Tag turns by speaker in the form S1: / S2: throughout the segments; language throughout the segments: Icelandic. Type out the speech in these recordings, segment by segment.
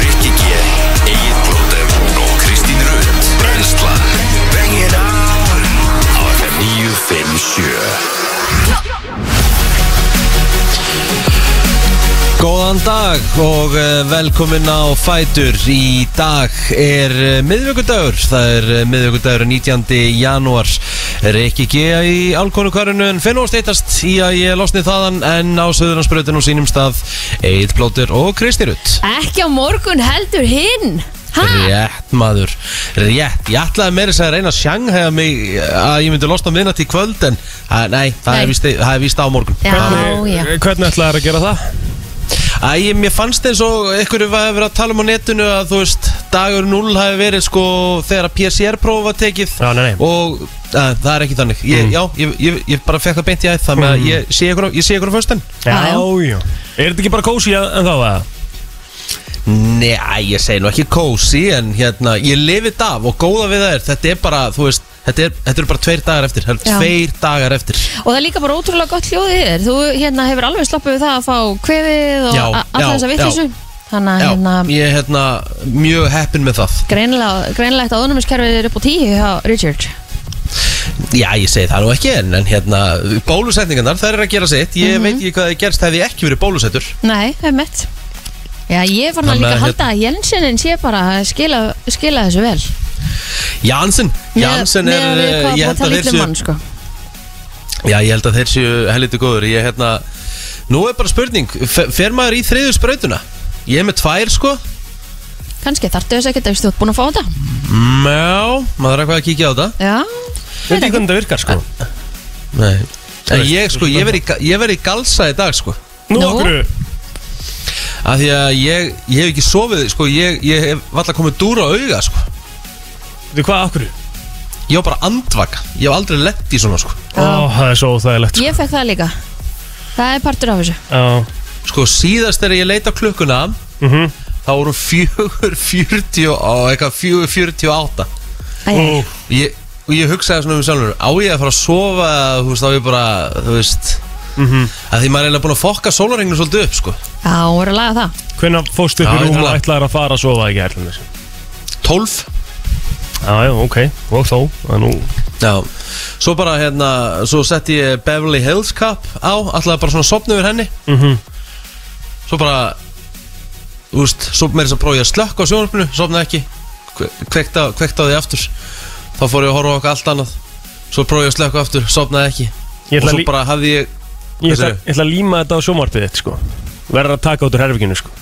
S1: Rikki G, Egil Blóter og Kristín Rund Brenslan Bang it on Á FM 957
S2: Góðan dag og eh, velkomin á Fætur. Í dag er eh, miðvikudagur, það er eh, miðvikudagur 19. janúar. Rikki G. í Alkonukvarinu en Finn og steytast í að ég losni þaðan en á Söðurlandsbrautinu og sínum stað Eid Blóttur og Kristi Rutt.
S3: Ekki á morgun heldur hinn Ha?
S2: Rétt maður, rétt. Ég ætlaði meira þess að reyna að sjanghega mig eh, að ég myndi losna minnat í kvöld en að, nei, það
S3: Nei.
S2: er víst- það er víst á morgun.
S3: Já, já
S4: Hvernig ætlaði þær að gera það?
S2: Æ, mér fannst eins og einhverju var að vera að tala um á netinu að þú veist, dagur 0 hafi verið sko þegar að PCR-próf var tekið
S4: Já, nei, Mm. nei.
S2: og að, það er ekki þannig ég, Já, ég, ég, ég bara fekk það beint í æð þannig að ég sé ykkur, á- ég sé ykkur á föstan
S3: Já, já.
S4: Mm. já Er þetta ekki bara kósi en þá það?
S2: Nei, æ, ég segi nú ekki kósi en hérna, ég lifið af og góða við það er þetta er bara, þú veist, þetta er, þetta er bara tveir dagar eftir, það
S3: Já.
S2: er tveir dagar eftir
S3: Og það er líka bara ótrúlega gott hljóðið í þér Þú hérna hefur alveg sloppið við það að fá kvefið og
S2: Já,
S3: a- alla
S2: já,
S3: þessa vitlisu
S2: já.
S3: Þannig að
S2: Já,
S3: hérna
S2: ég er hérna mjög heppin með það
S3: greinilega- Greinilegt að ónumiskerfið er upp á tíu hjá Richard
S2: Já, ég segi það nú ekki en, en hérna, bólusetningarnar, það er að gera sitt
S3: Mhm.
S2: Ég veit ekki hvað það gerst hefði ég ekki verið bólusettur
S3: Nei, það er mitt Já, ég fann að
S2: Þannig
S3: líka
S2: að
S3: halda að Jensenin sé bara að skila, skila þessu vel
S2: Janssen, Janssen er,
S3: Með við
S2: eh,
S3: hvað
S2: ég
S3: búið
S2: held
S3: það
S2: að þeir
S3: lítið
S2: séu
S3: mann, sko
S2: Já, ég held að þeir séu helviti góður Ég hérna, nú er bara spurning fe- Fer maður í þriðu sprautuna? Ég er með tvær sko
S3: Kannski þarftu þess ekkert ef þú ert búin að fá þetta
S2: Mjá, maður er eitthvað að kíkja á þetta
S3: Já,
S4: Veit ekki hvernig það virkar sko
S2: Nei En ég sko, ég verð í, ga- ég verð í galsa í dag sko
S4: Nú
S3: Nú.
S4: okkur
S2: Af því að ég, ég hef ekki sofið sko Ég, ég hef alltaf komið dúra á auga sko
S4: Þú hvað okkur?
S2: Ég var bara andvaka, ég hef aldrei lett í svona sko
S4: Ó, það er svo óþægilegt
S3: ég fekk það líka Það er partur af þessu
S4: sko.
S2: Sko síðast þegar ég leita á klukkuna
S4: Mhm.
S2: Þá voru fjögur fjörutíu og eitthvað fjögur fjörutíu og átta
S3: Æ,
S4: Ó,
S3: æ,
S2: ég, Og ég hugsaði svona um sjálfur Á ég að fara að sofa eða, Þú veist, þá ég bara, þú veist
S4: mhm.
S2: að Því maður er eiginlega búin að fokka sólarenginu svolítið upp sko.
S3: Já, hún er að laga það
S4: Hvenær fórstu upp
S2: Já,
S4: í
S2: ég
S4: rúm og
S2: tala.
S4: ætlaði að fara að sofa ekki ætlum þessu?
S2: 12
S4: Já, já, ok, og þó að nú...
S2: Já. Svo bara hérna Svo setti ég Beverly Hills Cup á Alltaf bara svona sopna yfir henni
S4: Mhm.
S2: Svo bara Þú veist, svo meira þess að prófa ég að slökka á sjónarpinu Sopna ekki kve- Kveikta kveikt á því aftur Þá fór ég að horfa á okkur allt annað Svo prófa ég að slökka aftur, sopnaði ekki Og
S4: Ég ætla,
S2: svo
S4: lí...
S2: bara hafði ég
S4: ég, ætla,
S2: Hvað
S4: ég ætla að líma þetta á sjómarpið þitt sko Verður að taka út úr herfinginu sko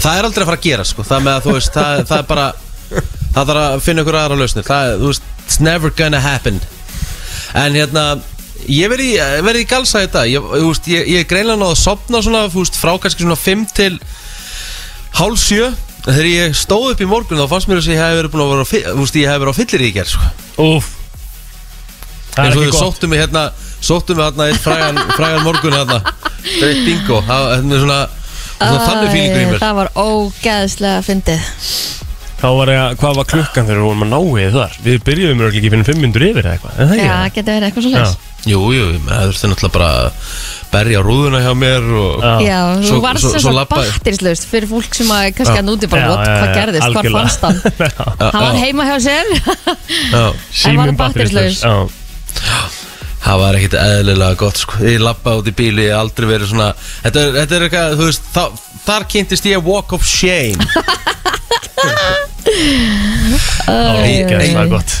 S2: Það er aldrei að fara að gera sko Það með að þú veist, það, það er bara Það þarf að finna ykkur aðra lausnir Það, þú veist, it's never gonna happen En hérna Ég verði, verði í galsa þetta Ég, þú veist, ég, ég er greinlega náð að sopna svona þú veist, Frá kannski svona 5 til Hálf 7 Þegar ég stóð upp í morgun þá fannst mér þess að ég hef verið búin að vera á fi- Þú veist, ég hef verið á fyllir í gerð sko.
S4: Úf Það
S2: En
S4: er
S2: svo
S4: ekki
S2: þau
S4: gott
S2: sóttu mig hérna Sóttu mig hérna einn frægan, frægan morgun hérna Það er eitt bingo Það það er svona, svona þannig fílingur í mér
S3: Það var ógeðslega fyndið
S4: Þá var ég að, hvað var klukkan þegar við vorum að ná við þar? Við byrjuðum mjög ekki fyrir fimm myndur yfir eða eitthvað, en það
S3: Já,
S4: ekki?
S3: það getur verið eitthvað svo
S4: Já.
S3: leys
S2: Jú, jú, ég meina, það þurfti náttúrulega bara að berja rúðuna hjá mér og
S4: Já.
S3: Já, þú
S2: Svo-
S3: varst
S2: svo-
S3: sem
S2: svo
S3: svo
S2: labbaði-
S3: batterislaust fyrir fólk sem að kannski hann úti bara,
S4: Já,
S3: what,
S4: já,
S3: hvað
S4: já,
S3: gerðist, hvað
S4: algjörlega.
S3: fannst hann Hann var heima hjá sér
S2: Já,
S3: En var
S4: Síminn
S3: batterislaus.
S4: batterislaus Já,
S2: það var ekkit eðlilega gott sko. Ég lappa út í bíli, ég hef aldrei verið svona Þetta er, þetta er eitthvað, þú veist, þá, þar kynntist ég walk of shame
S4: það var
S2: Æ,
S4: ógeðslega
S3: æ.
S4: gott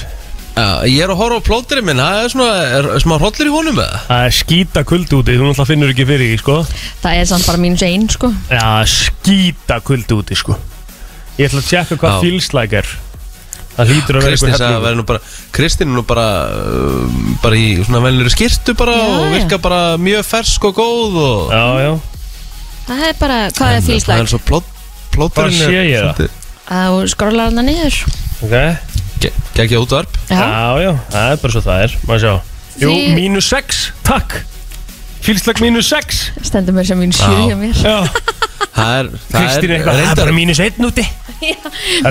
S2: Já, Ég er að horfa á plóterinn minn, það er svona, er, smá hrollir í honum eða?
S4: Það er skýta kuld úti, þú náttúrulega finnur ekki fyrir því, sko
S3: Það er samt bara mínus einn, sko
S4: Já, skýta kuld úti, sko Ég ætla að tjekka hvað
S2: Já.
S4: feels like er Það hlýtur að vera
S2: Kristinn
S4: einhver
S2: sagði að
S4: hellingur.
S2: vera nú bara Kristinn er nú bara, uh, bara í svona velnur skýrtu bara
S3: Já,
S2: og
S3: já.
S2: virka bara mjög fersk og góð og
S4: Já, já,
S3: Það er bara, hvað er
S2: Það er
S3: fílslæk?
S2: svo plót, plóterinn
S4: Bara sé ég það.
S3: Að þú skrólar hann niður
S4: ok
S2: Gækja útvarp
S3: Já,
S4: Já, já, það er bara svo það er, maður sjá Jú,
S3: Því-
S4: mínus 6, takk Feels like mínus 6
S3: stendur mér sem mínus sjö
S2: Já.
S3: hjá mér
S4: Já,
S2: Það er, það
S4: Kristín
S2: er
S4: eitthvað, það er
S2: reyndar
S4: bara mínus 1 úti Það er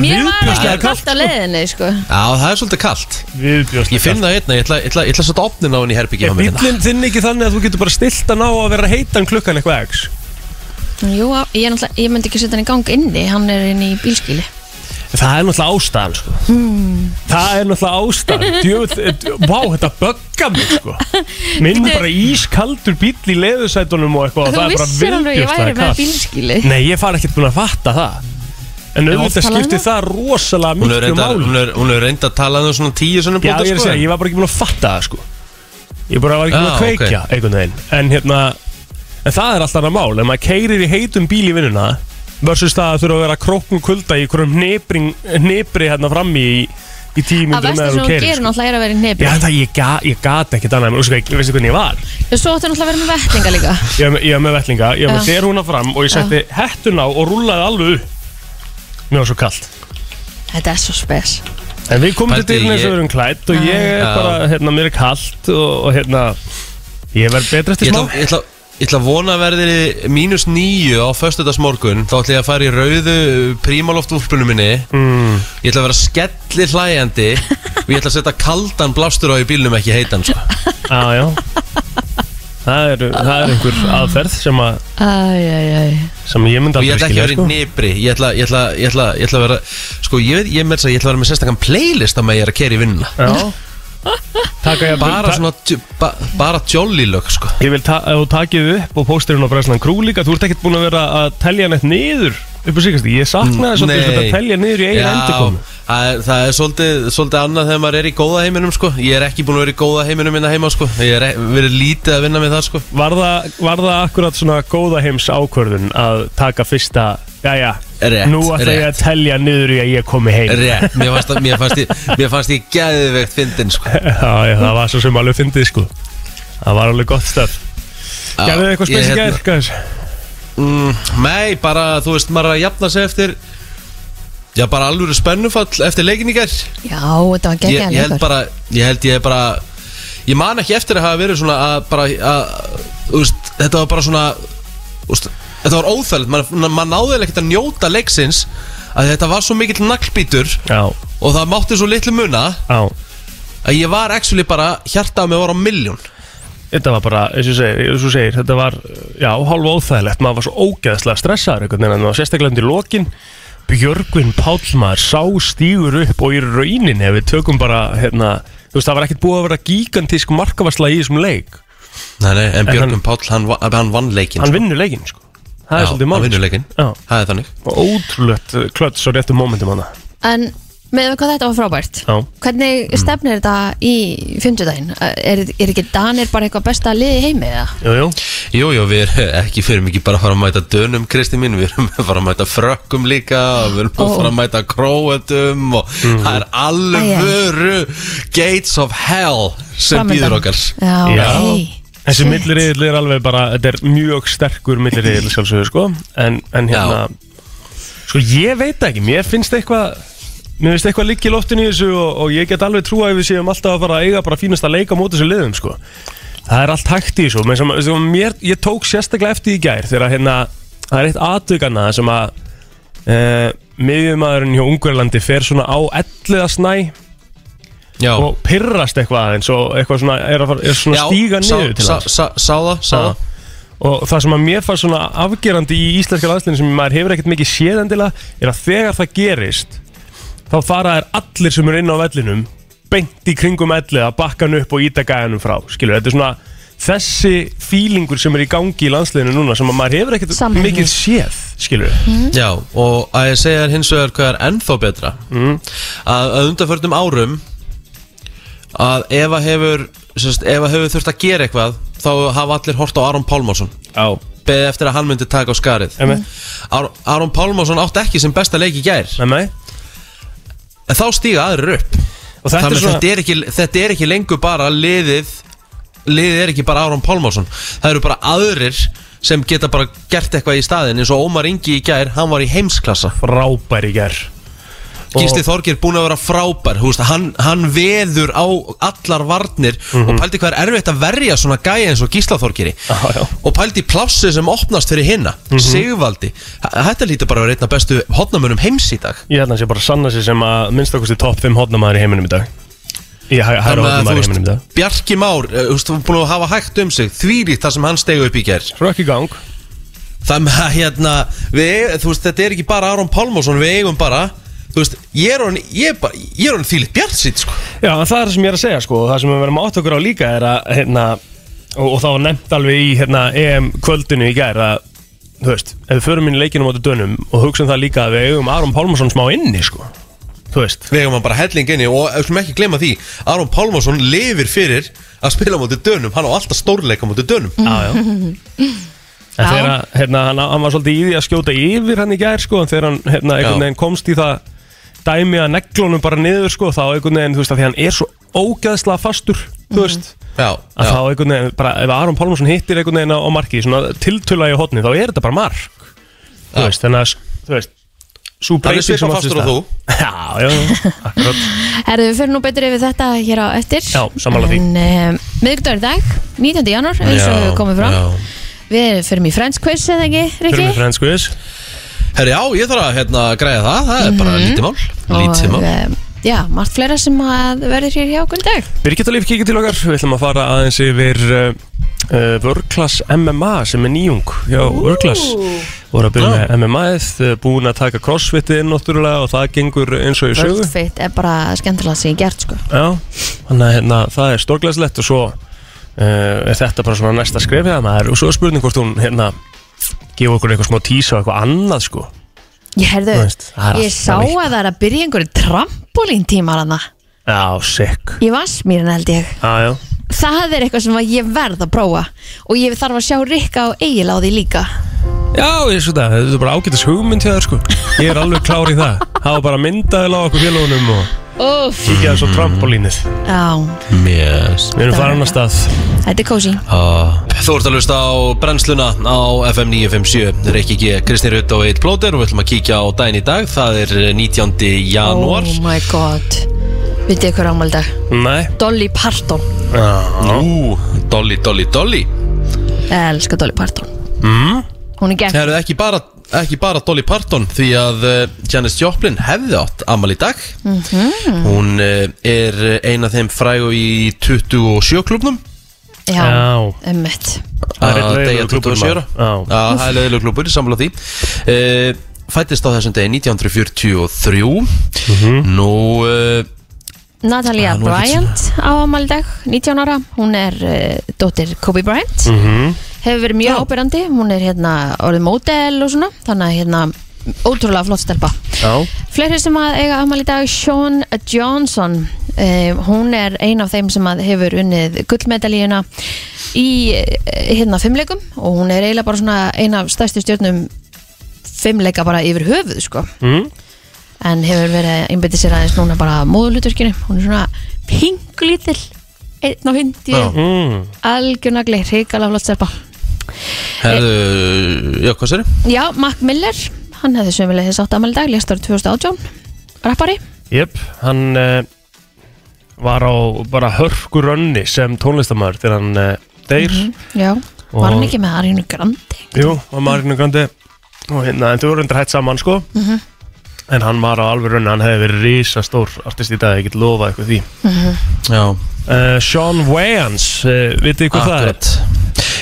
S3: Mér var
S4: viðbjóðslega
S3: ekki kallt á leiðinni sko.
S2: Já, það er svolítið kalt
S4: Viðbjóðslega
S2: Ég finn það einna, ég ætla, ég ætla, ég ætla að setja opnin á henni í herbyggi
S4: Er bílinn þinn ekki þannig að þú getur bara stilt hann á að vera heitan klukkan eitthvað x?
S3: Jú, á- ég, er náttúrulega- ég myndi ekki setja hann í gang inni Hann er inn í bílskíli
S4: Það er náttúrulega ástæðan sko. Það er náttúrulega ástæðan Djöfull, eh, djö- Vá, þetta bögga mig sko. Minn
S3: Bíddu.
S4: bara ískaldur bíll í leðusætunum og eitthvað og
S3: Þú
S4: það er bara
S3: vissir alveg að ég væri
S4: viðbjóðslega
S3: með
S4: kalt.
S3: bílskíli
S4: Nei, ég far ekkert búin að fatta það En auðvitað
S3: talaðu
S4: skipti
S3: nú.
S4: það rosalega
S2: Hún er
S4: miklu
S2: reynda,
S4: máli
S2: hún er, hún er reynda að tala um svona tíu svona
S4: Já, ég er að segja, ég var bara ekki búin að fatta það sko Ég bara var ekki búin
S2: Já,
S4: að kveikja einhvern veginn En hérna, en það er alltaf annað mál En maður keirir í heitum bíl í vinnuna Versus það að þurfa að vera krókn kulda Í hverjum hnipring- hnipri hérna frammi í, í tíu
S3: Að
S4: myndur
S3: versta
S4: meðan
S3: sem
S4: þú
S3: hún
S4: keirir
S3: gerir
S4: sko.
S3: náttúrulega er að vera í nefi
S4: Já, það ég, ga, ég gat ekkert annað En þú veist hvað- veistu hvernig ég var
S3: Svo áttu náttúrulega að vera með vettlinga líka
S4: Ég var með, ég var með vellinga, ég var með
S3: Já.
S4: derhúna fram Og ég
S3: Já.
S4: setti hettun á og rúlaði alveg upp Mér var svo kalt
S3: Þetta er svo spes
S4: En við komum til
S2: Pældi,
S4: dyrna eins og
S2: ég-
S4: við erum klætt og ég er
S2: Já.
S4: bara, hérna, mér er kalt og, og hérna, ég verð betra eftir
S2: Ég
S4: smá
S2: ætla, ég, ætla, ég ætla að vona að verði mínus nýju á föstudagsmorgun Þá ætla ég að fara í rauðu prímaloftúlpunum minni
S4: mm.
S2: Ég ætla að vera skellir hlæjandi Og ég ætla að setja kaldan blástur á í bílnum ekki heitan sko.
S4: Á, já það er, það er einhver aðferð sem, að,
S3: Æjæjæj
S4: sem ég myndi
S2: Og ég ætla ekki
S4: aldrei skilja
S2: að vera í
S4: sko.
S2: nýbri Ég ætla, ég ætla, ég ætla, ég ætla að vera Sko ég veit, ég með þess að ég ætla að vera með sérstakann playlist á mig að ég er að keri vinnuna
S4: Já Taka ég
S2: Bara svona, dj- ba, bara jolly lög sko
S4: Ég vil ta ef þú takið upp og póstir hún á Breslan Krú líka Þú ert ekkert búin að vera að telja neitt niður upp á síkast Ég saknaði svolítið
S2: Nei.
S4: þetta að telja niður í eigin
S2: Já,
S4: endurkomu
S2: Það er, það er svolítið, svolítið annað þegar maður er í góða heiminum sko. Ég er ekki búin að vera í góða heiminum minna heima sko. Ég er e- verið lítið að vinna með það sko.
S4: Var það, var það akkurat svona góða heims ákvörðun að taka fyrsta Jæja,
S2: Rétt,
S4: nú ætla ég að telja niður í að ég komi heim
S2: Rétt, mér fannst, að- mér fannst, ég, mér fannst ég gæðvegt fyndin sko.
S4: Já, já, það var svo sem alveg fyndið sko Það var alveg gott stöf
S2: Já,
S4: Gerðu þið eitthvað
S2: ég,
S4: spes í
S2: hérna,
S4: gær, guys?
S2: mm, Nei, bara þú veist, maður er að jafna sig eftir Já, bara alvöru spennufall eftir leikin í gær
S3: Já, þetta var
S2: ég, ég
S3: geggjaðan
S2: held
S3: leikur
S2: bara, ég held ég bara Ég man ekki eftir að hafa verið svona að bara, að, þú veist, þetta var bara svona úst, Þetta var óþægilegt, maður man náði ekkert að njóta leiksins að þetta var svo mikill naglbítur
S4: Já,
S2: og það mátti svo litlu muna
S4: já
S2: að ég var actually bara, hjartað á mig var á miljón
S4: Þetta var bara, eins og segir, eins og segir þetta var, já, hálfa óþægilegt maður var svo ógeðslega stressaður einhvern veginn en það var sérstaklega undir lokin Björgvin Pálmar sá stígur upp og í rauninni ef við tökum bara hérna, þú veist, það var ekkert búið að vera gigantísk markavarsla í þessum leik
S2: Nei, nei, en
S4: hann-
S2: Björgum Páll, hann, va- hann vann leikin
S4: Hann vinnur leikinn, sko Það
S2: Já,
S4: er svolítið
S2: hann
S4: mál
S2: vinnur leikin,
S4: Já.
S2: það er þannig
S4: Og Ótrúlegt uh, klöts og réttum momentum hana
S3: En með hvað þetta var frábært
S4: Já. Mm.
S3: Hvernig stefnir þetta í fymtudaginn? Er, er ekki Danir bara eitthvað besta liði heimi eða?
S4: Jú, jú
S2: Jú, jú, við erum ekki fyrir mikið bara að fara að mæta dönum, Kristi mín, við erum að fara að mæta frökkum líka, og við erum að
S3: Ó.
S2: fara að mæta króetum og
S4: Mhm.
S2: það er alvöru gates of hell sem
S3: Framundan.
S2: býður okkar.
S3: Já,
S4: Já.
S3: ok.
S4: Þessi
S3: Shit.
S4: milliriðil er alveg bara, þetta er mjög sterkur milliriðil sjálfsögur sko en, en hérna, sko ég veit ekki, mér finnst eitthvað, mér finnst eitthvað líkja í loftinu í þessu og, og ég get alveg trúa ef við séum alltaf að fara að eiga bara fínasta leika á móti þessu liðum sko. Það er allt hægt í þessu, menn sem, sem mér, ég tók sérstaklega eftir í gær þegar að hérna, það er eitt aðtökanna sem að e, miðjumæðurinn hjá Ungverlandi fer svona á elliða snæ
S2: Já,
S4: og pirrast eitthvað aðeins og eitthvað svona, er, að fara, er svona
S2: já
S4: stíga niður til
S2: sá,
S4: hans.
S2: sá, sá, sá það, sá
S4: Já.
S2: það.
S4: og það sem að mér fannst svona afgerandi í íslenska landsliðinu sem maður hefur ekkert mikið séð endilega er að þegar það gerist þá fara þær allir sem eru inn á vellinum beint í kringum ellið að bakka hann upp og íta gæjanum frá skilur, þetta er svona þessi fílingur sem er í gangi í landsliðinu núna sem að maður hefur ekkert
S3: Samheldni.
S4: mikið séð skilur,
S2: Já, og að ég segja þér hins vegar hvað er ennþá betra að, að undanförnum árum að ef að hefur, sérst, ef að hefur þurft að gera eitthvað þá hafa allir hort á Aron Pálmarsson
S4: á,
S2: beðið eftir að hann myndi taka á skarið
S4: emmi
S2: Ar Aron Pálmarsson átti ekki sem besta leik í gær
S4: emmi,
S2: en þá stíga aðrir upp
S4: og
S2: þannig
S4: þetta er
S2: að þetta
S4: svona
S2: er, ekki, þetta er ekki lengur bara liðið liðið er ekki bara Aron Pálmarsson það eru bara aðrir sem geta bara gert eitthvað í staðin eins og Ómar Ingi í gær, hann var í heimsklassa
S4: frábær í ger
S2: Gísli Þorgir búin að vera frábær húst, hann, hann veður á allar varnir og pældi hvað er erfitt að verja svona gæja eins og Gísla Þorgiri
S4: Mhm. Já, já. Mhm.
S2: og pældi plássi sem opnast fyrir hinna Sigvaldi, Þa- þetta lítur bara að vera einn af bestu hotnamunum heims í dag
S4: Ég held að hann sé bara að sanna sig sem að minnstakosti topp 5 hotnamaður í heiminum í dag Ég um hæ- hæra hotnamaður í heiminum í dag
S2: Bjarki Már, eh, þú veist, hún er búin að hafa hægt um sig þvílíkt það sem hann stegu upp í gerð
S4: Rökk í gang
S2: Þannig að hérna við, þú veist, þetta er ekki bara Aron Pálmarsson við eigum bara þú veist, ég er honum ég er bara, ég er honum þýlit bjart sitt sko.
S4: Já, en það er það sem ég er að segja sko og það sem við verðum átt okkur á líka er að hérna, og, og það var nefnt alveg í hérna, EM kvöldinu í gær að þú veist, ef við förum inn í leikinu móti dönum og hugsaum það líka að við eigum Aron Pálmarsson smá inni sko þú veist,
S2: við eigum hann bara helling inni og eh, við skulum ekki glemma því Aron Pálmarsson lifir fyrir að spila mútið dönum, hann á alltaf stórleika mútið dönum
S4: já já en þegar að, hérna, hann, hann var svolítið í því að skjóta yfir hann í gær sko en þegar hann hérna, einhvern
S2: Já.
S4: veginn komst í það dæmi að neglunum bara niður sko þá einhvern veginn, þú veist, að því hann er svo ógæðslega fastur,
S3: Mm.
S4: þú veist
S2: já,
S4: að
S2: já,
S4: þá einhvern veginn, bara ef Aron Pálmarsson hittir einhvern veginn á, á marki, svona tiltöla í hotni þá er þetta bara mark þú
S2: Já.
S4: veist, þannig að, þú veist svo
S2: hann er
S4: breyting
S2: svipað
S4: átti
S2: fastur og
S4: stað-
S2: þú
S4: já, já, já, akkurat
S3: Herðu, við fyrir nú betur yfir þetta hér á eftir
S4: Já, sammála því.
S3: En um, miðvíkudagur í dag, 19. janúar, eins og við komum fram
S2: já.
S3: Við fyrir mig Friends quiz eða ekki,
S4: fyrir
S3: Rikki?
S4: mig frends guðis
S2: Herri, já, ég þarf að hérna, græða það, það er
S3: Mhm.
S2: bara lítið mál lítið mál,
S3: um, Já, margt fleira sem að verður hér hjá okkur í dag
S4: Birgitta Líf kikið til okkar, við ætlum að fara aðeins yfir uh, uh, Vörklass MMA sem er nýjung já, Vörklass voru að byrja með MMA-ið, uh, búin að taka crossfitið inn náttúrulega og það gengur eins og í sögu
S3: Worldfit er bara skemmtilega sem ég gert sko
S4: Já, þannig að hérna, það er stórglæslegt og svo uh, er þetta bara svona næsta skref hjá maður og svo er spurning hvort hún hérna gefa okkur eitthvað smá tísa og eitthvað annað sko
S3: Ég herðu,
S4: Þú veist, það er
S3: ég
S4: alltaf
S3: sá að
S4: eitthvað.
S3: það er að byrja einhverju trampolín tímar hana
S4: Já, sick
S3: Ég vassmýrin held ég
S4: Já, já,
S3: Það er eitthvað sem að ég verð að prófa Og ég þarf að sjá Rikka og Egil á því líka
S4: já ég svo það, þetta er bara ágætis hugmynd hjá þér sko Ég er alveg klár í það Hafa bara myndaðil á okkur félagunum og
S3: Úf,
S4: kíkja þessu á trampolínið
S3: já
S2: yes.
S4: Við erum farin að stað
S3: Þetta er kósi
S2: Ah. Þú ert að hlusta á brennsluna á FM 957 Reykjik G, Kristi Rutt og Eitt Plóter og við ætlum að kíkja á daginn í dag það er 19. janúar
S3: Oh my god Vitið þið hver ámæli dag?
S4: Nei
S3: Dolly Parton
S2: Ú, Dolly, Dolly, Dolly
S3: Elskar Dolly Parton mm? Hún er
S2: Það
S3: gegn
S2: eru ekki bara, ekki bara Dolly Parton því að uh, Janis Joplin hefði átt amal í dag
S3: Mhm.
S2: Hún uh, er eina af þeim frægu í 27 klubnum
S3: Já,
S4: Já
S3: ummitt
S4: Það er einn
S2: að deyja
S4: leiðilegur klúbbur,
S2: 27 ára.
S4: Já.
S2: Já, það er leiðilegu klubur, samfélag því uh, Fættist á þessum degi 1943
S4: Mhm.
S2: Nú, uh,
S3: Natalia
S2: Það er nú ekkert
S3: Bryant á ammali dag, 19 ára Hún er uh, dóttir Kobe Bryant
S4: Mhm.
S3: Hefur verið mjög ábyrrandi Hún er hérna orðið mótel og svona Þannig að hérna ótrúlega flott stelpa
S4: Já
S3: Fleiri sem að eiga afmæli í dag Sean Johnson uh, hún er ein af þeim sem að hefur unnið gullmedalíuna í uh, hérna fimmleikum og hún er eiginlega bara svona ein af stærstu stjórnum fimmleika bara yfir höfuð sko
S4: mm.
S3: en hefur verið einbyttið sér aðeins núna bara móðuluturkinu, hún er svona pinglítil, einn á hindi
S2: Já.
S4: Mm.
S3: algjörnagli, hrikalega flott stelpa
S2: herðu, já, hvað sér?
S3: Já, Mac Miller, hann hefði sömulegðið sátt afmæli í dag, lest árið 2018 rappari
S4: Jöp, hann uh, var á bara hörku rönni sem tónlistamæður þegar hann uh, deyr
S3: Mhm. Já,
S4: Og-
S3: var hann ekki með Arinu Grandi?
S4: Jú, og Marinu Grandi og hérna, en þau voru undir hætt saman sko
S3: Mhm.
S4: en hann var á alveg rönni, hann hefði verið risastór artist í dag, ég get lofað eitthvað því
S2: Já,
S4: uh, Sean Wayans, uh, vitið þið hvað það er?
S2: Akkurat.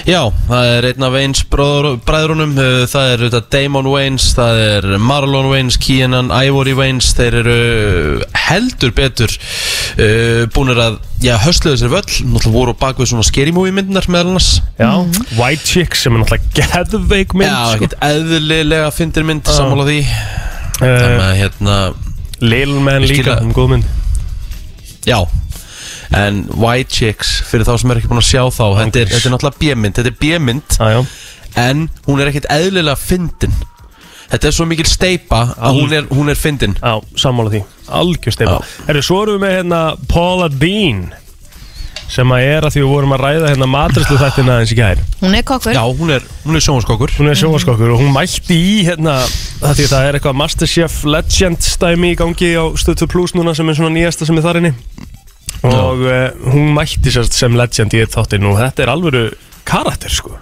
S2: Já, það er einn af Wayne's bróður- bræðrunum, uh, það er uh, Damon Wayne's, það er Marlon Wayne's, Keenan Ivory Wayne's, þeir eru uh, heldur betur uh, búinir að, já, höstluðu sér völl, náttúrulega voru á bak við svona scary movie myndinar meðal annars.
S4: Já, White Chicks sem er náttúrulega geðveik mynd
S2: Já,
S4: sko.
S2: ekkert eðlilega fyndir mynd, sammála því, þannig
S4: uh,
S2: að hérna,
S4: Lil Man
S2: Ég skil
S4: líka,
S2: það.
S4: um góð mynd
S2: Já En White Chicks, fyrir þá sem er ekki búin að sjá þá Þetta er, þetta er náttúrulega bjömynd Þetta er bjömynd
S4: ah, já.
S2: En hún er ekkert eðlilega fyndin Þetta er svo mikil steipa að hún er, hún er fyndin
S4: Já, sammála því Algjör stefna Herru, svo erum við með hérna Paula Dean sem að er að því við vorum að ræða hérna matræslu þættina eins í gær
S3: Hún er kokkur
S2: Já, hún er, hún er sjónskokkur
S4: hún er sjóaskokkur og hún mætti í hérna að því að það er eitthvað Masterchef Legend stæmi í gangi á Stötu Plus núna sem er svona nýjasta sem er þar inni og uh, hún mætti sérst sem Legend í þáttinn og þetta er alvöru karakter sko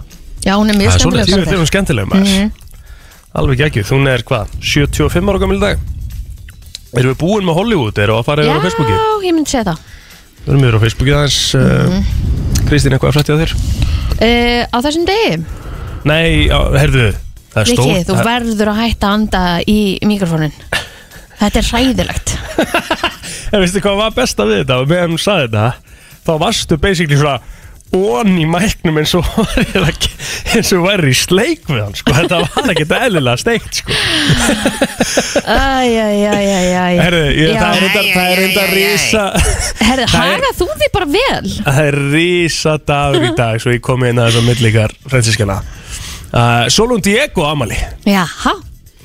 S3: Já, hún er mjög
S2: Það er
S3: skemmtileg Mhm.
S2: svoleiðis.
S4: Þetta er
S3: karakter.
S4: hún skemmtileg maður Alveg ekki, hún er hvað, 75 ára gamil dag Erum við búin með Hollywood, erum við að fara yfir á Facebooki
S3: Já, ég myndi segja það
S4: Við erum yfir á Facebooki aðeins uh,
S3: Mhm.
S4: Kristín, eitthvað að frætti á þér?
S3: uh, Á þessum degi,
S4: Nei, á, heyrðu, það er stór
S3: Rikki, þú
S4: það-
S3: verður að hætta að anda í mikrofónin Þetta er hræðilegt
S4: En Eh, veistu hvað var besta við þetta og meðan hún saði þetta þá varstu basically svona on í mæknum eins og værir að- eins og væri í sleik við hann sko. þetta var ekkert eðlilega steikt sko.
S3: Æjæjæjæjæj
S4: Herru, ég, það er
S3: Já.
S4: reyndar- það er enda risa
S3: Herðu,
S4: það er-
S3: haga þú þig bara vel
S4: það er risa dagur í dag svo ég kom inn að þess að millikar fransiskjana uh, Solon Diego Amali
S3: Jaha,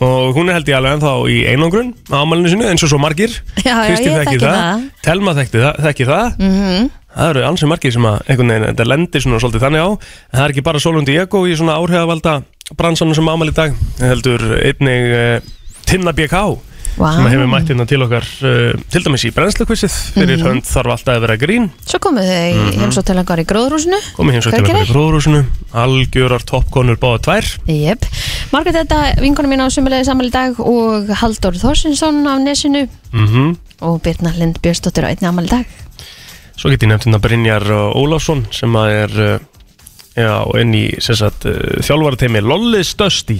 S4: og hún er held ég alveg ennþá í einangrun á amalinu sinu eins og svo margir
S3: Já, já,
S4: Kristín
S3: ég
S4: þekkir
S3: þekki það.
S4: Telma þekkti það, þekki það.
S1: Mhm.
S4: það eru ansið margir sem að einhvern veginn þetta lendir svona svolítið þannig á en það er ekki bara Solundi Ego í svona áhrifavalda bransanum sem amal í dag heldur einnig uh, Tinna BK
S3: Vá.
S4: sem hefur mætt hérna til okkar uh, til dæmis í brennslukvissið fyrir
S3: Mhm.
S4: hönd þarf alltaf að vera grín
S3: svo komið þau mm -hmm.
S2: Mhm.
S3: heimsótt til einhver í gróðrúsinu
S4: komið hins og til okkar í gróðrúsinu algjörar toppkonur báða tvær
S3: Jep, Margrét þetta vinkunum mín á sumulegði samal í dag og Halldór Þorsinsson á nesinu
S4: mm
S3: og Birna Lind Björnsdóttir á einni amal í dag
S4: Svo get ég nefnt hérna Brynjar uh, Ólafsson sem að er uh, já, inn í sem sagt, uh, þjálfarateimi Lolli Stösti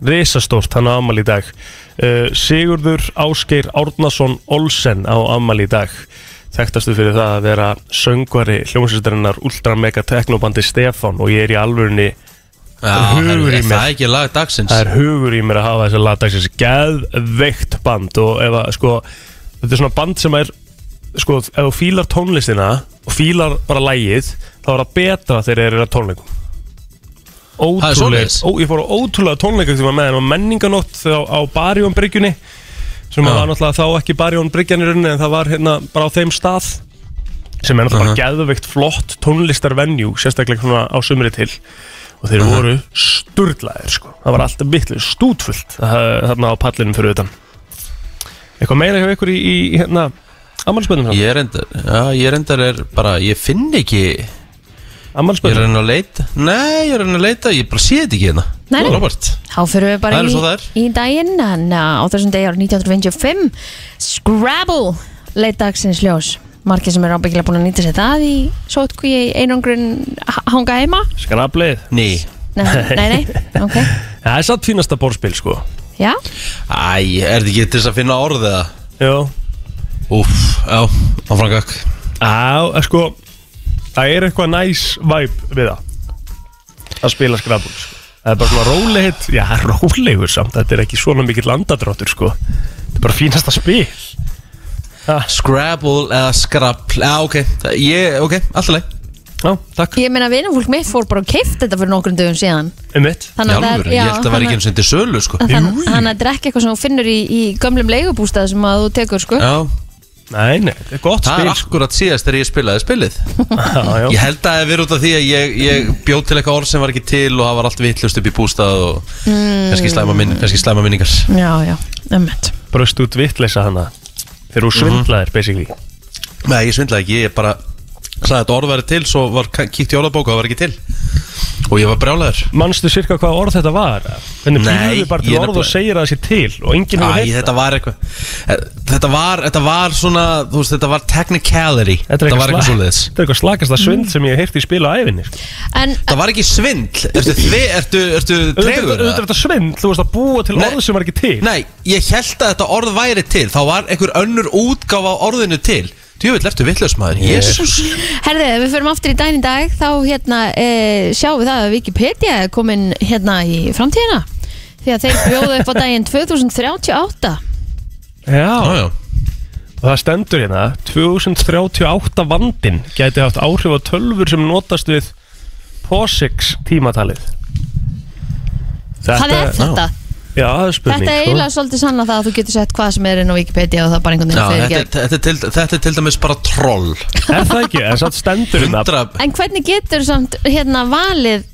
S4: risastórt hann á amal í dag uh, Sigurður Ásgeir Árnason Olsen á amal í dag þekktastu fyrir það að vera söngvari hljómsýstarinnar Ultra Mega Technobandi Stefan og ég er í alvörunni
S2: Já,
S4: Hugur
S2: herri,
S4: í mér.
S2: það er ekki lag dagsins
S4: það er hugur í mér að hafa þessi lagdagsins geðveikt band og ef að sko þetta er svona band sem er sko ef þú fílar tónlistina og fílar bara lægið þá er það betra þegar þeir eru að tónleikum
S2: Það er
S4: ótrúlega,
S2: svoleiðis.
S4: ó, ég fór á ótrúlega tónleikum þegar maður með þeim á menninganótt á, á Barjón bryggjunni sem
S2: Já.
S4: var náttúrulega þá ekki Barjón bryggjan í rauninni en það var hérna bara á þeim stað sem er náttúrulega uh geðveikt flott tónlistarvenjú sérstaklega svona á sumri til og þeir voru sturglaðir sko. það var alltaf vitlu stútfullt uh, þarna á pallinum fyrir utan eitthvað meira hjá ykkur í, í hérna ammálspöndum
S2: Ég er endar, já, ég er endar er bara, ég finn ekki Ég er
S4: ammálspöndum
S2: enn að leita, nei, ég er enn að leita, ég bara sé þetta ekki hérna
S3: Nei, nei.
S2: Robert
S3: Þá fyrir við bara
S2: Það er
S3: í,
S2: svo það er.
S3: í daginn en uh, á þessum degi árið 1955 Scrabble leit dagsins ljós margir sem eru ábyggilega búin að nýta sér það í sótkví einangrun h- hanga heima
S4: skrablið
S2: Ný
S3: Nei, nei, nei, ok
S4: það er satt fínasta borðspil sko
S3: Já,
S2: Æ, er þetta ekki til þess að finna orðið það?
S4: já
S2: Úf, já, áfram gakk
S4: Á, eh, sko Það er eitthvað næs væp við það Að spila skrabul sko. Það er bara svona rólegit Já, rólegur samt, þetta er ekki svona mikill landadráttur sko. Þetta er bara fínasta spil
S2: Scrabble eða Scrabble, já, ok, Það- ég, ok, alltaf leið
S4: Já, takk
S3: ég meina vinafólk mitt fór bara og keift þetta fyrir nokkrum dögum síðan
S4: Um mitt
S3: Þannig að það
S2: Jálfur,
S3: er-
S2: ég
S3: já,
S2: held að það væri
S3: þannig
S2: ekki eins og til sölu, sko
S3: að- þannig- Þannig að þetta er ekki eitthvað sem þú finnur í, í gömlum leigubústað sem að þú tekur sko
S2: Já,
S4: Nei, nei, þetta er gott
S2: það er
S4: spil
S2: akkurat síðast þegar ég spilaði spilið
S4: sko. já,
S2: Ég
S4: já.
S2: held að það hefur verið út af því að ég, ég bjóð til eitthvað orð sem var ekki til og það var allt vitlust upp í bústað og
S3: Mm.
S2: kannski slæma, minn, kannski slæma minningar
S3: Já, já, ömmet
S4: Bröst út vitleisa hana Þegar þú svindlaðir, basically
S2: Mhm. Nei, ég svindlaði ekki, ég bara sagði að þetta orð væri til, svo var kíkt í orðabóka og það var ekki til og ég var brjálæður
S4: Manstu sirka hvað orð þetta var? Hvernig
S2: Nei,
S4: býrðu bara
S2: ég
S4: til
S2: er
S4: orð og
S2: nefnilega-
S4: segir að það sé til Og enginn hefur
S2: Æ,
S4: heitt
S2: þetta var eitthvað e, Þetta var, þetta var svona, þú veist, þetta var technicality
S4: Þetta
S2: var
S4: er eitthvað,
S2: eitthvað
S4: sla...
S2: svoleiðis Mm.
S4: þetta er eitthvað slagasta svind sem ég hef heirt í spila á æfinni sko.
S3: En
S2: Það var ekki svindl, ertu, þvi, ertu, ertu
S4: Auðvitað
S2: tregur? eða?
S4: auðvitað er þetta svindl, þú veist að búa til
S2: Nei.
S4: orð sem er ekki til
S2: Nei, ég held að þetta orð væri til Þá var einhver önnur útgáfa á orðinu til Djöfull, ertu vitlaus maður, jésus
S3: Herði, ef við förum aftur í daginn í dag þá hérna e, sjáum við það að Wikipedia er komin hérna í framtíðina því að þeir bjóðu upp á daginn 2038
S2: Já, já,
S4: Og það stendur hérna 2038 vandin gæti haft áhrif á tölfur sem notast við POSIX tímatalið
S3: Hvað er þetta?
S4: Já, það er spurning
S3: Þetta er
S4: sko.
S3: eiginlega svolítið sanna það að þú getur sett hvað sem er inn á Wikipedia og það bara einhvern
S2: Já,
S3: veginn
S2: þetta,
S3: fyrir
S2: er- þetta, er til, þetta er til dæmis bara troll
S4: Er það ekki, en satt stendur hérna
S2: Undra,
S3: En hvernig getur samt hérna valið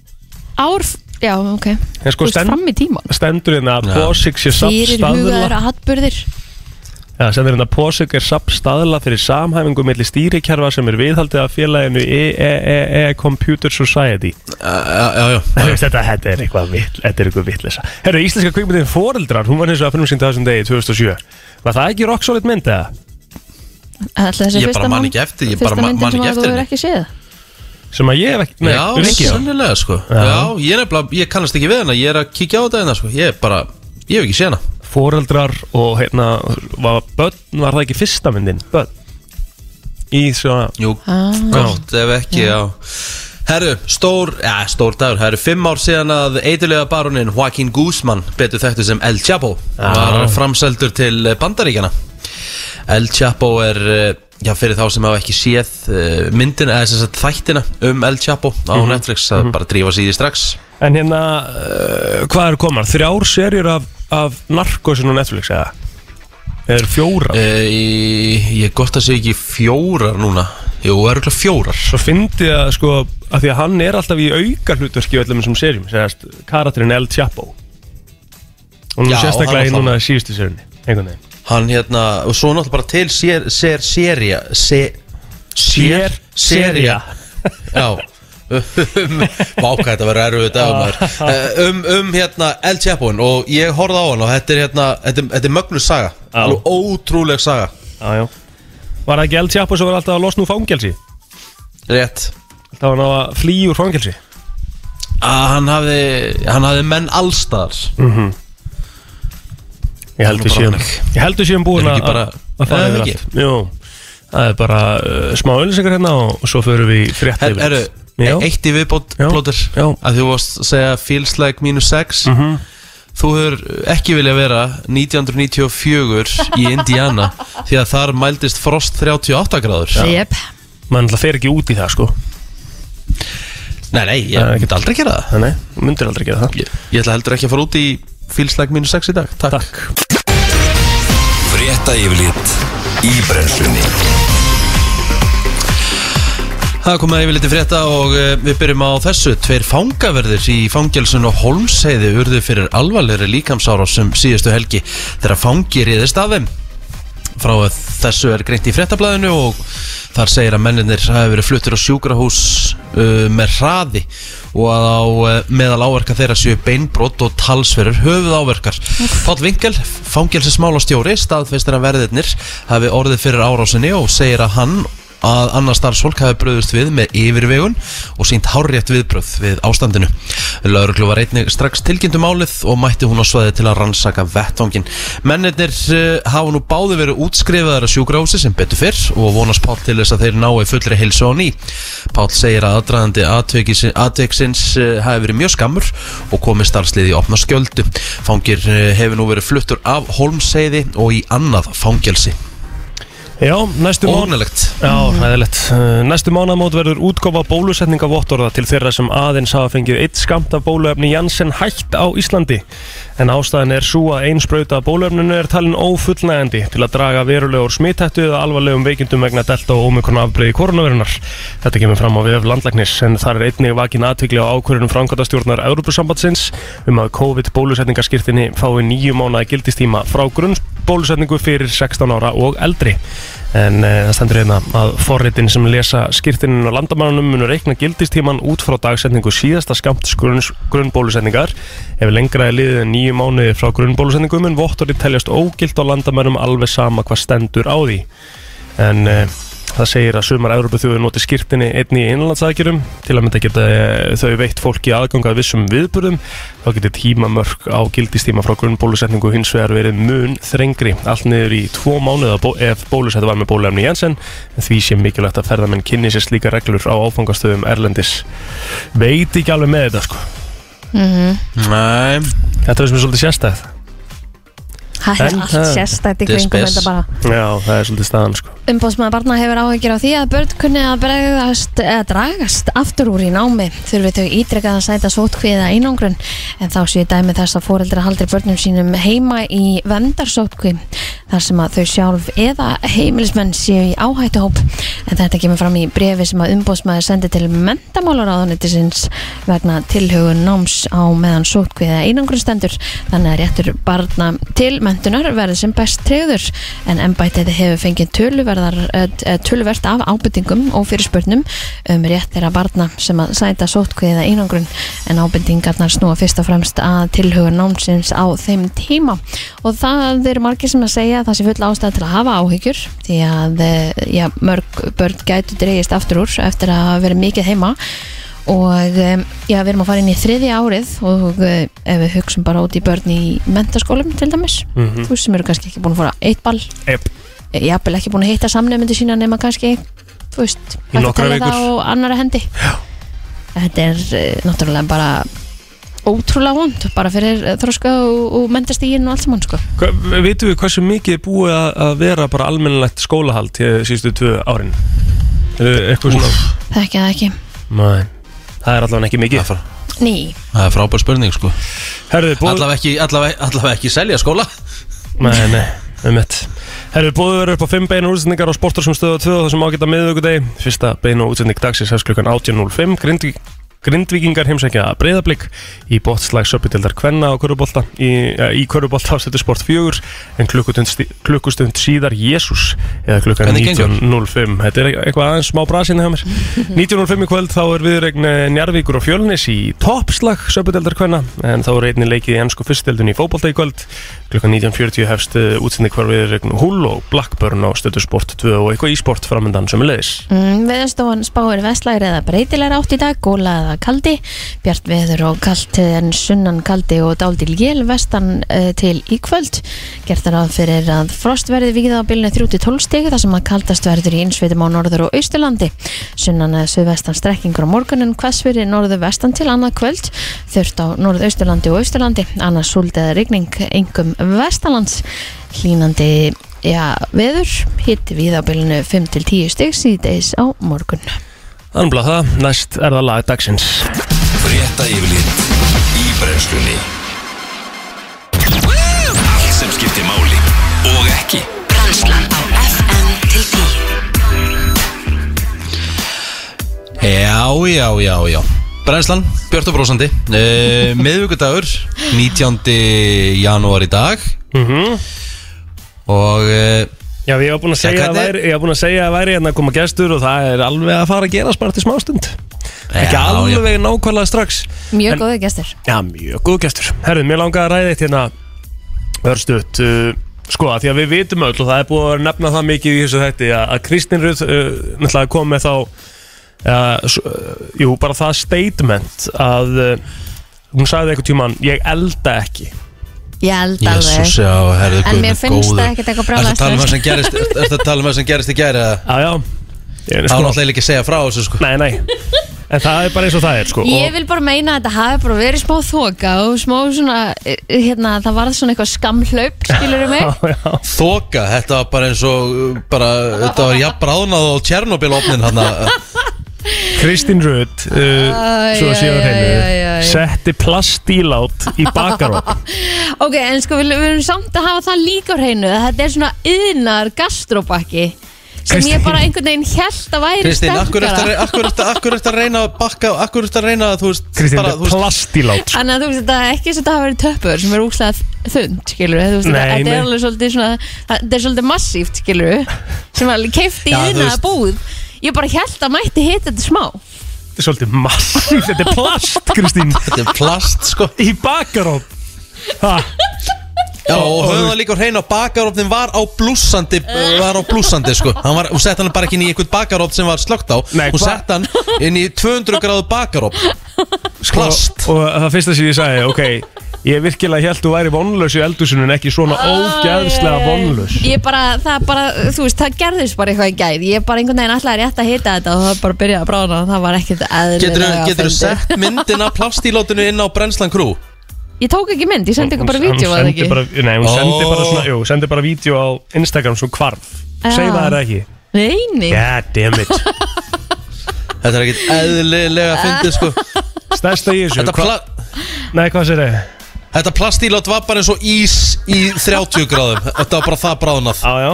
S3: ár Já, ok
S4: En
S3: Þú
S4: sko,
S3: veist,
S4: stend-
S3: fram í tíman
S4: Stendur hérna að
S2: Já.
S4: posik sé
S3: Fyrir hugaður
S4: sapstaðla
S3: atbyrðir
S4: Já, stendur hérna að posik er sapstaðla fyrir samhæfingu milli stýrikerfa sem er viðhaldið af félaginu E EEE Computer Society
S2: já, já, já,
S4: Þú
S2: já.
S4: veist, þetta, þetta er eitthvað vitt, þetta er eitthvað vittlisa Herru, íslenska kvikmyndin Fóreldrar, hún var hins vegar að frumsýnda þessum degi 2007 Var það ekki rock solid mynd eða?
S2: Ég bara man ekki eftir- ég bara
S3: Fyrsta
S2: man- man
S3: myndin
S2: ekki
S3: sem að
S2: eftir
S3: þú er
S2: henni.
S3: ekki séð
S4: Sem að ég hef ekki, nei,
S2: Já,
S4: Rikki,
S2: sannilega sko Já, ég er nefnilega, ég kannast ekki við hana Ég er að kíkja á þetta hérna sko Ég er bara, ég hef ekki séð hana
S4: foreldrar og hérna var, börn, var það ekki fyrsta myndin börn í svona
S2: Jú,
S3: Ah.
S2: gott ef ekki, já, Herru, stór, já, stór dagur Herru, fimm ár síðan að eitulega baronin Joaquín Guzman, betur þekktu sem El Chapo
S4: Já.
S2: Var framseldur til eh, Bandaríkjana El Chapo er, eh, já, fyrir þá sem hafa ekki séð eh, myndina, eða sem sagt þættina um El Chapo á
S4: Mhm.
S2: Netflix að bara drífa síði strax
S4: en hérna, uh, hvað eru komar? þrjár serjur af, af narkosin og Netflix eða? eða fjóra?
S2: Uh, ég gott að segja ekki fjórar núna Jú, örgulega fjórar
S4: svo fyndi að sko að því að hann er alltaf í auka hlutverki í öllum þessum serjum, segast karakterinn El Chapo og nú
S2: Já,
S4: sérstaklega
S2: hann
S4: í
S2: var
S4: núna síðustu serjunni einhvern veginn
S2: Hann hérna, og svo náttúrulega bara til sér, sér, sérja se,
S4: Sér-
S2: sérja Já um, Váka, þetta verður erfið dagumar
S4: Ah.
S2: um, um hérna El Chapon og ég horfði á hann og þetta er hérna Þetta, er- þetta er mögnus saga,
S4: Já.
S2: alveg ótrúleg saga
S4: já, já. var það ekki El Chapo sem var alltaf að losna úr fangelsi?
S2: Rétt
S4: alltaf að ná að flýja úr fangelsi
S2: að hann hafði, hann hafði menn allstaðar
S4: Mhm. Ég held við
S2: bara
S4: séum
S2: þannig.
S4: Ég held við séum búin
S2: Er
S4: að
S2: ekki bara-
S4: að fara
S2: Er
S4: yfir
S2: ekki?
S4: allt Jú, það er bara uh, smá öllisengar hérna og, og svo förum við í frétt
S2: Her,
S4: yfir
S2: Herru,
S4: Já,
S2: e- eitt í viðbót
S4: Já.
S2: plótur
S4: Já.
S2: að þú varst að segja feels like minus 6
S4: Mhm.
S2: þú hefur ekki viljað vera 1994 í Indiana því að þar mældist frost 38 gráður
S3: Jep
S4: mann alltaf fer ekki út í það sko
S2: Nei, nei, ég
S4: Nei,
S2: get aldrei að gera það
S4: Þannig, þú myndir aldrei gera það
S2: ég, ég ætla heldur ekki að fara út í feels like minus 6 í dag Takk,
S4: Takk
S1: Frétta yfirlit í brennslunni
S2: Það er komið að yfir liti frétta og uh, við byrjum á þessu. Tveir fangaverðir í fangelsun og holmsheiði urðu fyrir alvarlegri líkamsára sem síðustu helgi þegar fangi reyðist af þeim. Frá þessu er greint í fréttablaðinu og þar segir að menninir hafi verið fluttir á sjúkrahús uh, með hraði og að á uh, meðal áverka þeirra séu beinbrott og talsverður höfuð áverkar. Páll Vinkel, fangelsismálastjóri, staðfeistir að verðirnir hafi orðið fyrir árásinni og segir að hann að annar starfsfólk hafi bröðust við með yfirvegun og sínt hárrétt viðbröð við ástandinu. Lauruglu var einnig strax tilkynntu málið og mætti hún á svaði til að rannsaka vettvangin. Mennirnir uh, hafa nú báði verið útskrifaðar að sjúkrahúsi sem betur fyrr og vonast Páll til þess að þeir nái fullri heilsu á ný. Páll segir að aðdraðandi atveikis- atveksins uh, hafi verið mjög skammur og komið starfsliði í opna skjöldu. Fangir uh, hefur nú verið fluttur af holmseiði og í annað fangelsi.
S4: Já, næstu mán
S2: Ógnalegt.
S4: Já, hæðilegt Næstu mánamót verður útkofa bólusetninga vottorða til þeirra sem aðeins hafa fengið eitt skamt af bóluefni Janssen hætt á Íslandi en ástæðan er svo að ein sprauta af bóluefninu er talin ófullnægandi til að draga verulegur smittættu eða alvarlegum veikindum vegna delta og omikron afbreyði koronavirunar. Þetta kemur fram á VF landlæknis en þar er einnig vakin aðtykli á ákvörunum framkvæmtastjórnar Európusambandsins um að COVID bólusetningaskirtinni fái nýju mánaða gildistíma frá grunnbólusetningu fyrir 16 ára og eldri. En e, það stendur hérna að forritin sem lesa skýrtinin og landamannunum munu reikna gildistíman út frá dagsetningu síðasta skamt grunns, grunnbólusetningar. Ef lengra er liðið en nýju mánuði frá grunnbólusetningu mun vottorinn teljast ógilt á landamannum alveg sama hvað stendur á því. En e, það segir að sumar Európa þjóður noti skýrtinni einni í innlandsaðgerðum til að mynda geta eh, þau veitt fólki aðgang að vissum viðburðum þá getur tímamörk á gildistíma frá grunnbólusetningu hins vegar verið mun þrengri allt niður í tvo mánuða bó ef bólusettu var með bóluefni Jensen en því sé mikilvægt að ferðamenn kynni sér slíka reglur á áfangastöðum Erlendis veit ekki alveg með þetta sko
S3: Mhm.
S2: Nei.
S4: þetta er sem er svolítið sérstæð
S3: það er
S4: En
S3: allt
S4: það-
S3: sérstætt í
S2: Þetta er
S3: kringum
S2: spes.
S3: þetta bara
S4: Já, það er svolítið staðan sko
S3: Umbóðsmaður barna hefur áhyggjur á því að börn kunni að bregðast, eða dragast aftur úr í námi þurfi þau ítrekkað að sæta sótkvíða einangrun en þá séu dæmi þess að foreldra haldir börnum sínum heima í vendarsótkví þar sem að þau sjálf eða heimilismenn séu í áhættuhóp en þetta kemur fram í brefi sem að umbóðsmaður sendi til mentamálaráðunettisins vegna tilhugun náms á meðan sótkvíða einangrun stendur þannig að réttur barna til mentunar verði sem best treyður en embættið hefur fengið töluverðar eh, eh, töluvert af ábendingum og fyrirspurnum um rétt þeirra barna sem að sæta sótkvíða einangrun en ábendingarnar snúa fyrst og fremst að tilhuga námsins á þeim tíma og það eru margir sem að segja að það sé full ástæð til að hafa áhyggjur því að eh, já, mörg börn gætu dreigist aftur úr eftir að hafa verið mikið heima og um, já, við erum að fara inn í þriðja árið og uh, ef við hugsum bara út í börn í mentaskólum til dæmis þú sem eru kannski ekki búin að fara á eitt ball
S4: Ep.
S3: eh, jafnvel ekki búin að hitta samnefndu sína nema kannski, þú veist hægt að
S4: nokkrar
S3: telja það
S4: vikur.
S3: á annara hendi já. þetta er uh, náttúrulega bara ótrúlega vond bara fyrir eh, þroska og, og mentastígin og allt saman sko.
S4: Hva, Vitum við hversu mikið er búið að- að vera bara almennilegt skólahald í síðustu tvö árin? Eh, Eitthvað svona
S3: það ekki að ekki
S4: Nei, það er allavega ekki mikið
S2: fara-
S3: ný,
S2: Það er frábær spurning sko
S4: Herðu, búið
S2: Allavega ekki, allavega, allavega ekki selja skóla
S4: Nei, nei, um mitt Herðu, búið verður upp á 5 beina útsendingar á sportar sem stöðu 2 þar sem ágæta miðvíkudegi Fyrsta beina útsending dagsins hefst klukkan 18.05 Grindvík Grindvíkingar heimsækja breyðablík í bóttslag söpudildar Kvenna á Körubolta í, ja, í Körubolta á Stötu Sport 4 en klukkustund, sti- klukkustund síðar Jésús eða klukkan
S2: Hvernig gengur?
S4: 19.05 Þetta er eitthvað aðeins smá brasinni hjá mér 19.05 í kvöld þá er viðregn eh, Njarðvíkur og Fjölnis í toppslag söpudeldar kvenna en þá er einni leikið í ennsku fyrstdeldun í fótbolta í kvöld klukkan 19.40 hefst eh, útsendi hvar viðregn Hull og Blackburn á stötu sport 2 og eitthvað ísport framöndan sem er leiðis
S3: Mm, Veðurstofan spáir vestlægir eða breytilegar átt í dag, góla eða kaldi, bjart veður og kalt en sunnan kaldi og dáldil gél vestan uh, til í kvöld. Gert er að fyrir að frost verði vikið á bylnu 3-12 stegi þar sem að kaldast verður í innsveitum á norður og austurlandi. Sunnan eða suðvestan strekkingur á morgunin hvassfyrir norður vestan til annað kvöld, þurft á norður austurlandi og austurlandi, annars súld eða rigning, engum vestalands, hlínandi Já, veður, hitti við á bylunu 5 til 10 stygg síðdeis á morgun.
S4: Þannig að það, næst er það lag dagsins
S1: Frétta yfirlit í brennslunni Allt sem skiptir máli og ekki
S5: Brænslan á FM til 10
S2: Já, já, já, já Brænslan, Björn og Brósandi uh, Miðvíkudagur, 19. janúar í dag Og uh,
S4: Mhm. Já, ég var búin að segja, að
S2: hvernig-
S4: væri, ég var búin að segja að væri hérna að koma gestur og það er alveg að fara að gerast bara til smástund Ekki
S2: já, já.
S4: alveg nákvæmlega strax
S3: Mjög
S4: En-
S3: góðu gestur.
S4: Já, mjög góð gestur Herðu, mér langar að ræða eitt hérna Örstuðt uh, Sko, að því að við vitum öll og það er búið að vera að nefna það mikið í þessu þætti að, að Kristín Rutt uh, náttúrulega kom með þá uh, s- uh, Jú, bara það statement að uh, hún sagði eitthvað tímann ég elda ekki
S3: Ég held alveg.
S2: Jésús, já, herðu
S3: En mér finnst það ekkert eitthvað brjálað
S2: Ertu að tala um það sem gerist, ertu að tala um það sem gerist í gæri
S4: Já, já Ég er
S2: Það var
S4: sko,
S2: náttúrulega ekki að segja frá þessu sko
S4: Nei, nei En það er bara eins og það er sko
S3: Ég
S4: og,
S3: vil bara meina að þetta hafi bara verið smá þoka og smá svona, eh, hérna, það varð svona eitthvað skamhlaup, skilur mig?
S4: Já, já
S2: Þoka, þetta var bara eins og uh, bara, þetta var jafn bráðnað á Tjernobyl-opnin hann
S4: Kristín Rutt uh,
S3: Æ,
S4: Svo
S3: æ,
S4: séu
S3: æ, æ, æ, æ.
S4: hennu Setti plastílát í bakarofn
S3: Ok, en sko við, við erum samt að hafa það líka á hreinu að þetta er svona yðnar gastróbakki sem
S4: Kristín.
S3: ég bara einhvern veginn held að væri
S2: Kristín, akkur
S3: sterkara.
S2: eftir, akkur, eftir, akkur eftir að reyna að bakka Akkur eftir að reyna að, þú veist
S4: Kristín,
S2: bara,
S4: þetta
S2: þú
S4: er
S2: veist,
S4: plastílát sko.
S3: Þannig að þú veist, þetta er ekki svo að það hafa verið töppur sem er úkslega þund, skilur við, þú veist,
S4: Nei,
S3: þetta- þetta er
S4: nei.
S3: alveg svolítið svona, þetta er svolítið massíft, skilur við, sem alveg keifti í
S2: Já, þú
S3: þina
S2: veist.
S3: búð. Ég bara held að mætti hitta þetta smá.
S4: Þetta er svolítið massíft, þetta er plast Kristín,
S2: Þetta er plast sko
S4: í bakarofn Ha,
S2: Já, og höfðum það líka á hreinu að bakarofnin var á blúsandi, var á blúsandi sko Hann var, hún sett hann bara ekki inn í einhvern bakarofn sem var slögt á
S4: Nei,
S2: Hún
S4: hva-
S2: sett hann inn í 200 gráðu bakarofn Plast
S4: Sko, og það fyrsta sem ég sagði, ok Ég virkilega held þú væri vonlaus í eldúsunum ekki svona ógeðslega vonlaus
S3: Ég bara, það bara, þú veist, það gerðist bara eitthvað í gæð. Ég bara einhvern veginn alltaf rétt að hitta þetta og það bara byrjaði að brána og það var ekkert eðlilega
S2: Geturðu getur
S3: fyndið.
S2: sett myndina plastílátinu inn á brennslan krú?
S3: Ég tók ekki mynd, ég sendi ykkur bara
S4: Hún- hún
S3: vídeo að
S4: sendi
S3: ekki
S4: bara, Nei, hún sendi
S2: Ó.
S4: bara svona, jú, sendi bara vídeo á Instagram svo hvarf
S3: Já.
S4: Segðu það er ekki
S3: Nei, Ah. nei
S4: God damn it
S2: Þetta er ekkert eðlilega fyndið sko
S4: Stærsta í þessu
S2: Þetta,
S4: hva-
S2: pla
S4: Nei, hvað sér þið?
S2: þetta plastílát var bara eins og ís í 30 gráðum Þetta var bara það bráðnað
S4: Já, já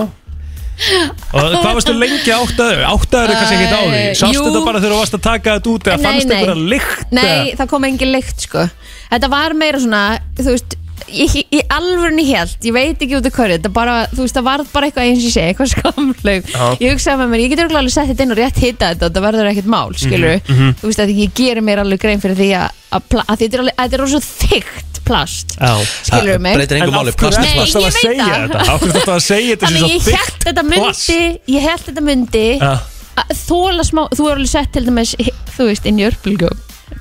S4: Og hvað varstu lengi áttaður? Áttaður er kannski ekkert á því
S3: Eh,
S4: Sástu
S3: jú.
S4: þetta bara þegar þú varst að taka þetta út eða
S3: Nei,
S4: fannst
S3: nei.
S4: einhverja lykt
S3: Nei,
S4: eða-
S3: það kom engin lykt sko Þetta var meira svona, þú veist Ég, ég alvörni held, ég veit ekki út af hverju Þetta bara, þú veist, það varð bara eitthvað eins og ég segi Eitthvað skamlaug
S4: Já.
S3: Ég hugsaði með mér, ég getur alveg sett þetta inn og rétt hitta þetta Þetta verður ekkert
S4: Mhm,
S3: mál, skilur Þú veist, að ég gerir mér alveg grein fyrir því að, að, pla- að þetta er alveg, að þetta er rosa þygt plast
S4: Já.
S3: Skilur
S2: Það
S3: mig
S2: Breytir engu máli, plast
S3: Nei,
S2: er plast
S3: ég
S4: að
S3: veit
S4: segja
S3: það.
S4: þetta? Af hverju þetta að segja þetta
S3: Þannig
S4: sem
S3: ég
S4: svo
S3: held þetta
S4: plast?
S3: myndi Ég held þetta myndi
S4: Já.
S3: að Þóla smá, þú er alveg sett til dæmis Þú veist, inn í örpulgu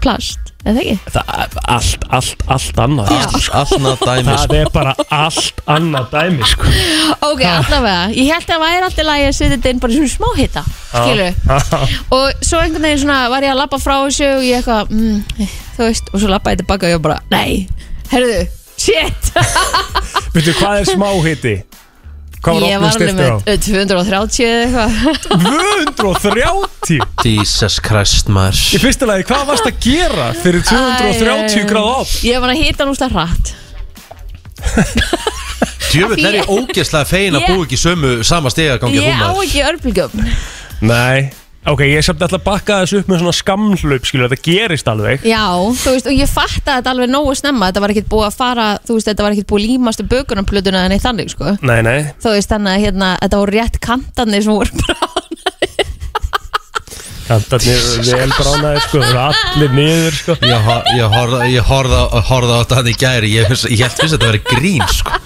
S3: Plast, eða ekki?
S4: Það er allt, allt, allt annað
S3: Já.
S2: Allnað dæmi sko
S4: Það er bara allt annað dæmi sko.
S3: Ok, allavega, ég held að það væri alltaf lægi að setja þetta inn bara í svona smá hitta Skilur Og svo einhvern veginn svona var ég að labba frá þessu Og ég eitthvað, mm, þú veist Og svo labba ég tilbaka og ég bara, nei Herðu, shit
S4: Veitu, hvað er smá hiti? Hvað var
S3: Ég
S4: opnum
S3: var alveg
S4: stiftur á?
S3: með eh, 230 eða eitthvað
S4: 230
S2: Jesus Christ
S4: Í
S2: maður
S4: fyrsta lagi, hvað varst að gera fyrir 230
S3: Æ,
S4: gráð opn?
S3: Ég var að hita núslega hratt
S2: Djöfull er ég ógeðslega fegin að
S3: Ég-
S2: búa ekki í sömu sama stegagangi
S3: Ég á
S2: maður.
S3: ekki örpulgum
S4: Nei Ok, ég er samt alltaf að bakka þessu upp með svona skamhlaup skilur, þetta gerist alveg
S3: Já, þú veist, og ég fatt að þetta alveg nógu snemma Þetta var ekkert búið að fara, þú veist, þetta var ekkert búið að límast Bökunarplötuna en eitt þannig, sko
S4: Nei, nei,
S3: Þú veist, þannig að hérna, þetta voru rétt kantarnir sem voru bara
S4: kantarnir eru vel bránaði sko, eru allir niður sko
S2: Ég, hor, ég, horfði- ég horfði horfði á þetta hann í gæri Ég, hugsa- ég held fyrst að þetta verið grín sko.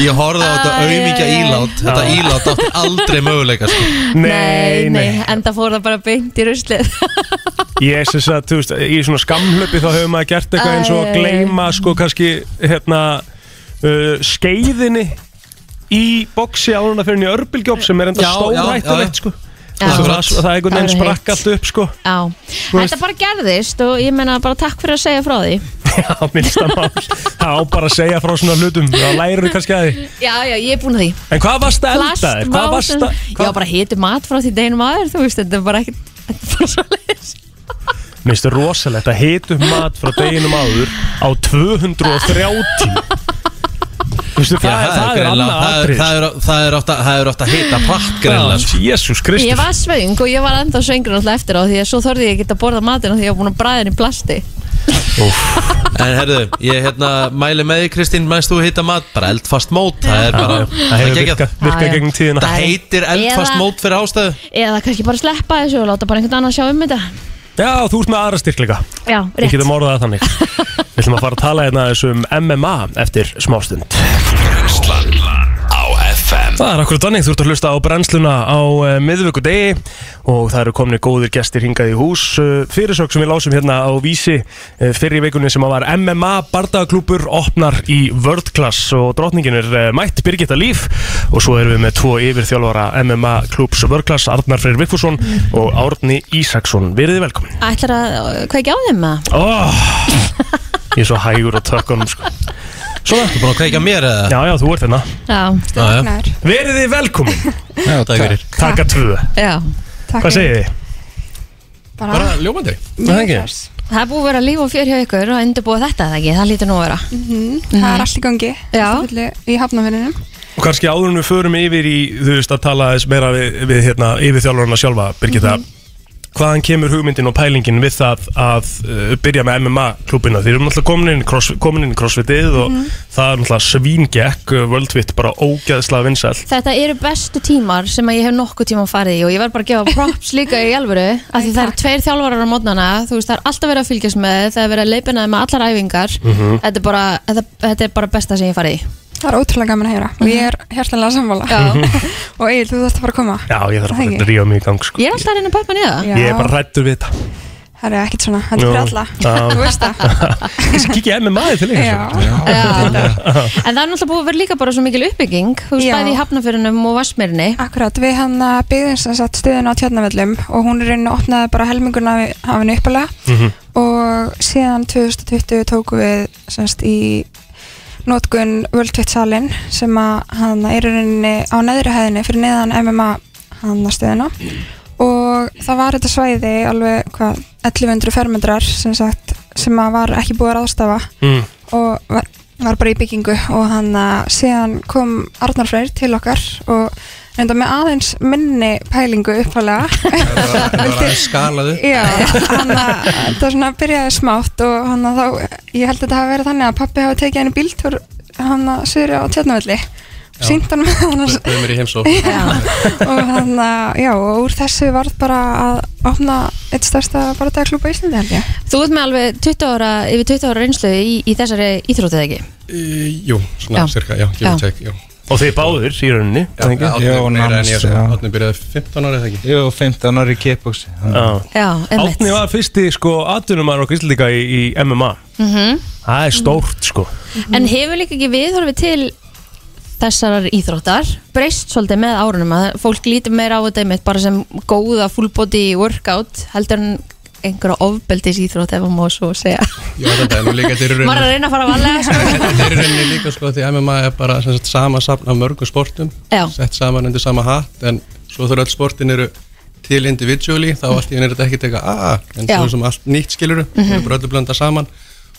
S2: Ég horfði á þetta
S3: Æ,
S2: auðmíkja
S3: æ, æ.
S2: ílát Þetta ílát átti aldrei möguleika sko.
S4: Nei, nei,
S3: En það fór það bara beint í ruslið
S4: ég er sem sagt, þú veist, í svona skamhlaupi þá hefur maður gert eitthvað eins og að gleyma sko kannski, hérna, uh, skeiðinni í boksi á hana fyrir henni örbylgjóp sem er enda
S2: Já, já, já.
S4: stórhættulegt sko
S3: Já.
S4: Það er allt- það er
S3: Það
S4: einhvern veginn
S3: er heitt.
S4: sprakk allt upp sko
S3: Já,
S4: veist-
S3: þetta bara gerðist og ég menna bara takk fyrir að segja frá því
S4: Já, minnsta mál Það á bara að segja frá svona hlutum Það lærir þú kannski að því
S3: Já, já, ég er búin að því
S4: En hvað varst að
S3: Plast,
S4: elda þér? Hvað
S3: vá,
S4: varst
S3: sem-
S4: að...
S3: Já,
S4: Hvað...
S3: bara hitu mat frá því deginum aður, þú veist, þetta er bara ekkert Þetta er bara svo leiðis
S4: Minnstu rosalegt að hita upp mat frá deginum áður á 230 Minnstu, það,
S2: Já,
S4: það, það er
S2: greinilega-
S4: annað
S2: það er-
S4: atrið
S2: það er- Það er átt að- það er átt að hita pratt greinlega sko.
S4: Jésús Kristur
S3: Ég var svöng og ég var enda svöngur alltaf eftir á því að svo þorði ég ekki að borða matina því að ég var búin að bræða henni í plasti
S2: En herðu, ég hérna mæli með því Kristín Mæst þú hita mat, bara eldfast mót Það er bara,
S4: Það hefur
S2: geggjað.
S4: virkað virka
S3: Já, já.
S4: gegnum tíðina
S2: Það heitir eldfast
S3: Eða-
S2: mót fyrir ástæðu
S3: Eða kannski bara sleppa þessu og láta bara einhvern annan sjá um þetta
S4: Já, þú ert með aðra styrkleika
S3: Já,
S4: Ég
S3: rétt
S4: getum orðað það þannig Við ætlum að fara að tala hérna aðeins um MMA eftir smástund
S1: Brennslan á FM
S4: Það er akkur danning, þú ert að hlusta á brennsluna á uh, miðvíkudegi og það eru komni góðir gestir hingað í hús uh, fyrirsök sem við lásum hérna á vísi uh, fyrir í vikunni sem að var MMA bardagaklúpur opnar í World Class og drotningin er uh, mætt Birgitta Líf og svo erum við með tvo yfirþjálfara MMA klúps World Class Arnar Freyr Vikfússon og Árni Ísaksson Verið velkomin
S3: Ætlar að, hvað ekki á þeim að?
S4: oh, Ég er svo hægur á tökkunum sko. Svona,
S2: Þú búin að kveika mér eða?
S4: já já þú ert hérna
S3: Já,
S2: Já, já.
S6: Ragnar.
S4: Verið velkomin,
S2: Já, takk fyrir
S4: taka tvö
S3: já
S6: Takk
S4: Hvað segið þið?
S6: Bara, bara
S2: ljómandi
S4: það ekki?
S3: Það er búið að vera líf og fjör hjá ykkur og undirbúa þetta eða ekki, það lítur nú að vera
S6: Mhm.
S3: Mhm.
S6: Það er allt í gangi
S3: Já.
S6: Fullu Í hafnafinninum
S4: Og kannski áður en við förum yfir í, þú veist, að tala aðeins meira við, við hérna, yfir þjálfarna sjálfa, Birgitta,
S6: Mhm.
S4: hvaðan kemur hugmyndin og pælingin við það að uh, byrja með MMA klúbina? Þeir eru náttúrulega komin inn, í cross, komin inn í crossfitið og
S6: Mhm.
S4: það er náttúrulega svíngekk, uh, worldfit, bara ógæðslega vinsæl.
S3: Þetta eru bestu tímar sem að ég hef nokkuð tíma farið í og ég verð bara að gefa props líka í alvöru af því það eru tveir þjálfarar á mótnana þú veist það er alltaf verið að fylgjast með það er verið að leipina með allar æfingar þetta, er bara, þetta, þetta er bara besta sem ég farið í
S6: Það er ótrúlega gaman að heyra Og ég er hjartanlega sammála
S4: Mhm.
S6: Já. Og Egil, þú þarfst að fara að koma
S4: Já, ég þarf að fara
S6: Það
S4: að ríða mig í gang, sko.
S3: Ég er alltaf að reyna að pöpa niður það
S6: Já.
S4: Ég er bara rættur við þetta.
S6: Það er ekkert svona, þetta er fyrir
S4: Já.
S6: alla
S4: Já.
S6: Þú veist það
S4: Ég skal kíkja MMA-ið til líka.
S6: Já.
S4: svo.
S3: En það er náttúrulega búið að vera líka bara svo mikil uppbygging þú veist
S6: Já.
S3: bæði í hafnafyrunum og vassmyrni
S6: Akkurat, við hann eh, byggðum sem sagt stöðun á tjarnavöllum og hún er inn og opnaði bara helminguna af henni uppalega og síðan 2020 tókum við semst í notkun World Twit salin sem að hann er í rauninni á neðri hæðinni fyrir neðan MMA hann stöðina og það var þetta svæði alveg hvað 1100 fermetrar sem sagt sem að var ekki búið að ráðstafa
S4: mm.
S6: og var, var bara í byggingu og hann að síðan kom Arnar Freyr til okkar og reynda með aðeins minni pælingu uppalega
S2: Það var aðeins skalaðu
S6: Já, hann að það svona byrjaði smátt og hann að þá, ég held að þetta hafi verið þannig að pappi hafi tekið henni bíltúr hann að sögur á tjarnavelli og sínt hann með hann að
S2: Böðum mér í heimsó
S6: og hann að, já, og úr þessu var bara að opna eitt stærsta barðaklúpa í Íslandi held ég
S3: Þú ert með alveg 20 ára, yfir 20 ára reynslu í, í þessari íþrótið ekki?
S7: Í- Jú, svona
S3: Já.
S7: cirka, já,
S3: Já.
S7: gefur tæk, já.
S4: Og þið báður í rauninni
S7: Já,
S4: ekki?
S7: Árni
S8: Jú,
S7: meira en
S8: nánast,
S7: ég, sko.
S8: já.
S7: Árni byrjaði 15 ára eða ekki.
S8: Jú, 15 ári í kickboxi
S4: Já.
S3: Já, einmitt.
S4: Átni var fyrsti sko atvinnumar okkar íslendinga í, í MMA
S3: Mhm.
S4: Það er stórt sko
S3: En hefur líka ekki viðhorfið til þessarar íþróttar breyst svolítið með árunum að fólk lítur meira á þetta einmitt bara sem góða full body workout heldur en einhverja ofbeldis íþrótt ef maður má svo segja
S7: Já, þetta er nú líka til
S3: maður er að
S7: rauninni.
S3: reyna að fara varlega sko.
S7: Þetta er í rauninni líka, sko, því MMA er bara sem sagt, sama safn af mörgum sportum,
S3: Já.
S7: sett saman undir sama hatt, en svo þurfa öll sportin eru til individually, þá allt í henni er þetta ekkert eitthvað aaa, ah", en
S3: Já.
S7: svo sem allt nýtt skiluru,
S6: Mhm.
S7: mm -hmm. bara öllu blanda saman,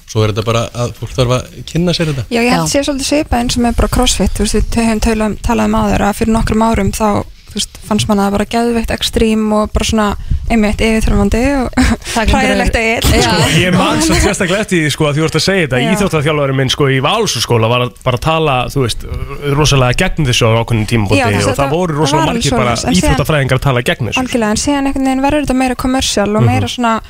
S7: svo er þetta bara að fólk þarf að kynna sér þetta.
S6: Já, ég held
S3: Já.
S6: að sé svolítið svipað eins og með bara crossfit þú veist, við höfum tölum, talað um aður að fyrir nokkrum árum þá þú veist, fannst manna það bara geðveikt ekstrím og bara svona einmitt yfirþrömmandi og
S3: Það glemdur-
S6: hræðilegt að ég
S3: Já.
S4: Sko, Ég man svo sérstaklega eftir því sko að þú vart að segja þetta
S6: Já.
S4: Íþjóttaþjálfari minn sko í Valsúskóla var að bara að tala, þú veist, rosalega gegn þessu á ákveðnum tímabóti
S6: Já, þess
S4: og
S6: að
S4: það
S6: það-
S4: voru
S6: það
S4: rosalega
S6: var alveg
S4: margir bara
S6: svoleiðis, en síðan-
S4: íþjóttafræðingar að tala gegn þessu
S6: algjörlega, en síðan einhvern veginn verður þetta meira kommersial og
S7: Mhm.
S6: meira svona,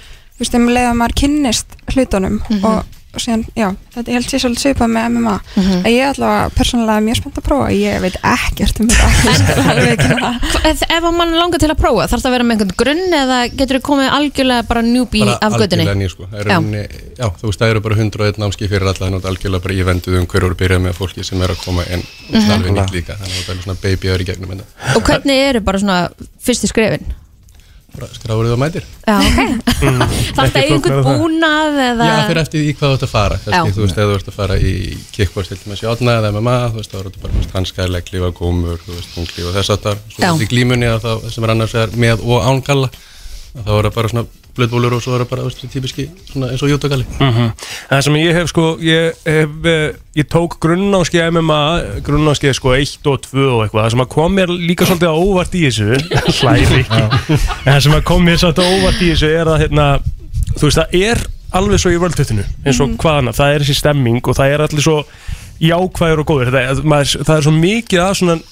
S6: þú veist, um leið að maður kynnist hlutunum og, og síðan, já, þetta ég held sér svolítið svipað með MMA að ég er allavega persónulega mjög spennt að prófa ég veit ekkert um þetta það er ekki það.
S3: Hva- ef ef að mann langar til að prófa þarf það að vera með einhvern grunn eða getur þið komið algjörlega bara newbie
S7: bara
S3: af göttinni
S7: algjörlega ný sko. Það eru henni, já, þú veist, það eru bara 101 námskið fyrir alla en þetta er algjörlega bara ég venduð um hverju eru byrjað með fólki sem er að koma en mm -hmm. alveg nýtt líka, þannig að það er svona baby í gegnum hérna. þetta.
S3: og hvernig eru bara svona fyrstu skrefin
S7: Bara skráður þú að mætir?
S3: Já, Mm. ok Þarf þetta
S4: Ekki
S3: einhvern
S4: flóknara það.
S3: búnað eða
S7: Já, fyrir eftir í hvað þú ert að fara, kannski,
S3: Já.
S7: þú veist, eða þú ert að fara í kickboard til dæmis í átna eða MMA, þú veist, þá eru þetta bara þú veist, hanskar, leggklífa, gómur, þú veist, tunglíf og þess að þar, svo
S3: Já.
S7: þetta í glímunni að þá, sem er annars vegar með og ángalla, þá er það bara svona blöðbólur og svo er það bara, þú veist, típiski, svona eins og jútakalli.
S4: Mhm. Það sem ég hef sko ég, hef, eh, ég tók grunnáskið MMA, grunnáskið sko 1 og 2 og eitthvað, það sem að kom mér líka svolítið á óvart í þessu hlæri, en það sem að kom mér svolítið á óvart í þessu er að hérna, þú veist það er alveg svo í völdhuttinu eins og
S7: Mhm.
S4: hvað annað, það er þessi stemming og það er allir svo jákvæður og góður það, maður, það er svo mikið að svona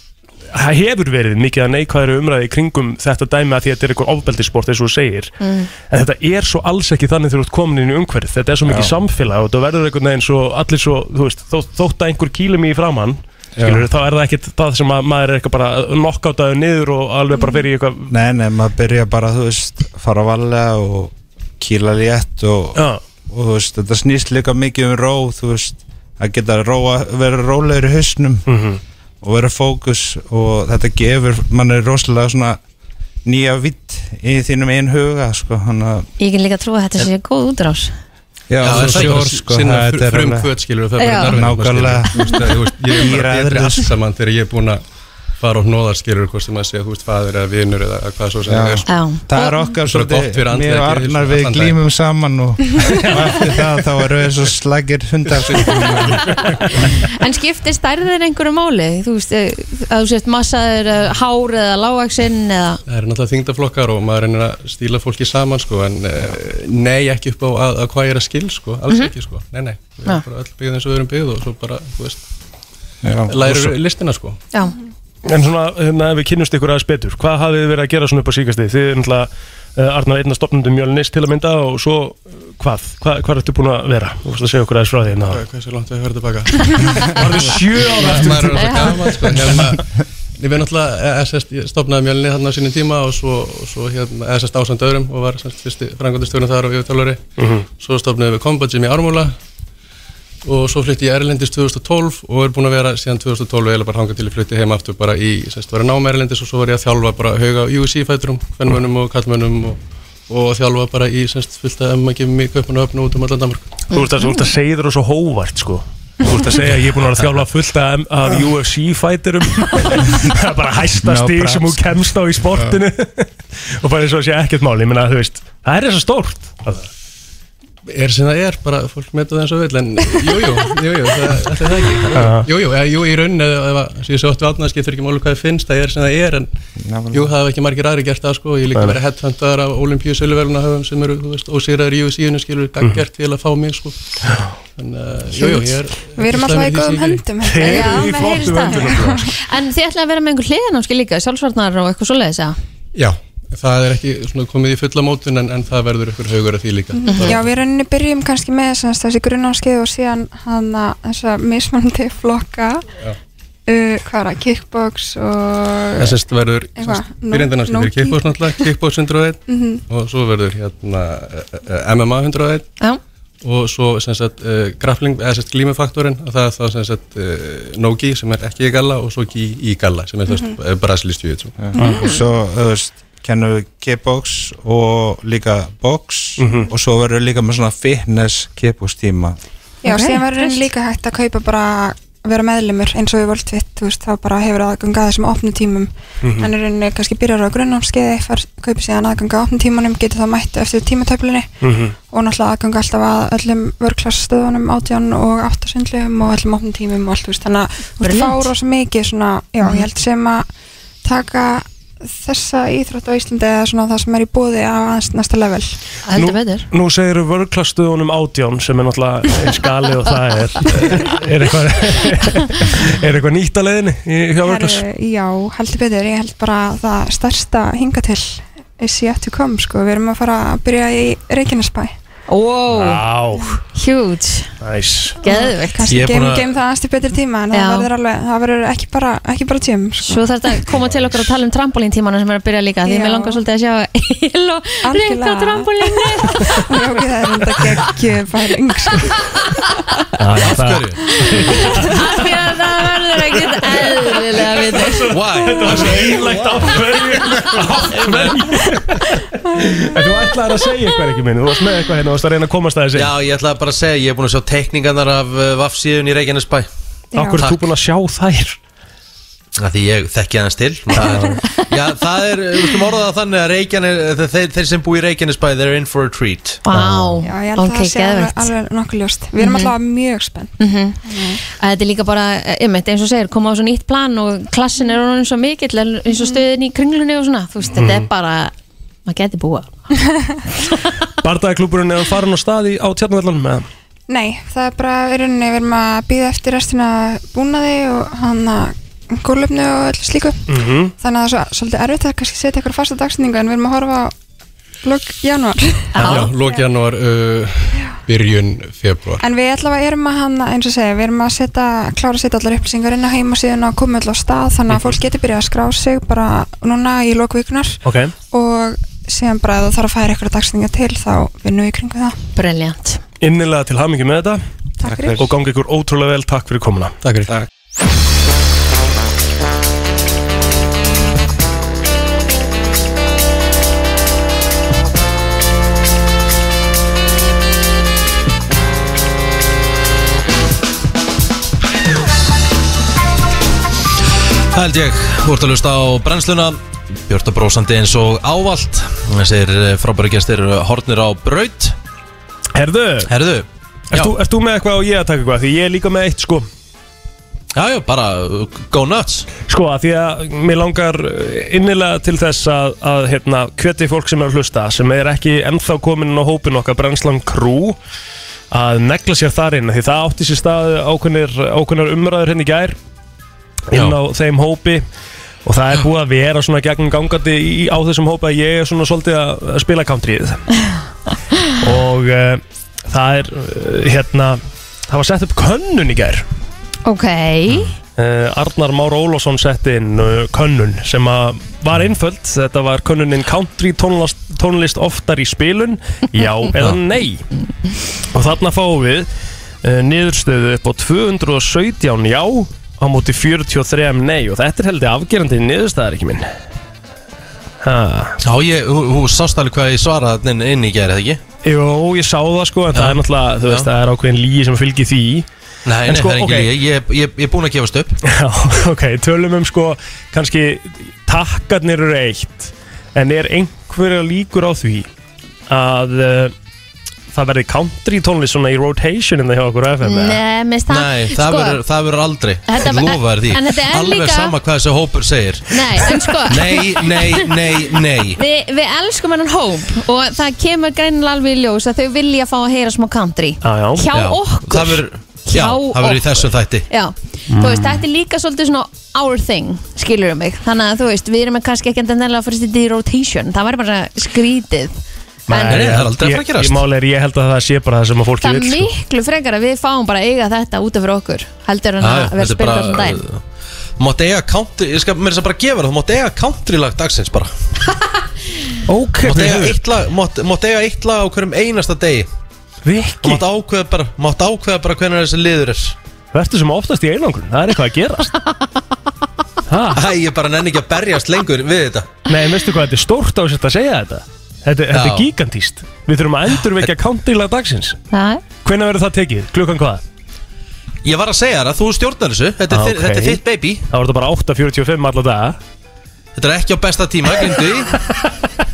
S4: það hefur verið mikið að neikvæðri umræði í kringum þetta dæmi að því að þetta er einhver ofbeldisport eins og þú segir,
S3: Mm.
S4: en þetta er svo alls ekki þannig þegar þú ert komin inn í umhverfið þetta er svo mikið samfélag og það verður einhvern veginn svo allir svo, þú veist, þó, þótt að einhver kýlum í framann, skilur, þá er það ekkert það sem að maður er eitthvað bara nokkátaður niður og alveg
S7: Mhm.
S4: bara fyrir í eitthvað
S8: Nei, nei, maður byrja bara, þú veist, fara að valja og kýla létt og,
S4: já,
S8: og þú veist, þetta snýst líka mikið um ró, þú veist, að geta róa, vera rólegur í hausnum
S7: Mhm.
S8: og vera fókus og þetta gefur, mann er rosalega svona nýja vitt í þínum einn huga, sko, hann að
S3: Ég kan líka trúa að þetta sé góð útrás
S8: Já,
S7: Já,
S8: þú
S7: það er
S8: sjór,
S7: bara
S8: sko,
S7: sinna
S8: þetta er
S7: frum
S8: alveg-
S7: kvöt skilur og það er
S3: Já.
S7: bara darfið sko,
S8: Nákvæmlega.
S7: Ég er bara
S8: Íra
S7: betri
S8: eðlis.
S7: allt saman þegar ég er búin að fara og hnóðar skilur hvort sem að segja, þú veist, fadir eða vinur eða hvað svo sem
S8: Já.
S7: það er sko.
S3: Já,
S8: Það er okkar
S7: Bara gott fyrir
S8: svolítið,
S7: andlega
S8: mér og
S7: geðheilsu,
S8: Arnar við
S7: allan daginn.
S8: glýmum saman og, og eftir það þá erum við svo slagir hundar
S3: en skiptir stærðin einhverju máli? Þú veist, eh, að þú sért massaður eh, hár eða lágaksinn eða
S7: Það eru náttúrulega þingdaflokkar og maður reynir að stíla fólki saman sko, en eh, nei, ekki upp á að, að hvað ég er að skil sko, alls
S3: Mhm.
S7: ekki sko, nei, nei við erum
S3: Já.
S7: bara öll byggð eins og við erum byggð og svo bara, þú veist,
S8: Já,
S7: lærir listina sko
S3: Já,
S4: en svona, hérna, ef við kynnumst ykkur aðeins betur hvað hafið þið verið að gera svona upp á síkastið þið er náttúrulega eh, Arnar einna stopnundum mjölnist til að mynda og svo eh, hvað, hvað, hvað ertu búin að vera? Þú vorst að segja okkur aðeins frá því hérna.
S7: Hvað- hversu langt við höfum tilbaka
S4: Varðu sjö ára
S7: maður er alltaf gaman sko, hérna Ég við náttúrulega, E eða sérst, ég stopnaði mjölni þarna á sínum tíma og svo, og svo hérna, eða sérst ásand öðrum og var sérst fyrsti frangöndistjóðun þar og yfirtálari.
S4: Mhm.
S7: Svo stopnaði við Combat Gym í Ármúla og svo flytti ég Erlendis 2012 og er búin að vera síðan 2012 eða bara hanga til ég flytti heim aftur bara í, sérst, var að náma Erlendis og svo var ég að þjálfa bara hauga UC fæturum, hvernmönnum og kallmönnum og og þjálfa bara í semst fullt að emma gefum í Kaupanöfn og út um allan Danmark
S4: Þú ert að, þú ert að segja þér og svo hóvart sko Þú ert að segja að ég er búin að vera að þjálfa fullt af, af UFC fighterum Það er bara hæsta
S8: No
S4: stík sem hún
S8: props.
S4: kemst á í sportinu Og bara eins og sé ekkert máli Ég meina þú veist, það er þess að stórt Það
S7: er sem það er, bara fólk metu það eins og vil en jújú, jújú, það ætli það ekki jújú, eða jú í rauninni eða eða- sem ég svo oft við átnaði skiptir ekki máli hvað þið finnst það er sem það er en jú, það hafa ekki margir aðri gert það sko, ég hef líka verið headhuntar af Olympíu Sölverluna höfum sem eru, þú veist, ósýraður í USC-unu skilur,
S4: Mhm.
S7: gaggjart til að fá mig sko þannig að, jújú, ég er
S6: Við erum alltaf í góðum höndum
S4: Þið
S3: Já,
S4: eru í sko.
S3: maður heyrist
S4: flottum
S3: það.
S4: höndum nefnilega.
S3: En þið ætlaði að vera með einhver hliðanámski líka, sjálfsvarnar og eitthvað svoleiðis eða?
S7: Já, það er ekki svona komið í fulla mótun en, en það verður ykkur haugur að því líka
S6: Mhm. Mm. Já, við rauninni byrjum kannski með semst, þessi grunnámskeið og síðan hana, þessa mismunandi flokka uh, hvað er það, kickbox og
S7: Það sérst verður
S6: Eitthvað, nó-
S7: byrjandina sem
S6: nógi.
S7: fyrir kickbox náttúrulega, kickbox 101 og svo verður hérna eh, eh, MMA 101
S3: Já,
S7: og svo sem sagt uh, grappling, eða sem sagt glímufaktorinn og það er þá sem sagt uh, no-gi sem er ekki í galla og svo gi í galla sem er mm -hmm. brasilist júið
S8: og svo, þú veist, kennum við kickbox og líka box og svo verður líka með svona fitness kickbox tíma
S6: Já,
S3: Ok,
S6: síðan verður
S3: fyrst.
S6: henni líka hægt að kaupa bara vera meðlumur eins og við völd tvitt, þú veist, þá bara hefur aðganga að þessum opnum tímum mm -hmm. en er henni kannski byrjar á grunnámskeiði fær, kaupir síðan aðganga að opnum tímunum getur þá mætt eftir tímatöflunni og náttúrulega aðganga alltaf að öllum vörklassstöðunum átján og áttasundlegum og öllum opnum tímum og allt, þú veist, þannig að þú veist,
S3: Brilliant. Mhm.
S6: fá rosa mikið svona, já, ég held sem að taka þessa íþrótt á Íslandi eða svona það sem er í bóði á aðeins næsta level
S3: heldur betur.
S4: Nú segir þú vörklastuðunum átján sem er náttúrulega eins skali og það er Er eitthvað, er eitthvað nýtt að leiðinni í, hjá vörklas?
S6: Herru, já, heldur betur, ég held bara að það stærsta hinga til is yet to come, sko, við erum að fara að byrja í Reykjanesbæ
S3: Wow,
S4: Á,
S3: huge,
S4: næs
S3: geðvikt.
S6: kannski
S2: Ég er búin
S6: geim,
S2: að-
S6: geim það aðeins til betri tíma en
S3: Já.
S6: það verður, alveg, það verður ekki bara, ekki bara tjum sko.
S3: Svo þarf þetta að koma til okkar að tala um trampolíntímanu sem er að byrja líka því
S6: Já.
S3: mér langar svolítið að sjá Ilo reynd á
S6: Algjörlega.
S3: trampolínu
S6: já, ok, það er enda geggjum fæling sko.
S4: Já, já, það,
S3: af því að það verður ekkert eðlilega við þau
S2: Why?
S4: Það er svo einlægt af hverju Af hverju En þú ætlaðir að segja eitthvað ekki minn Þú varst með eitthvað hérna og varst að reyna að komast að þessi
S2: Já, ég ætlaði bara að segja, ég er búin að sjá teikningarnar af uh, Vafsíðun í Reykjanesbæ
S4: Akkur er þú
S2: Takk.
S4: búin að sjá þær
S2: að Því ég þekki aðeins til það er, Já, það er, við skulum orða það þannig að Reykjanes, þeir, þeir sem búi í Reykjanesbæ They're in for a treat
S3: Vá,
S6: já, ég held
S3: ok, Mhm.
S6: að það sé alveg,
S3: geðvikt
S6: alveg nokkuð ljóst við erum alltaf mjög spennt
S3: Mhm.
S6: Mhm.
S3: að þetta er líka bara, e, einmitt, eins og segir koma á svo nýtt plan og klassin er orðin svo mikill en eins
S6: Mhm.
S3: og stöðin í kringlunni og svona þú veist, þetta
S2: Mhm.
S3: er bara, maður geti búa
S4: Bardaðaklúburinn er farin á staði á tjarnvellanum með
S6: Nei, það er bara í rauninni við erum að býða eftir restina búnaði og hann að gólöfnu og öllu slíku
S2: Mhm.
S4: Mhm.
S6: -hmm. þannig að það er svo- svolítið erfitt að kannski setja eitthvað fasta dagsningu en við erum að horfa á lok janúar
S7: Já, lók janúar, uh, byrjun februar
S6: en við allavega erum að hann eins og segja, við erum að setja, klára að setja allar upplýsingar inn á heimasíðuna og koma öll á stað þannig að fólk getur byrjað að skrá sig bara núna í lokvikunar
S4: Ok
S6: og síðan bara ef þú þarf að færa eitthvað dagsningu til þá vinnum við í kringu það
S3: briljant
S4: Innilega til hamingi með þetta
S6: Takk fyrir
S4: Og gangi ykkur ótrúlega vel, takk fyrir komuna
S7: Takk fyrir
S2: Það held ég, þú ert að lusta á brennsluna Björta brósandi eins og ávallt Þessir eh, frábæru gestir eru hornir á braut
S4: Herðu,
S2: Herðu, já,
S4: ert þú, ert þú með eitthvað og ég að taka eitthvað? Því ég er líka með eitt sko
S2: já, já, bara uh, go nuts
S4: Sko, að því að mér langar uh, innilega til þess að, að hérna, hveti fólk sem er að hlusta sem er ekki ennþá komin inn á hópin okkar brennslan krú að negla sér þar inn því það átti sér stað ákveðnir, ákveðnar umræður henni gær inn á þeim hópi og það er búið að vera svona gegnum gangandi í, á þessum hópi að ég er svona svolítið að að spila countryið og uh, það er uh, hérna það var sett upp könnun í gær
S3: ok,
S4: Uh, Arnar Már Ólásson setti inn uh, könnun sem að var einföld þetta var könnuninn country tónlist, tónlist oftar í spilun já eða nei og þarna fáum við uh, niðurstöðu upp á 217 já á móti 43 nei og þetta er heldur afgerandi niðurstæðar ekki minn Ha.
S2: Já, ég, hú, hú sást alveg hvað ég svaraði þarna inn, inn í gerði, ekki?
S4: Jó, ég sá það sko en það er náttúrulega, þú veist,
S2: Já.
S4: það er ákveðin líi sem fylgir því
S2: Nei,
S4: En
S2: nei,
S4: sko,
S2: það er ekki
S4: ok.
S2: okay. líka, ég, ég, ég er búin að gefast upp
S4: Já, ok, tölum um sko kannski takkarnir eru eitt en er einhverja líkur á því að uh, það verði country tónlist svona í rotation innan hjá okkur á FM eða?
S3: Nei, minnst það sko.
S2: Nei, það verður það verður aldrei,
S3: Þetta-
S2: lofa þér því
S3: en þetta er
S2: Alveg
S3: líka-
S2: sama hvað þessi hópur segir
S3: Nei, en sko
S2: Nei, nei, nei, nei
S3: Við, við elskum hennan hóp og það kemur greinilega alveg í ljós að þau vilja fá að heyra smá country
S4: Já, já.
S3: hjá
S2: Já,
S3: okkur
S2: Það verður, já,
S3: Hjá
S2: það verður í
S3: okkur.
S2: þessum þætti
S3: Já, þú veist, þetta er líka svolítið svona our thing, skilur mig þannig að þú veist, við erum kannski ekki endanlega að fara stýta í rotation, það væri bara skrítið
S2: Nei, nei,
S3: en
S2: það er aldrei að fara að
S4: Ég-
S2: gerast.
S4: Ég máli er, ég held að það sé bara það sem að fólki
S3: það er
S4: vil sko.
S3: miklu frekar að við fáum bara að eiga þetta út af fyrir okkur heldur en að vera spilta svona dæn
S2: Þú mátt eiga country, ég skal mér þess að bara gefa það Þú mátt eiga country lag dagsins bara Þú
S4: Ok,
S2: mátt eiga eitt lag, mátt, mátt eiga eitt lag á hverjum einasta degi Þú
S4: Viki,
S2: mátt ákveða bara, mátt ákveða bara hvernig þessi liður er
S4: verður sem oftast í einangrun, það er eitthvað að gerast ha,
S2: Æ, ég bara nenni ekki að berjast lengur við þetta
S4: Nei, veistu hvað, þetta er stórt á þess að segja þetta Þetta, þetta er
S2: Já.
S4: gigantíst Við þurfum að endurvekja countrylag dagsins
S3: Það
S4: Hvenær verður það tekið? Klukkan hvað?
S2: Ég var að segja þér að þú stjórnar þessu Þetta er,
S4: Ah,
S2: þi-
S4: ok.
S2: þetta er þitt baby
S4: Það voru þetta bara 8.45 alla daga
S2: Þetta er ekki á besta tíma, glindu því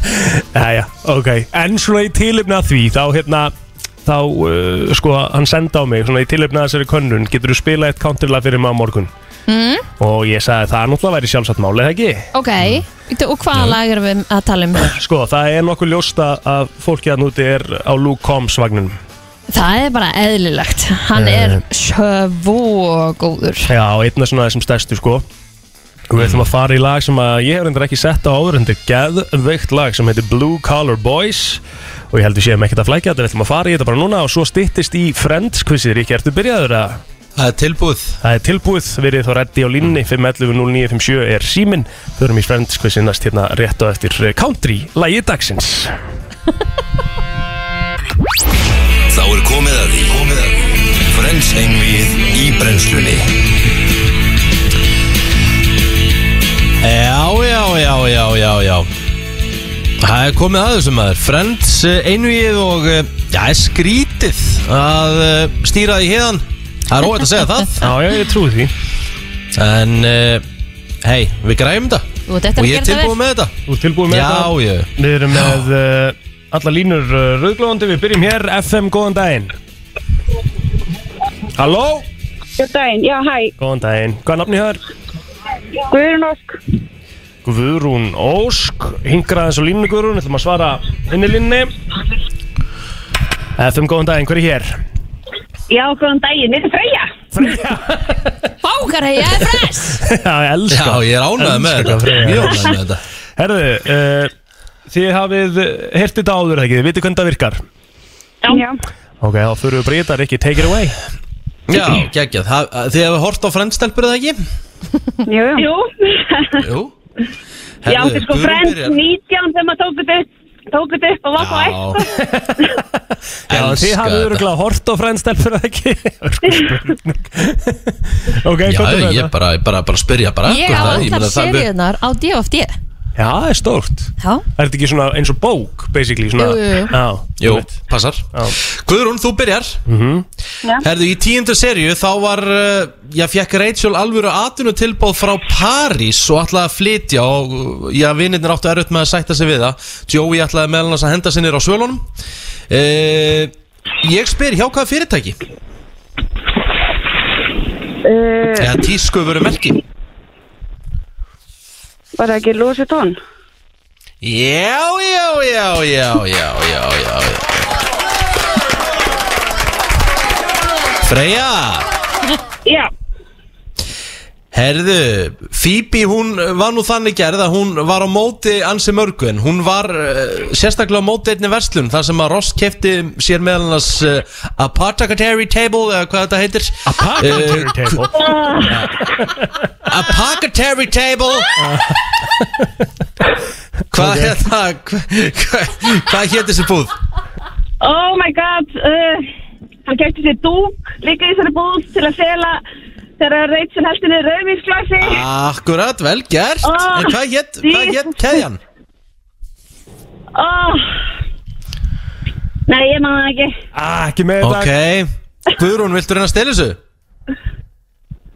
S4: Jæja, ok En svona í tilefni að því Þá hérna Þá uh, sko hann sendi á mig Svona í tilefni að þessari könnun Getur þú spilað eitt countrylag fyrir maður morgun? Mm. Og ég sagði það er náttúrulega væri sjálfsagt máli eða ekki
S3: Ok, Bíddu, og hvaða lag erum við að tala um? hér?
S4: Sko það er nokkuð ljósta að fólki að núti er á Luke Combs vagnum
S3: Það er bara eðlilegt Hann
S2: Eh.
S3: er svo góður
S4: Já, einn af svona þessum stærstu sko Og við ætlum að fara í lag sem að ég hef reyndar ekki sett á áður en þetta er geðveikt lag sem heitir Blue Collar Boys og ég held við séum ekkert að flækja þetta, við ætlum að fara í þetta bara núna og svo styttist í Friends quizið, Ríkja, ertu byrjaður að
S2: Það er tilbúið
S4: það er tilbúið, verið þá reddi á línni 511-0957 er síminn förum í Friends quizið næst hérna rétt á eftir eh, country, lagi dagsins
S1: Þá er komið að því Komið að því Frens einvið í brennslunni
S2: Já, já, já, já, já, já Það er komið að þessum maður Friends, eh, einvíð og eh, Já, er skrítið að eh, stýra því hérðan Það er óvægt að segja það
S4: Já, já, ég trúi því
S2: En, eh, hei, við græfum þetta
S3: Þú ert eftir
S2: Og
S3: að gera
S2: ég er
S3: þetta
S2: tilbúið
S3: vel
S2: með þetta
S4: Þú ert tilbúið með
S2: Já, ég
S4: Við erum með uh, alla línur uh, rauglóðandi, við byrjum hér, FM, góðan daginn Halló,
S9: Góðan daginn, já, hæ,
S4: góðan daginn, hvað er nafni hér?
S9: Guðrún Ósk,
S4: Guðrún Ósk, hingra aðeins á línu Guðrún, ætlum að svara henni línni FM, góðan daginn, hver er hér?
S9: já, góðan daginn, þetta er Freyja.
S3: Fákar hei, ég er fress
S4: Já, ég
S2: Já,
S4: elska
S2: ég er ánægð með
S4: Elskar hvað
S2: þetta
S4: Freyja
S2: Mjög
S4: er.
S2: ánægð með þetta
S4: Herðu, uh, þið hafið hirtið þetta áður eða ekki, þið vitið hvernig það virkar
S9: Já. já.
S4: Ok, þá fyrir við breytar, ekki take it away
S2: Já, geggjað Það- Þið hefur hort á Friends stelpur eða ekki?
S9: Jú, jú.
S2: Jú
S9: já, þetta er sko frend 19 sem að tókut upp, tókut upp og var á eitt.
S2: Já,
S4: Já, þið
S2: Elska
S4: hafið
S2: þetta.
S4: öruglega hort á frænstelpur eða ekki Örgspurning Ok,
S2: Já,
S4: hvað er
S2: ég
S4: þetta?
S2: bara, bara, bara spyrja bara
S3: Ég
S2: hvort
S3: á
S2: það-
S3: allar
S2: meina, það- við-
S3: seríunar á DFD
S4: Já, það er stórt
S3: Já,
S4: Er þetta ekki svona eins og bók, basically? Svona,
S3: Jú, jú, jú.
S4: Já,
S2: Jú, passar Guðrún, þú byrjar Herðu, í tíundu serju þá var uh, ég fekk Rachel alvöru atvinnutilbóð frá París og ætlaði að flytja og uh, já, vinnirnir áttu erut með að sætta sig við það Joey ætlaði meðal annars að henda sinnir á svölunum uh, Ég spyr, hjá hvaða fyrirtæki?
S9: Uh,
S2: Eða tísku veru merki
S9: var það ekki losið tón?
S2: Já, já, já, já, já, já, já, já. Freyja
S9: Já,
S2: Herðu, Phoebe hún var nú þannig gerð að hún var á móti ansi mörgu en hún var uh, sérstaklega á móti einni verslun þar sem að Ross kefti sér meðal annars uh, Apothecary Table eða hvað þetta heitir Eh,
S4: Apothecary table
S2: Apothecary Table Hvað okay. hérna hva- hva- hvað hétt þessi búð?
S9: oh my god, uh, hann kæfti sér dúk líka í þessari búð til að fela þegar Rachel heldur niður rauðvísglasi.
S2: Akkurat, vel gert
S9: Ah,
S2: En hvað hétt hvað hét keðjan?
S9: oh. Nei, ég man það ekki
S4: Ah, ekki með
S2: Ok, Guðrún, viltu reyna að stela þessu?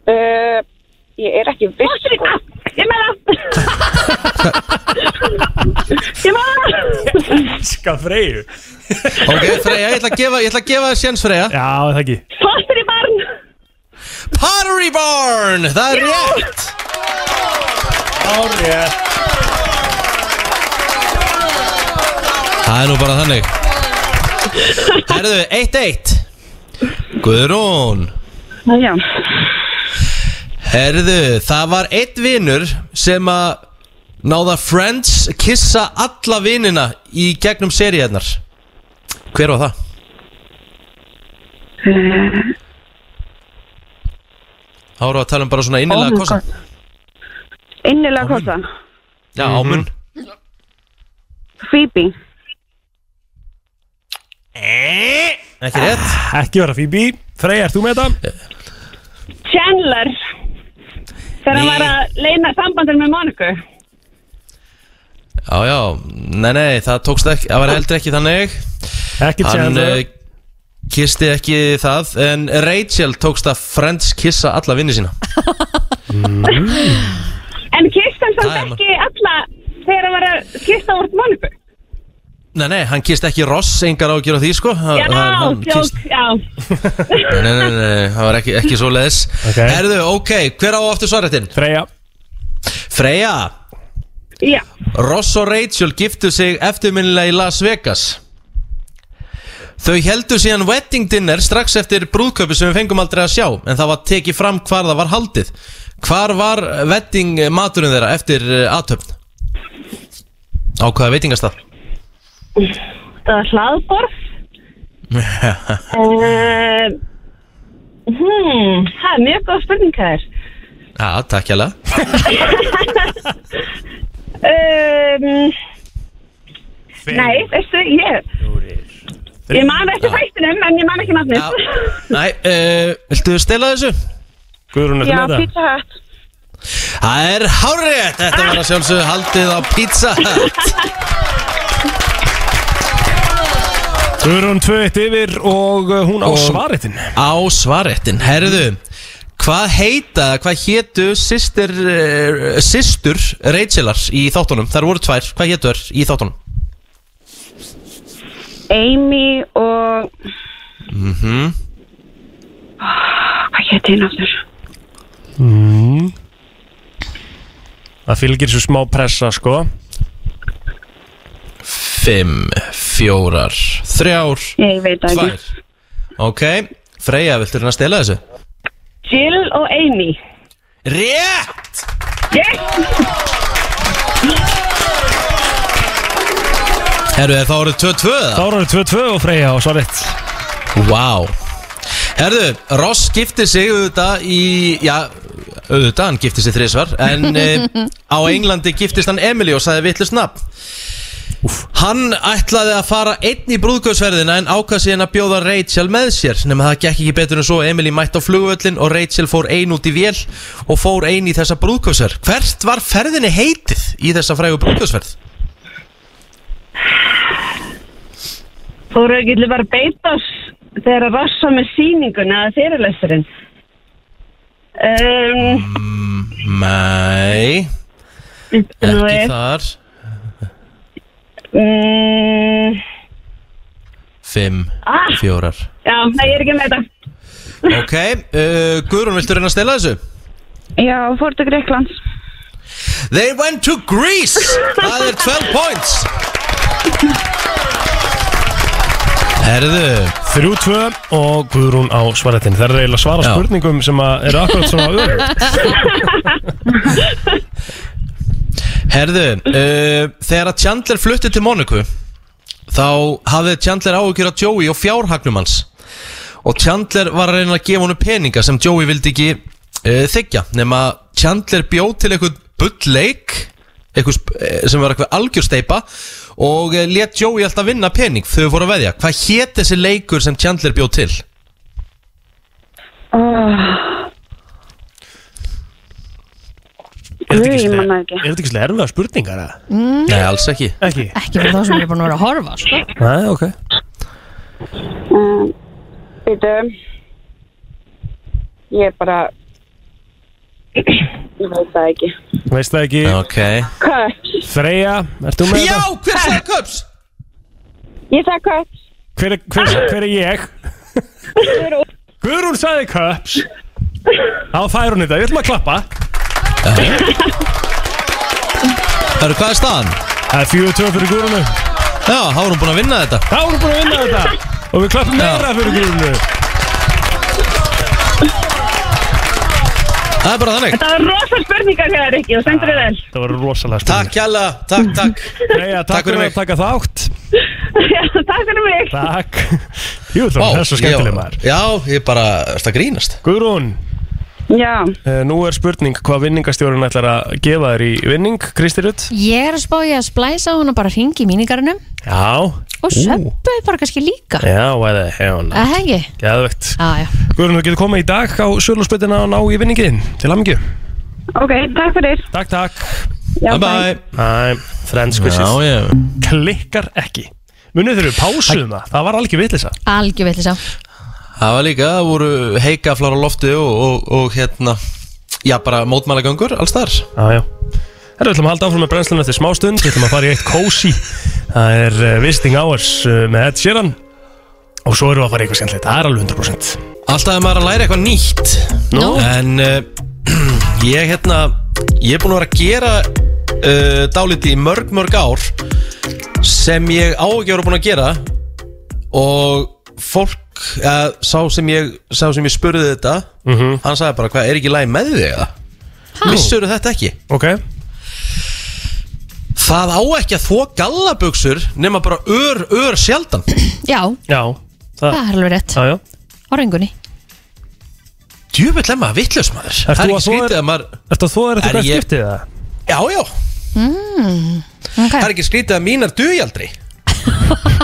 S10: Uh, ég er ekki viss sko.
S9: Ósvita, ég man það Ég man það
S4: dag Ska Freyju
S2: Ok, Freyja, ég ætla að gefa, ég ætla að gefa þér sjens Freyja
S4: Já, er það ekki
S9: Fostur í barn
S2: Pottery Barn, það er rétt
S4: Árið
S2: Það er nú bara þannig Herðu, 1-1 Guðrún
S10: Já,
S2: Herðu, það var einn vinnur sem að náða Friends kissa alla vinnina í gegnum seríunar Hver var það? Þá erum við að tala um bara svona
S10: Oh my
S2: innilega Oh kosa
S10: God. innilega kosa
S2: Já, ámun
S10: Phoebe
S2: Eh? Ekki rétt
S4: Ah, Ekki vera Phoebe Freyja, ert þú með þetta?
S9: Chandler Þegar hann var að leina sambandin með Monika
S2: Já, já, nei, nei, það tókst ekki, það var heldur ekki þannig Hann
S4: Ekki
S2: uh,
S4: Chandler
S2: kisti ekki það En Rachel tókst að Friends kissa alla vinni sína
S9: En kistan
S2: Það er
S9: samt
S2: mar-
S9: ekki alla Þegar hann var að kista úr Monika
S2: Nei, nei, hann kist ekki Ross, engar á að gera því, sko Þa,
S9: Já,
S2: hann kysst-
S9: djók, já
S2: Nei, nei, nei, nei, það var ekki, ekki svo leiðis
S4: Ok.
S2: Herðu, ok, hver á aftur svarrættin?
S4: Freyja
S2: Freyja,
S9: Já,
S2: Ross og Rachel giftu sig eftirminnilega í Las Vegas Þau heldu síðan wedding dinner strax eftir brúðköpi sem við fengum aldrei að sjá En það var tekið fram hvar það var haldið Hvar var wedding eh, maturinn þeirra eftir eh, athöfn? Á hvaða veitingastað?
S9: það var hlaðborð uh, hmm, Það er mjög góð spurning hér
S2: Já, takk hérlega
S9: um, Nei, veistu, ég Ég man eftir fættinum en ég man ekki nafnið
S2: Já, Nei, uh, viltu stela þessu?
S4: Guðrún,
S10: Já,
S4: ert þú með þetta?
S10: Pizza Hut
S2: Það er hárétt, þetta var að sjálfsögðu haldið á pizza Hut
S4: Guðrún 2-1 yfir og uh, hún á
S2: Og-
S4: svaritinn
S2: á svarettin Herðu, hvað heita hvað hétu sýstur uh, sýstur Rachelar í þáttunum, þar voru tvær, hvað hétu þær í þáttunum?
S10: Amy og mm
S2: Mhm.
S10: Hvað héti hinn aftur?
S4: Það fylgir svo smá pressa, sko
S2: Fimm, fjórar þrjár,
S10: Ég veit það ekki
S2: tvær Ok, Freyja, viltu hérna að stela þessu?
S10: Jill og Amy
S2: Rétt!
S9: Yes,
S2: Herru, er það voru 2-2 eða?
S4: Þá eru 2-2 og Freyja á svaritt
S2: Vá Herðu, Ross gifti sig auðvitað í, já, auðvitað, hann gifti sig þrísvar En uh, á Englandi giftist hann Emily og sagði vitlust nafn Hann ætlaði að fara einn í brúðgjóðsverðina en ákvað síðan að bjóða Rachel með sér nema það gekk ekki betur en svo Emily mætti á flugvöllin og Rachel fór ein út í vél og fór ein í þessa brúðgjóðsverð Hvert var ferðinni heitið í þessa frægu brúðgjóðsverð?
S9: fóru ekki til bara beitas þegar að rassa með sýninguna eða fyrirlesturinn um,
S2: Nei,
S9: nú
S2: ekki
S9: er-
S2: þar
S9: Mm,
S2: Fimm,
S9: Ah.
S2: fjórar
S9: Já, nei, ég er ekki með þetta
S2: Ok, uh, Guðrún, viltu reyna að stela þessu?
S10: Já, fór til Greiklands
S2: They went to Greece Það er 12 points Herðu
S4: 3-2 og Guðrún á svaritinn Það er eiginlega að svara
S2: Já.
S4: spurningum sem að eru akkurat svona öðru
S2: Herðu, uh, þegar að Chandler flutti til Monaco Þá hafði Chandler áhugjur á Joey og fjárhagnum hans Og Chandler var að reyna að gefa honum peninga sem Joey vildi ekki uh, þykja Nefn að Chandler bjóð til eitthvað bullleik eitthvað sp- eh, sem var eitthvað algjörsteipa og uh, let Joey alltaf vinna pening þau voru að veðja. Hvað hét þessi leikur sem Chandler bjóð til?
S10: Guð,
S4: Er þetta ekki
S10: ég
S4: slega-
S10: manna
S4: er þetta ekki slega erfiða spurningar? eða?
S3: Mm,
S2: Nei, alls ekki
S4: Ekki?
S3: ekki fyrir þá sem eru búin að vera að horfa sko.
S4: Nei, ok
S10: Um, Býtu Ég er bara Ég veit það ekki
S4: Veist það ekki
S2: Ok
S10: Cups
S4: Freyja, ert þú með
S2: Já,
S4: þetta?
S2: hver sagði köps?
S10: Ég sagði cups
S4: Hver, er- hver, hver er ég? Guðrún sagði Cups Þá fær hún þetta, við ætlum að klappa
S2: Hörru, hvað er staðan?
S4: Það er 4-2 fyrir Guðrúnu
S2: Já, þá er hún búin að vinna þetta
S4: Þá er hún búin að vinna þetta Og við klappum meira fyrir Guðrúnu
S2: Það er bara þannig
S9: Það er rosa spurningar hér, Rikki, og stendur þér vel.
S4: Það var rosalega
S2: Takk hella, takk, takk
S4: Freyja, takk,
S2: Takk fyrir
S4: fyrir
S2: mig.
S4: að taka þátt
S9: Já, Takk fyrir mig.
S4: Takk Jú, það
S2: Vá,
S4: var þessu skemmtileg maður
S2: ég- Já, ég bara, það grínast
S4: Guðrún,
S10: Já
S4: eh, nú er spurning hvað vinningastjórun ætlar að gefa þér í vinning, Kristi Rutt
S3: ég er að spá ég að splæsa hún og bara ringi í mínigarunum
S4: Já,
S3: og söppu bara kannski líka
S4: já, eða, já,
S3: Það hengi
S4: geðvögt
S3: Já, já,
S4: Guðrún, þú getur komið í dag á Sjölusbytina og ná í vinningin til hamingju
S10: Ok, takk fyrir
S4: Takk, takk
S10: Já,
S2: Bye bye
S4: Æ, Friends Quizzes
S2: ég
S4: klikkar ekki Munið þeir eru pásuðum það, það var alveg vitlisa
S3: algjör vitlis á
S2: Það var líka, það voru heikaflar á lofti og, og, og hérna Já, bara mótmælagöngur, alls þar
S4: Já, já Herra, við ætlum að halda áfram með brennslun eftir smá stund Við ætlum að fara í eitt kósi Það er uh, Visiting Hours uh, með Ed Sheeran Og svo erum við að fara í eitthvað skemmtilegt Það er alveg 100%
S2: Alltaf er maður að læra eitthvað nýtt
S4: Nú?
S2: En uh, ég hérna Ég er búin að vera að gera uh, Dálítið í mörg, mörg ár Sem ég á ekki að vera búin að gera Og fólk uh, Sá sem ég Sá sem ég spurði þetta
S4: Mhm.
S2: Hann sagði bara, hvað, er ekki læg með þig eða? Vissur þetta ekki?
S4: Ok
S2: Það á ekki að þvó gallabuxur Nema bara ör, ör sjaldan
S3: Já,
S4: Já
S3: það
S4: Það
S3: er alveg rétt
S4: Já, já
S3: Á rengunni
S2: Djúbill er maður vitlaus maður
S4: Ert
S2: Það er
S4: þú
S2: ekki
S4: að þvo
S2: skrítið
S4: þér-
S2: að maður
S4: Ertu að þú er
S2: Er
S4: þetta hvert
S2: ég-
S4: skiptið það?
S2: Já, já, það er
S3: okay.
S2: ekki skrítið að mínar dugi aldrei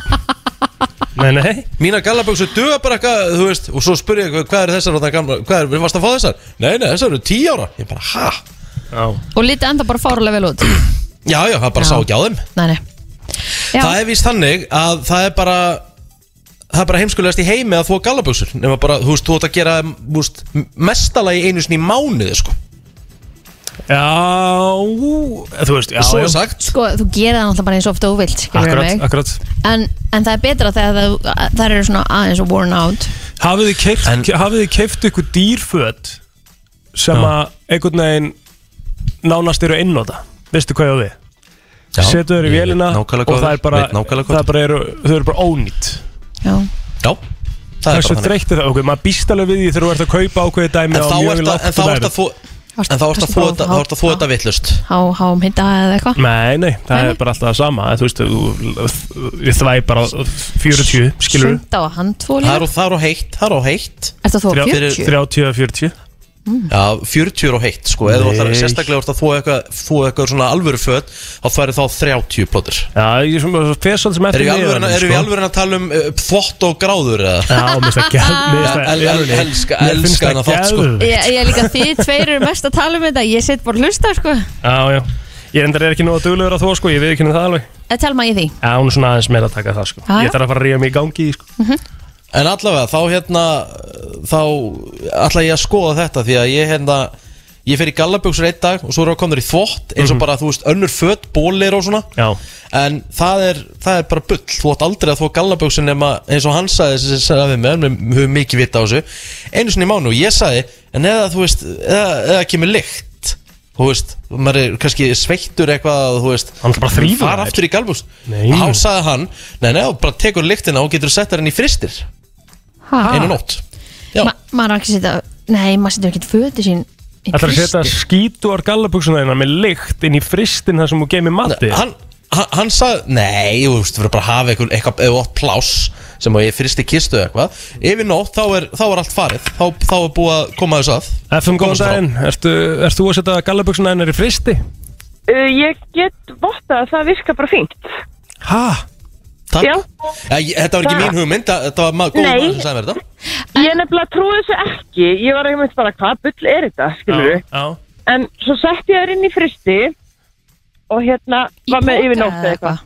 S4: Nei, nei
S2: Mínar gallaböksu duga bara eitthvað, þú veist Og svo spur ég, hvað eru þessar og það gamla Hvað er, við varst að fá þessar? Nei, nei, þessar eru tíu ára Ég bara, ha?
S4: Já
S3: Og lítið enda bara fárlega vel út
S2: Já, já, það bara
S3: Já.
S2: sá ekki á þeim
S3: Nei, nei Já,
S2: Það er víst þannig að það er bara Það er bara heimskulegast í heimi að þú að gallaböksur Nefna bara, þú veist, þú átt að gera þú veist, mestalagi einu sinni í mánuði sko.
S4: Já Þú veist, já,
S2: Svo
S4: já
S2: sagt
S3: sko, þú gerir það náttúrulega bara eins og ofta óvilt
S4: Akkurat, akkurat
S3: en, en það er betra þegar það, það eru svona aðeins og worn out
S4: Hafið þið keift, en... hafið þið keift ykkur dýrföt sem
S2: Já.
S4: að einhvern veginn nánast eru innóta Veistu hvað ég á við? setu þeir
S2: ég
S4: í
S2: veit
S4: vélina og
S2: nákvæmlega hvað
S4: það er bara,
S2: veit nákvæmlega
S4: það
S2: hvað
S4: er bara eru, þau eru bara ónýtt
S3: Já,
S2: Já, það er
S4: hversu
S2: bara þannig
S4: þreytti það, ok, maður býst alveg við því þegar þú ert að kaupa ákveði dæmi
S2: En
S4: á
S2: þá
S4: mjög
S2: ert að-
S4: lágt
S2: en þá ert að þú
S3: Varst-
S2: En þá ert að
S3: varstu
S2: þú
S3: bara
S2: þetta-
S3: há-
S2: þá ert að þú þetta vittlust
S3: há, há um hitta eða eitthvað
S4: Nei, nei, það
S3: Nei, nei.
S4: er bara alltaf það sama þú veist, þú, ég þvæ bara 40, skilur
S3: Sunda og handtvo
S2: Það
S3: líka
S2: er á- það er á heitt, það er á heitt
S3: Er það þú á
S4: Þrjá-
S3: 40?
S4: 30 að 40
S2: Já, 40 og heitt sko eða þú ætlar
S4: Nei.
S2: að sérstaklega orða að þú eitthvað þú eitthvað svona alvöru föt þá færi þá 30 plótur
S4: Já, ég er svona fesald sem
S2: Erum
S4: eftir sko.
S2: við alvöru
S4: miðanum,
S2: erum við alvöru að tala um uh, þvott og gráður eða?
S4: Já, mér finnst það geð- mér finnst það-
S2: El-
S4: í
S2: el-
S4: alvörunni,
S2: elska-
S4: mér finnst
S2: elska
S4: það
S2: hana þátt, sko.
S4: geðveikt.
S3: Ég, ég er líka þið tveir eru mest að tala um þetta Ég sitt bara að hlusta sko
S4: Já, já Ég endar er ekki nóg að duglegur að þó, sko, ég veit ekki henni það alveg
S3: Eða telma ég því
S4: Já, hún er svona aðeins meira að taka það, sko
S3: Já, já.
S4: Ég þarf að fara að ríða mig í gangi, í, sko
S2: En allavega þá hérna þá ætla ég að skoða þetta því að ég hérna ég fer í gallaböksur einn dag og svo eru að komður í þvott eins og bara þú veist önnur föt, bólir og svona
S4: Mhm. Já,
S2: En það er, það er bara bull Þú átt aldrei að þvó gallaböksin nema eins og hann sagði sem sagði við með, við höfum mikið vita á þessu einu sinni í mánu og ég sagði en eða þú veist, eða, eða kemur lykt þú veist, maður er kannski sveittur eitthvað, þú veist
S4: Hann ætlar bara að þrífa
S2: fara
S4: þær.
S2: aftur í gallaböks
S4: Nei.
S2: og þá sagði hann, nei, nei, og bara tekur lyktina og getur sett henni í fristir
S4: Ah.
S2: einu nótt Já,
S3: Ma, Maður á ekki að setja Nei, maður setur ekki fötu sín í
S4: Ætlar að setja
S3: frysti.
S4: skítuar gallabuxuna þína með lykt inn í fristin þar sem þú geymir mati
S2: hann, hann, hann sagði, nei, þú veist, þú verður bara að hafa eitthvað, eitthvað eða ótt pláss sem að ég fyrst í kistu eða eitthvað yfir nótt, þá er, þá er allt farið þá, þá er búið að koma þess að
S4: FM góðan
S2: Komast frá.
S4: daginn, ertu, ertu þú að setja gallabuxuna þínar í fristi?
S9: Uh, Ég get votta að það virka bara fínt.
S4: Ha?
S2: Takk.
S9: Já.
S2: Ja, ég, þetta var ekki
S9: Það-
S2: mín hugmynd, það- þetta var maður góð
S9: Nei.
S2: maður sem sagði mér þetta
S9: Ég nefnilega trúi þessu ekki. Ég var einmitt bara, hvað bull er þetta, skilur
S4: Já
S10: En svo setti ég þær inn í fristi og hérna var með
S3: poka
S10: yfir nótt
S3: eða
S10: eða eitthvað.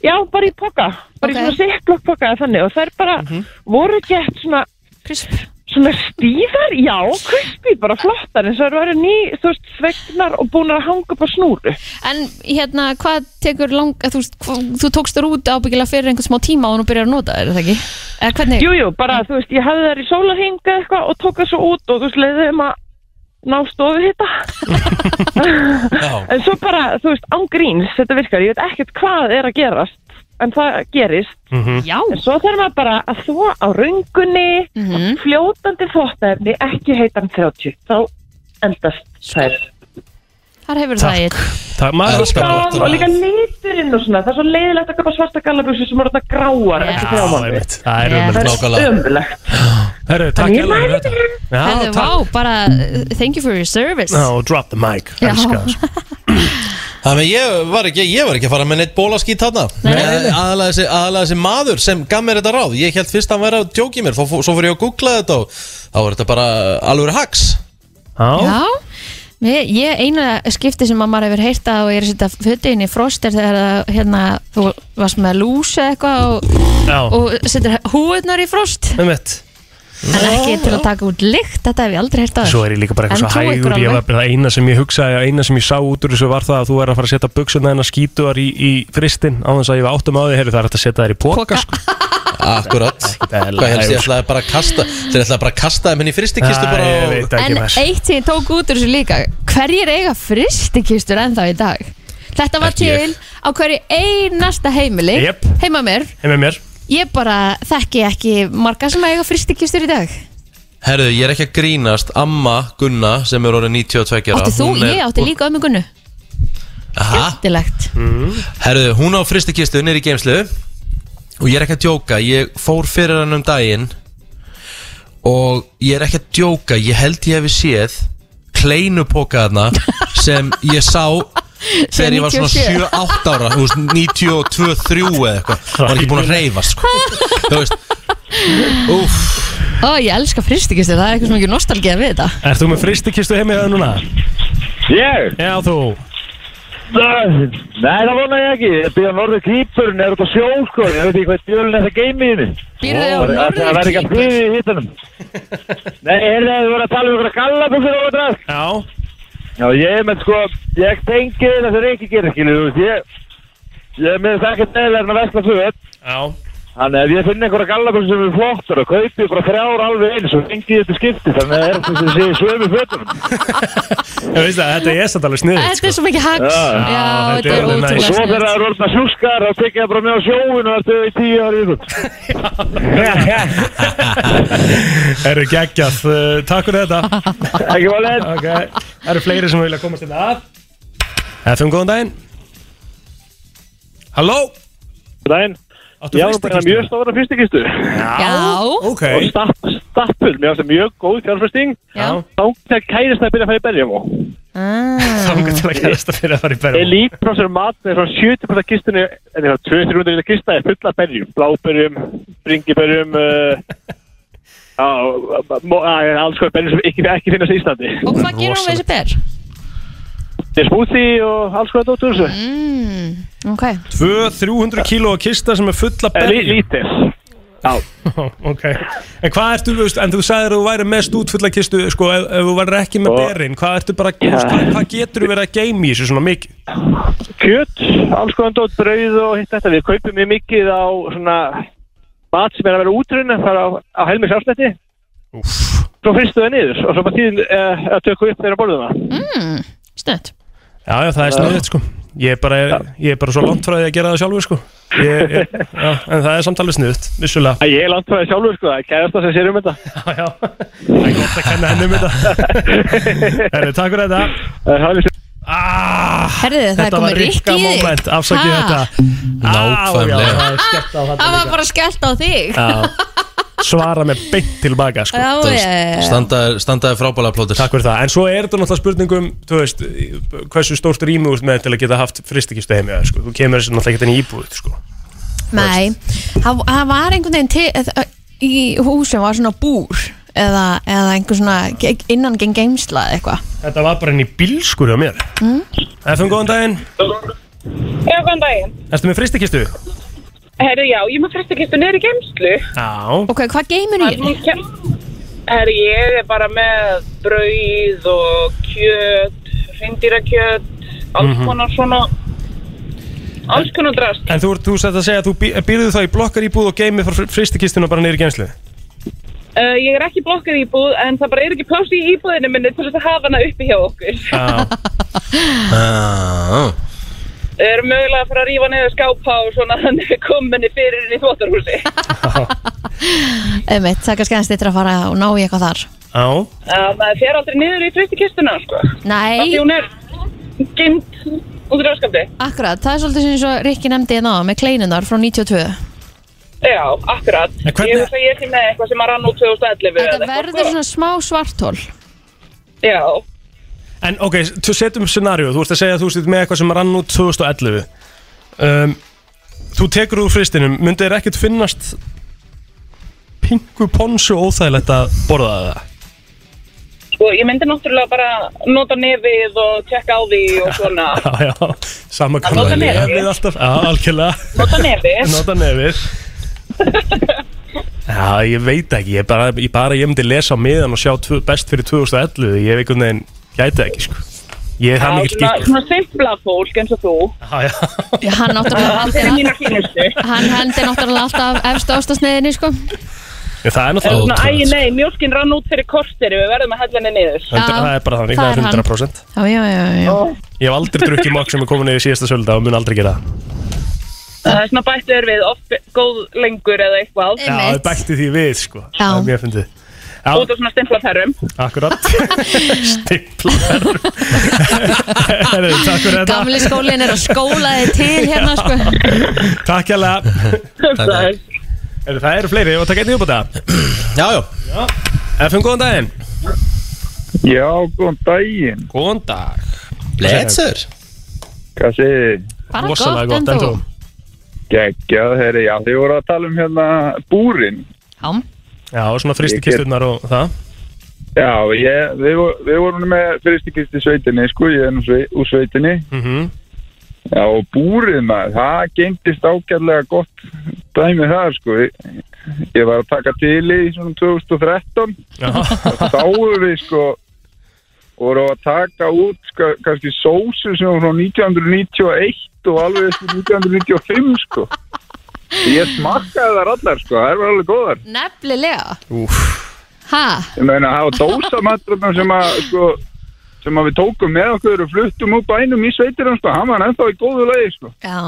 S10: Já, bara í poka, bara
S3: Ok.
S10: í svona sikkblokk poka eða þannig og þær bara
S2: Mhm.
S10: voru gett svona
S3: Krisp.
S10: svona stíðar, já, krispi bara flottar eins og þær varu ný, þú veist, svegnar og búin að hanga upp á snúru.
S3: En hérna, hvað tekur lang þú, veist, hva, þú tókst þér út ábyggilega fyrir einhvern smá tíma og nú byrjar að nota þér, er það ekki? Eða hvernig?
S10: Jú, jú, bara, þú veist, ég hefði þær í sólarhinga eitthvað og tók þessu út og þú veist, leiði þeim að ná stofu en svo bara, þú veist, án gríns, þetta virkar, ég veit ekkert hvað er að gerast, en það gerist.
S4: Mhm.
S3: Já.
S10: En svo þarf maður bara að þvó á röngunni,
S3: Mhm.
S10: fljótandi þvóttefni, ekki heitan 30, þá endast þær.
S3: Sko. Þar hefur það eitt.
S4: Það maður er alltaf
S10: Gall og líka liturinn og svona, það er svo leiðilegt að köpa svarta gallabuxur sem eru þarna gráar eftir
S4: Já,
S10: þrjá mánuði.
S4: einmitt. Það er
S3: Já.
S4: umhverfið
S10: Það er ömulegt.
S4: Herru, takk
S10: Þannig ég
S4: hérlega fyrir
S10: mæli
S4: þetta.
S3: Herðu,
S4: Já, takk
S3: vá, bara, uh, thank you for your service.
S4: Já, og drop the mic
S3: Já.
S4: Elskar það, sko.
S2: Þannig að ég var ekki, ég var ekki að fara með neitt bólaskít þarna
S3: Nei, nei,
S2: Ég- Aðalega þessi, aðalega þessi maður sem gaf mér þetta ráð Ég held fyrst að hann væri að djóki mér Þó, fó- Svo fyrir ég að googla þetta og þá var þetta bara alveg hacks
S4: Já,
S3: Já, Mér- ég eina skipti sem mamma hefur heyrt að og ég er að setja fötin í frost er þegar að, hérna, þú varst með lús eða eitthvað og,
S4: já,
S3: og setur húðnar í frost
S4: umhvert
S3: en ekki til að taka út lykt, þetta hef ég aldrei heyrt að
S4: Svo er ég líka bara
S3: En
S4: eitthvað svo
S3: trúi ykkur
S4: hægur Ég
S3: alveg.
S4: var bara það eina sem ég hugsaði Eina sem ég sá út úr þessu var það að þú er að fara að setja buksuna hennar skítuar í, í fristin Á þess að ég var áttum á því Herru, það er hægt að setja þær í póka sko.
S2: Akkurat Hvað
S4: eðlilega,
S2: helst ég
S4: sko.
S2: ætlaði bara að kasta Þeir ætlaði bara að kasta þeim henni í fristikistu
S4: Æ,
S2: bara
S4: ég
S2: og-
S4: veit ekki
S3: En
S4: mess.
S3: eitt sem ég tók út úr þessu líka hverjir eiga fristikistur ennþá í dag? Þetta var
S2: Ekki ég.
S3: til á hverju einasta heimili
S4: Jep.
S3: heima mér,
S4: Heim með mér
S3: ég bara þekki ekki marga sem eiga fristikistur í dag
S2: Herðu, ég er ekki að grínast Amma Gunna sem er orðin 92 ára,
S3: Átti þú,
S2: hún er-
S3: ég átti líka ömmingunnu
S2: Aha.
S3: Dilegt
S2: Herðu, hún á fristikistu, hún er í geimslu Og ég er ekki að djóka Ég fór fyrir hann um daginn Og ég er ekki að djóka Ég held ég hefði séð Kleinupoka þarna Sem ég sá Þegar ég var svona
S3: 97.
S2: 7-8 ára þú veist, 92-3 eða eitthvað Var ekki búin að reyfa sko. Þú veist Úf,
S3: Ó, ég elska fristikistur, það er eitthvað sem ekki nostalgíða við þetta
S4: Er þú með fristikistu heim með það núna?
S11: Ég?
S4: Já, þú
S11: Nei, það vona ég ekki. Ég býða norður kýpurinn, er út á sjó, sko. Ég veit ekki hvað djölinn er það geimið henni.
S3: Býrðu á
S11: Það það verður ekki að
S3: norðurkýpur?
S11: flyði í hittanum. Nei, heyrðu þið voru að tala um ykkur að kalla búinir og þetta.
S4: Já,
S11: Já, ég er með, sko, ég tengi þetta sem Reyki gerir, skilu, þú veist, ég... Ég er með þess ekkert neðlega en að vesla föt.
S4: já
S11: Þannig að ef ég finn einhverja gallabur sem er flottar og kaupi ykkur þrjár alveg eins og fengi þetta skipti, þannig að það er þess að sé svömi fötunum.
S4: Ég veist það, þetta er samt alveg sniðið
S3: Þetta er svo mikið hags
S11: Já.
S3: Já,
S4: Já,
S3: þetta er
S4: þetta er alveg
S11: Og
S3: ótrúlega
S4: næs.
S11: svo þegar það
S3: snið
S11: eru orðna sjúskar, þá tekja það bara með á sjóun og ertu í tíu ári ykkur.
S4: Eru geggjað, uh, takk fyrir þetta
S11: Ekki var leitt.
S4: Ok, það eru fleiri sem vilja komast þetta að FM, um góðan daginn Halló
S11: Dæn,
S4: Áttu
S11: ég var bara
S4: frystikistu?
S11: mjög stóra fyrstikistu
S3: Já,
S4: Ok,
S11: og stapp, stappul, mér finnst það mjög góð fjárfesting.
S3: já
S11: Þá þegar kærist það byrja að fara í berjafó.
S4: þangar til að gerast að fyrir að fara í berjum
S11: Elípros er mat með svona 70% kistunni, en það er 200-300 litra kista er fulla af berjum, bláberjum, bringiberjum, uh, á, mo- á, alls konar berjum sem ekki, ekki finnast í Íslandi.
S3: Og hvað gerum við þessi ber?
S11: Þetta er smúti og alls konar dóttur þessu.
S3: Mm, ok
S4: 200-300 kíló að kista sem er fulla
S11: En Eh, lí-
S4: berjum
S11: Lítið.
S4: Ok, en hvað ertu, þú veist, en þú sagðir að þú væri mest út fulla kistu Sko, ef, ef þú væri ekki með
S11: Og-
S4: berjum, hvað ertu bara þú veist, Hvað, hvað getur þú verið að geima í þessu svona mikið?
S11: Kjöt, alls konar dótt, brauð og hitt þetta. Við kaupum mjög mikið á svona mat sem er að vera útrunna, það er á, á helmi sjálfsnætti. Svo fristu það niður og svo bara tíðin uh, að tökum upp þeirra borðum það.
S3: mm, Snött
S4: Já, já, það er sniðið, sko Ég er bara, ég er bara svo langt frá því að gera það sjálfur, sko ég, ég, já, En það er samt alveg sniðið, vissulega
S11: Ég er langt frá það sjálfur sko, það er kærast það sem sér um þetta.
S4: Já, já, það er gott að kenna henni um þetta Herri, takk fyrir þetta
S11: Það er hálfis
S4: ah,
S3: Herðu, það er
S4: Þetta var
S3: komið
S4: rikka
S3: rikki í þig
S4: moment, afsakið
S3: Ha?
S4: þetta
S2: Nákvæmlega.
S4: Á, já, það er skemmt á þetta
S3: Það var
S4: líka
S3: bara skellt á þig
S4: Já, svara með beint tilbaka, sko
S3: Já,
S2: þú
S3: já,
S2: veist,
S3: já.
S2: standaði, standaði frábæla plótur
S4: Takk fyrir það, en svo er þetta náttúrulega spurningum þú veist, hversu stórt rými úr með til að geta haft fristikistu heimi eða, sko. þú kemur þessi náttúrulega ekki inn í íbúð sko.
S3: Nei, það það var einhvern veginn til, eh, eða, í húsum var svona búr eða, eða einhver svona ge- innan geng geimsla eða eitthvað
S4: Þetta var bara henni bílskur á mér
S3: Mm.
S4: Efum, góðan daginn,
S9: Já, góðan daginn.
S4: ertu með fristikistu?
S9: Herru, já, ég maður fresta kistu niður í geimslu.
S4: Já
S3: Ok, hvað geimur í?
S9: Herru, ég er bara með brauð og kjöt, rindýrakjöt, alls
S4: Mhm.
S9: konar svona, alls konar drast.
S4: En þú, ert- þú sett að segja að þú bý- býrðu það í blokkar íbúð og geymið frá fristikistuna bara niður í genslu
S9: Uh, ég er ekki blokkar íbúð, en það bara er ekki pláss í íbúðinu minni til þess að hafa hana uppi hjá okkur.
S4: Já Já
S9: Við erum mögulega að fara að rífa niður skápa og svona þannig við komum henni fyrir henni í þvóttarhúsi.
S3: Einmitt, það er kannski aðeins eitthvað að fara og ná í eitthvað þar
S4: Já
S9: Uh, maður fer aldrei niður í fristikistuna, sko.
S3: Nei
S9: Því hún er geimt út í ráskapti.
S3: Akkurat, það er svolítið sem svo Rikki nefndi hérna á með kleinunar frá 92
S9: Já, akkurat. Hvernig... Ég veist að ég er ekki með eitthvað sem að rann úr 2011 eða
S3: Þetta
S9: eitthvað,
S3: verður
S9: sko.
S3: svona smá svartól
S9: Já.
S4: En ok, þú setjum scenaríu, þú ert að segja að þú sitt með eitthvað sem rann út 2011 um, Þú tekur úr fristinum, myndi þér ekkert finnast pingu ponsu óþægilegt að borða það?
S9: Sko, ég myndi náttúrulega bara nota nefið og tjekka á því og svona.
S4: Já, já, sama
S9: Að nota nefið.
S4: nefið alltaf, já, algjörlega
S9: Nota nefið.
S4: Nota nefið Já, ég veit ekki, ég bara, ég, bara, ég myndi lesa á miðan og sjá tvö, best fyrir 2011 Ég hef einhvern veginn, gæti það ekki sko Ég er það
S9: Já,
S4: mikil
S9: svona,
S4: gikkur
S9: svona simpla fólk eins og þú.
S4: Já, já.
S3: Hann náttúrulega
S9: Það er mínu kynustu.
S3: Hann hendi náttúrulega alltaf efst ástasneiðinni sko.
S4: Ég, Það er
S9: Það er svona,
S4: náttúrulega
S9: æg, nei, mjólkin rann út fyrir kortir, við verðum að hella henni niður.
S4: Hundra- Það er bara þannig,
S3: það
S4: það er
S3: er hann.
S4: 100%
S3: Já, já, já, já.
S4: Ég hef aldrei drukkið mokk sem er komin yfir síðasta sölda og mun aldrei gera það
S9: Það er svona bætt er við, oft góð lengur eða eitthvað.
S4: Já, það bætti því við sko
S9: Já.
S4: Það er mjög fyndið
S9: Út
S4: Já,
S9: af svona simpla perrum.
S4: akkurat Stimplar Herru, Takk fyrir þetta
S3: Gamli skólinn er að skóla þið til hérna sko.
S4: Takk hérlega
S9: Takk.
S4: Herru, Það eru fleiri, ég var að taka einnig upp á þetta Já, já, FM, góðan daginn
S12: Já, góðan daginn
S4: Góðan dag
S12: Blesser Hvað segir þið?
S4: Bara Rosalega gott, gott, en en þú?
S12: Geggjað, herri, já, þið voru að tala um hérna búrin
S3: Já
S4: Já, svona fristi
S12: Ég get-
S4: kisturnar og það
S12: Já, ég, við, vo- við vorum með fyrstikist í sveitinni, sko, ég er nú svei, úr sveitinni
S4: Mhm.
S12: Já, og búrin, maður, það gengdist ágæðlega gott dæmi það, sko Ég, ég var að taka til í svona 2013 og sáum við, sko voru að taka út sko, kannski sósu sem var frá 1991 og alveg upp til 1995, sko Ég smakkaði þar allar, sko, það var alveg góðar
S3: Nefnilega
S12: Úf
S3: Ha?
S12: Ég meina, það var dósamatrarnar sem að, sko, sem að við tókum með okkur og fluttum úr bænum í sveitirinn, sko, hann var ennþá í góðu lagi, sko.
S3: Já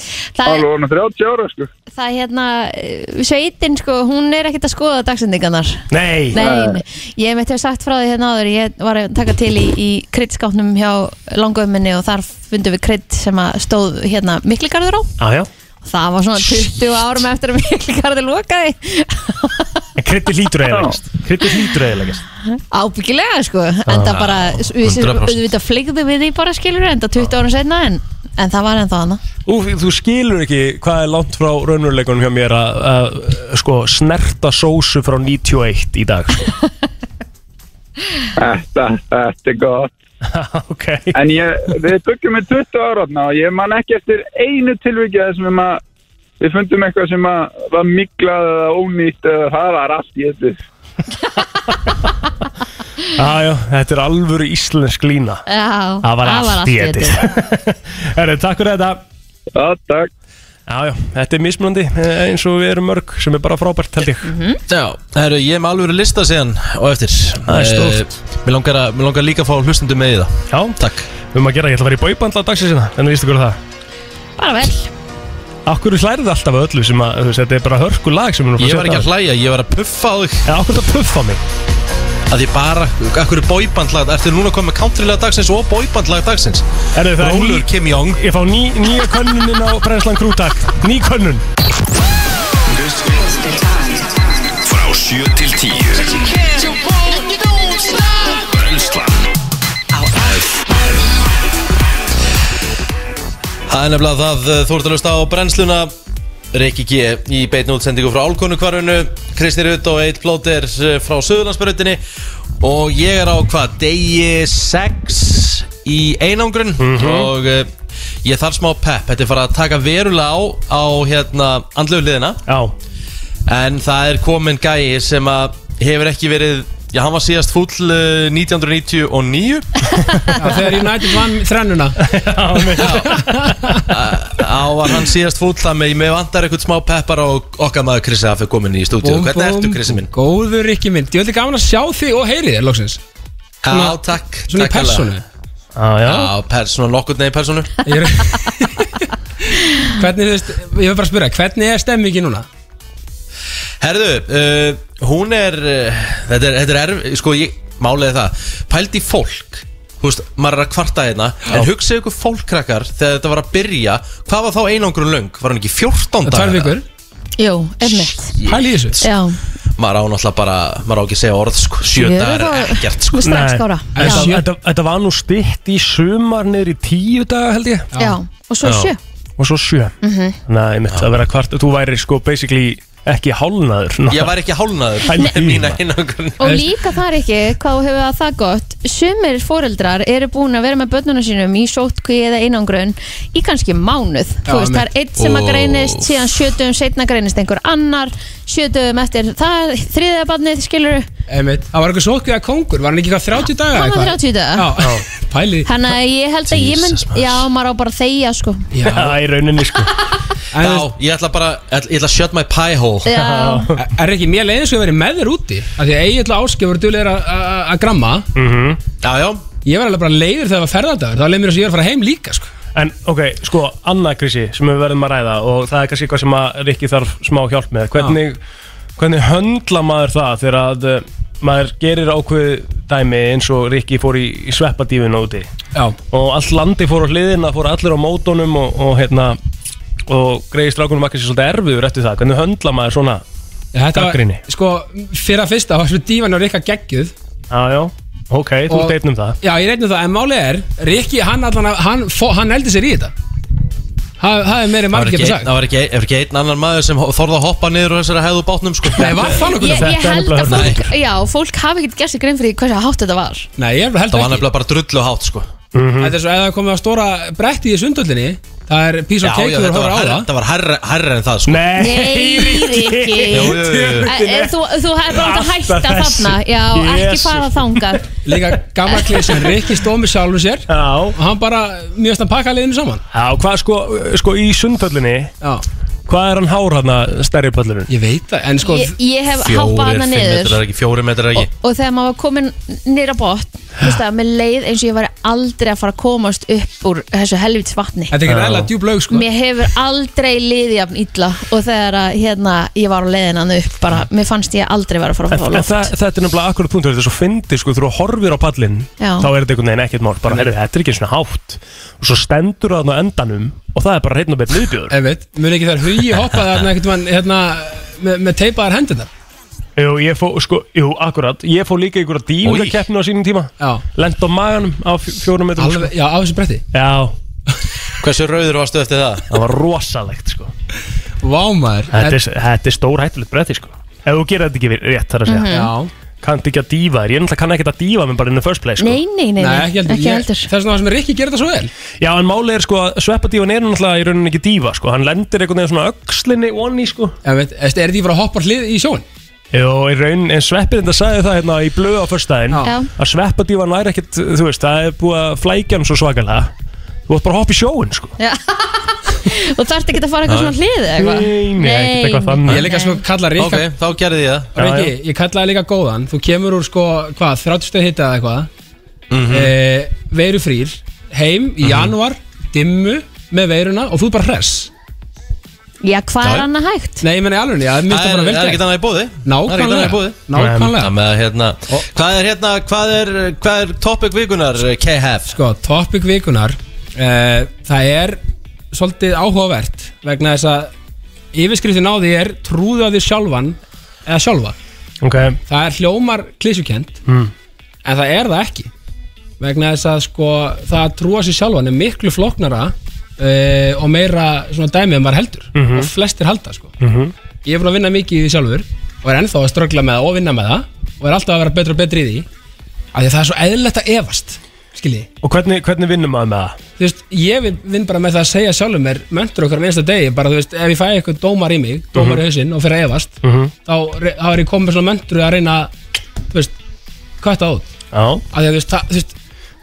S3: Það
S12: Alveg
S3: er,
S12: orðin 30 ára, sko.
S3: það er hérna eh, Sveitin sko, hún er ekkert að skoða dagsendingarnar
S4: Nei
S3: Nei, nei. ég mitt hef sagt frá því hérna áður ég var að taka til í, í kryddskápnum hjá langöfminni og þar fundum við krydd sem að stóð hérna mikligarður á
S4: Ah, Já, já
S3: og það var svona 20 árum eftir að mikligarður lokaði
S4: En krytti hlýtur eiginlegast Krytti hlýtur eiginlegast
S3: ábyggilega sko en það
S4: Já,
S3: bara, við sem
S4: 100%.
S3: auðvitað fleigðum við því bara skilur en það 20 árum senna en, en það var ennþá hana
S4: Úf, þú skilur ekki hvað er langt frá raunveruleikunum hjá mér að- að sko, snerta sósu frá 91 í dag sko.
S12: Þetta, þetta er gott.
S4: ok.
S12: En ég, við byggum með 20 ára þarna og ég man ekki eftir einu tilvikið þessum um að við fundum eitthvað sem að var miklað eða ónýtt eða það var allt í þessu.
S4: ah, já, Þetta er alvöru íslensk lína
S3: Já,
S4: Það var allt í eddi.
S3: eddi.
S4: Herri, Takk fyrir þetta
S12: Já, takk
S4: Já, já, þetta er mismunandi eh, eins og við erum mörg sem er bara frábært held ég
S2: Já, herru, ég er með alveg lista síðan og eftir
S4: Það er stórt.
S2: Eh, Mér langar, að- mig langar líka að fá hlustundum með í það
S4: Já,
S2: takk
S4: Við erum að gera, ég ætla að vera í bóibandla dagsins En vístu hverju það?
S3: bara vel
S4: Akkur hlærið alltaf að öllu sem að, þú veist, þetta er bara hörku lag sem við erum
S2: Ég
S4: að
S2: var
S4: setja
S2: ekki
S4: á.
S2: að hlæja, ég var að puffa á þig
S4: Já, okkur þetta puffa á mig
S2: Að ég bara, akkur er bóibandlag Ertu núna að koma með countrylag dagsins og bóibandlag dagsins
S4: Herru, það er ný-
S2: Rólur Kim Jong
S4: Ég fá ný, nýja könnunin á Brennslan Krútak Ný könnun
S11: Frá 7 til 10 Brennslan
S2: Það er nefnilega það, eh, þú ert að hlusta á brennsluna Rikki G í beitni útsendingu frá Álkonu kvarunu Kristi Rutt og Eitt Blóter frá Suðurlandsbröndinni eh, Og ég er á hvað, degi 6 í einangrun
S13: Mhm.
S2: Og uh, ég þarf smá pepp Þetta er farið að taka verulega á, á hérna, andlegu liðina
S4: Já
S2: En það er komin gæi sem að hefur ekki verið Já, hann var síðast fúll uh, 1999
S13: Þegar United vann þrennuna
S2: Á var hann síðast fúll Það með mig vantar eitthvað smá peppar Og okkar maður Krissi að fyrir komin í stúdíu
S13: Búm,
S2: Hvernig
S13: búm.
S2: ertu Krissi minn?
S13: Góður Rikki minn, ég veldi gaman að sjá þig og heyri þér loksins
S2: Já, takk
S13: Svona í
S2: takk
S13: persónu
S2: alveg. Já, persónu, nokkurn veginn persónu
S13: Ég er- Hvernig, þú veist, ég vil bara spyrja, hvernig er stemmingi núna?
S2: Herðu, uh, hún er uh, Þetta er, þetta er erf, sko ég Máliði það, pældi í fólk Þú veist, maður er að kvarta hérna En hugsaðu ykkur fólkrakkar þegar þetta var að byrja Hvað var þá einangrun löng? Var hann ekki 14 dagar?
S13: Tvær vikur
S3: Jú, einmitt
S13: Pæli í þessu
S3: Já,
S2: Maður á náttúrulega bara, maður á ekki að segja orð sko, Sjö
S3: Ég er
S2: dagar
S3: þá-
S2: er ekkert sko
S3: Mér strax skára.
S4: En
S3: Já.
S4: þetta- Þetta þetta var nú stytt í sumar niður í tíu daga held ég
S3: Já. Já, og svo sjö.
S4: Og svo sjö
S3: Mhm.
S4: Nei, mitt að vera kvart Þú væri sko basically ekki hálnaður
S2: Ég væri ekki hálnaður
S4: Pældi í
S2: Mína
S4: maður.
S2: einangrun
S3: Og líka það er ekki, hvað þú hefur það það gott Sumir foreldrar eru búin að vera með börnunum sínum í sótkví eða einangrun í kannski mánuð
S13: Já,
S3: Þú veist, það er
S13: einmitt.
S3: einn sem að
S13: Ó.
S3: greinist síðan sjötum setna greinist einhver annar sjötum eftir það, þriðja barnið skilur
S13: Einmitt. Það var eitthvað sótkvíða kongur, var hann ekki hvað 30 daga?
S3: Hann var 30
S13: eitthvað?
S3: daga.
S13: Já, pæli
S3: Þannig að ég held að ég mynd,
S2: Jesus, maður.
S3: já maður á bara að þegja sko
S13: Já,
S4: í rauninni sko
S2: Já, ég ætla bara, ég ætla að shut my pie hole
S3: Já.
S13: Er ekki mér leiðin sem hefur verið með þér úti? Af því að eiginlega áskið voru duðlegir að gramma
S4: Mhm.
S2: Já, já
S13: Ég var alveg bara leiður þegar það var ferðardagur, þá leið mér þess að ég var að fara heim líka sko.
S4: En ok, sko, annað krisi sem við verðum að ræða og það er kannski eitthvað sem að Rikki þarf smá hjálp með hvernig, hvernig höndla maður það þegar að uh, maður gerir ákveð dæmi eins og Rikki fór í, í sveppadífinu úti
S13: Já.
S4: og allt landi fór á hliðina, fór allir á mótunum og, og hérna og greiði strákunum að kannski svolítið erfiður eftir það hvernig höndla maður svona
S13: Já, Þetta
S4: gaggrinni?
S13: var, sko, fyrir að fyrsta var svo dívan og Rikka geggjuð
S4: Já, já, ok, þú
S13: Og-
S4: deitnum það
S13: Já, ég reynum það, en málið er Rikki, hann allan, hann, fó- hann eldi sér í þetta Það það er meiri
S2: Það var
S13: margir getur
S2: ekki, einn-
S13: sagt
S2: það var ekki, það var ekki einn annan maður sem ho- þorði að hoppa niður og þessari hæðu bátnum sko.
S13: Nei, var það
S3: Ég, ég held
S13: hérna.
S3: að fólk, já, fólk hafi ekkert gert sér grein fyrir því hversu hátt þetta var
S13: Nei, ég held Mhm.
S2: Það var nefnilega bara drullu hátt sko.
S13: Þetta er svo, ef það er komið á stóra bretti í sundhöllinni Það er pís og
S2: Já, já,
S13: keikur
S2: þetta
S13: að horfa
S2: var
S13: á
S2: hærra-
S13: það
S2: þetta var hærra hærra en það sko.
S3: Nei, Rikki
S2: Jú, jú, jú.
S3: Eh, eh, Þú þú hefði bara átt að
S13: Alltaf
S3: hætta
S13: þessi.
S3: þarna Já, ekki
S13: Jesus.
S3: fara þangað
S13: Líka gamla klísin, Rikki stóð með sjálfum sér
S4: Já Og
S13: hann bara, mjög stann pakka liðinu saman
S4: Já, hvað sko, sko í sundhöllinni
S13: Já.
S4: Hvað er hann hár hann að stærri pöllurinn?
S13: Ég veit það, en
S3: sko- Ég- ég hef hoppað þarna niður.
S2: ekki, fjóri metrar ekki
S3: og þegar maður var komin nýra bótt þú veist það, með leið eins og ég var aldrei að fara að komast upp úr þessu helvits vatni
S13: Þetta er ekki ræðilega djúb laug sko
S3: mér hefur aldrei liðið jafn illa og þegar að, hérna, ég var á leiðinan upp bara, mér fannst ég aldrei vera að fara að
S4: En,
S3: fá
S4: en
S3: loft
S4: það, þetta er nefnilega akkurat punktur Þetta er svo fyndið sko, þú eru að horfir á pallin
S3: Já.
S4: Þá er þetta einhvern veginn ekkert mál Bara, herru, þetta er ekki svona hátt Og svo stendur það á endanum Og það er bara hreinn og beinn viðbjöður
S13: En veit, mun ekki þær hugi hoppaði þarna ekkert mann hérna, með, með teipaðar hendunar
S4: Jú, ég fó, sko, jú, akkurat Ég fó líka ykkur að dýfingakeppinu á sínum tíma
S13: Já.
S4: Lent á maganum á fjó- fjórum metrum sko.
S13: Alveg, Já, á þessu bretti
S4: Já
S2: Hversu rauður varstu eftir það?
S4: Það var rosalegt sko
S13: Vámaður
S4: Þetta er, þetta er stór hættulegt bretti sko Ef þú gerir þetta ekki við- rétt þar að segja
S3: Mhm. Já.
S4: Kannt ekki að dýfa þér Ég náttúrulega kann ekki að dýfa mér bara in the first place sko.
S3: nei, nei, nei, nei, ekki heldur
S13: Það er svona það sem Rikki gerir þetta svo vel
S4: Já, en málið er sko að sveppadívan er náttúrulega í rauninni ekki dífa sko Hann lendir einhvern veginn svona öxlinni onni sko
S13: Já, veit, er þetta ekki bara að hoppa á hlið í sjón?
S4: Jó, í rauninni, en sveppir þetta sagði það hérna í blöðu á förstæðin
S13: Já.
S4: Að sveppadívan væri ekkert, þú veist, það er búið að flækja hann svo svakalega Þú ætti bara að hoppa í sjóin sko
S3: Já. og þarfti ekki að fara eitthvað
S4: Nei.
S3: svona hlið eða eitthvað
S4: Nei, nei, ekkert eitthvað þannig.
S13: Ég líka sko kalla Rikka
S2: Ok, þá gerði ég það
S13: Rikki, ég kallaði líka góðan Þú kemur úr sko, hvað, 30 stöð hitta eða eitthvað mm
S2: Mhm.
S13: Veru frýr Heim í januar, dimmu Með veiruna og þú er bara hress
S3: já, hvað
S13: Já.
S3: er annað hægt?
S13: Nei, ég menna í alveg, ég minnst það bara vel
S2: Það er
S13: gert.
S2: ekki annað í bóði
S13: Nákvæmlega.
S2: Það er ekkert annað í bóði.
S13: Nákvæmlega.
S2: Það með, hérna, Hvað er hérna, hvað er, hvað er topic eh, vikunar KHF?
S13: Sko, topic vikunar uh, Það er svolítið áhugavert vegna þess að yfirskriftin á því er trúðu að því sjálfan eða sjálfa
S4: Ok
S13: Það er hljómar klísukent
S4: mm.
S13: en það er það ekki vegna þess að sko það að trúa sér sjálfan er miklu floknara uh, og meira svona dæmið en maður heldur
S4: Mhm.
S13: og flestir halda sko
S4: Mm -hmm.
S13: Ég er búin að vinna mikið í því sjálfur og er ennþá að ströggla með það og vinna með það og er alltaf að vera betra og betri í því af því að það er svo eðlilegt að efast skilji
S4: Og hvernig, hvernig vinnum maður með það?
S13: þú veist, ég vinn- vinn bara með það að segja sjálfur mér möntur okkar minnsta degi, bara þú veist ef ég fæ eitthvað dómar í mig, dómar
S4: Mhm.
S13: í hausinn og fyrir að efast,
S4: Mhm.
S13: þá, re- þá er ég komið með svona möntur að reyna að, þú veist, kvætta út
S4: Já
S13: að þú veist, það, þú veist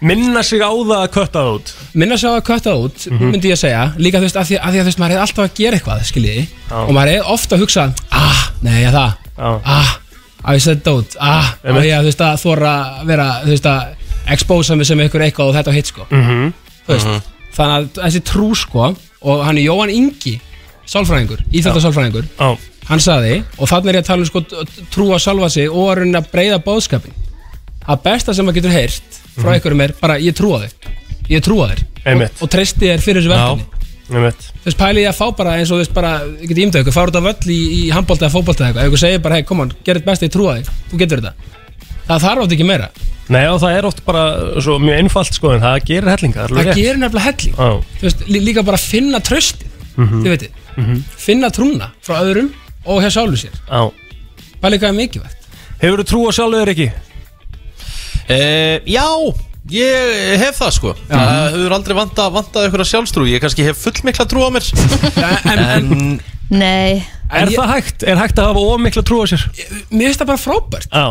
S4: minna sig á það að kvætta út
S13: minna sig á að kvætta út,
S4: Mhm.
S13: myndi ég að segja líka þú veist, af því að, því að þú veist, maður er alltaf að gera eitthvað skiljiði,
S4: Já.
S13: og maður er ofta að hugsa ah, nei, ég það,
S4: Já.
S13: ah að ég setja þetta út, ah,
S4: Einmitt.
S13: að ég þú veist að þóra að vera, þú veist að expósa mig sem eitthvað eitthvað og þetta og hitt sko
S4: Mhm.
S13: þú veist,
S4: Mhm.
S13: þannig að þessi trú sko og hann er Jóhann Ingi sálfræðingur, íþjóttasálfræðingur hann sagði, og þannig er ég að tala um sko trú að sjálfa sig og að raunin að breyða bóðskapin að besta sem maður getur heyrt frá
S4: Mhm.
S13: einhverjum er bara ég trúa þér ég trúa þér
S4: Einmitt.
S13: og, og treysti þér fyrir þessu verkefni
S4: Einmitt.
S13: þú veist pæli ég að fá bara eins og þú veist bara ég geti ímdað ykkur, fara út af völl í, í handbólta eða fótbólta eða eitthvað, ef ykkur segir bara hei, kom on, gerð þetta best, ég trúa þig, þú getur þetta það þarf átt ekki meira,
S4: Nei, og það er oft bara svo mjög einfalt sko en það gerir
S13: það
S4: hellinga
S13: gerir nefnilega helling
S4: Já
S13: þú veist, lí, líka bara finna tröstið
S4: Mhm.
S13: þið veitir,
S4: Mhm.
S13: finna trúna frá öðrum og hér sálu sér
S4: Já
S13: pæli hvað er mikilvægt
S4: Hefur þú trú á sjálfur ekki?
S2: Eh, já, ég hef það sko Það hefur aldrei vantað vanta ykkur að sjálfstrú Ég kannski hef fullmikla trú á mér en,
S3: Nei
S4: Er það hægt? Er hægt að hafa ómikla trú á sér?
S13: mér finnst það bara frábært
S4: Já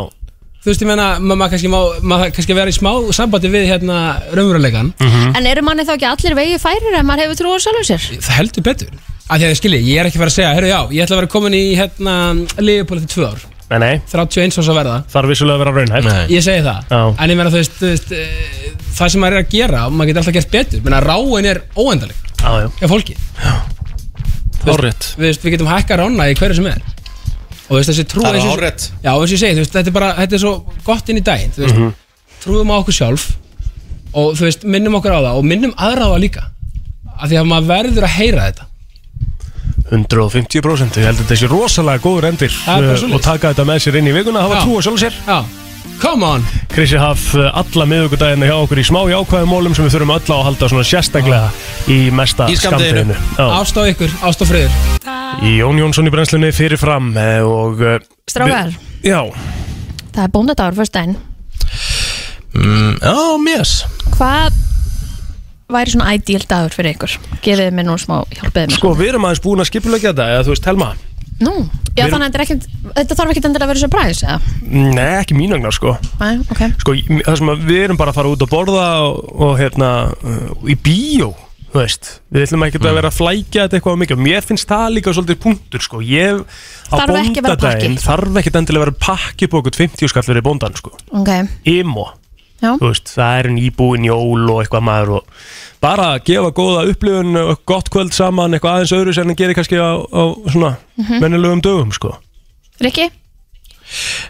S13: þú veist, ég meina, ma- maður kannski, má, maður kannski vera í smá sambandi við hérna raunverulegan
S4: Mhm.
S3: En eru manni þá ekki allir vegi færir ef maður hefur trú á sjálfum sér?
S13: það heldur betur að því að skilji, ég er ekki verið að segja, herru já, ég ætla að vera komin í hérna, Leopold eftir tvö ár
S4: Nei, nei
S13: 31 árs að verða
S4: Þarf vissulega að vera raunhæft
S13: Nei. Ég segi það.
S4: Já
S13: en ég meina þú veist, þú veist eh, það sem maður er að gera, maður getur alltaf gert betur menna ráin er óendaleg
S4: Já, já
S13: hjá fólki Þú veist,
S4: Hárrétt.
S13: við, veist, við getum hækka rána í hverju sem er og þú veist, þessi trú
S2: Það er
S13: eins og-
S2: hárrétt.
S13: já, og eins og ég segi, þú veist, þetta er bara þetta er svo gott inn í daginn þú veist,
S4: Mhm.
S13: trúum á okkur sjálf og þú veist, minnum okkur á það og minnum aðra á það líka af því að maður verður að heyra þetta
S4: 150% Ég held að þetta sé rosalega góður endir
S13: Það er bara
S4: uh,
S13: svoleiðis.
S4: og taka þetta með sér inn í vikuna hafa
S13: Já.
S4: trú á sjálf sér
S13: Já. Come on
S4: Krissi haf uh, alla miðugudagina hjá okkur í smá jákvæðum mólum sem við þurfum öll á að halda svona sérstaklega í mesta
S13: Í skammdeginu.
S4: skamdeginu
S13: ást á ykkur, ást á friður
S4: Jón Jónsson í brennslunni fyrirfram eh, og eh,
S3: Strákar.
S4: við- Já
S3: Það er bóndadagur fyrst daginn
S2: mm, Já, mér
S3: Hvað væri svona ideal dagur fyrir ykkur? Gefið mér nú smá hjálpið mér
S4: Sko, við erum aðeins búin að skipulegja þetta eða þú veist, Helma
S3: Nú, já
S4: Við erum-
S3: þannig að þetta, er ekkert, þetta þarf ekkert endilega að vera surprise eða?
S4: Nei, ekki mín vegna, sko
S3: Nei, ok
S4: Sko, í- það sem að við erum bara að fara út að borða og, og hérna, uh, í bíó þú veist, við ætlum ekki að vera að flækja þetta eitthvað mikið, mér finnst það líka svolítið punktur, sko, ég á
S3: Þarf ekki að vera sko.
S4: bóndadaginn
S3: pakki.
S4: þarf ekki endilega að vera pakki upp okkur 50 skallur í bóndan, sko,
S3: Ok,
S4: emo
S3: já
S4: þú veist, það er en íbúin jól og eitthvað maður og bara gefa góða upplifun og gott kvöld saman, eitthvað aðeins öðru sem gerir kannski á, á svona
S3: Mhm.
S4: mennilegum dögum, sko
S3: Rikki?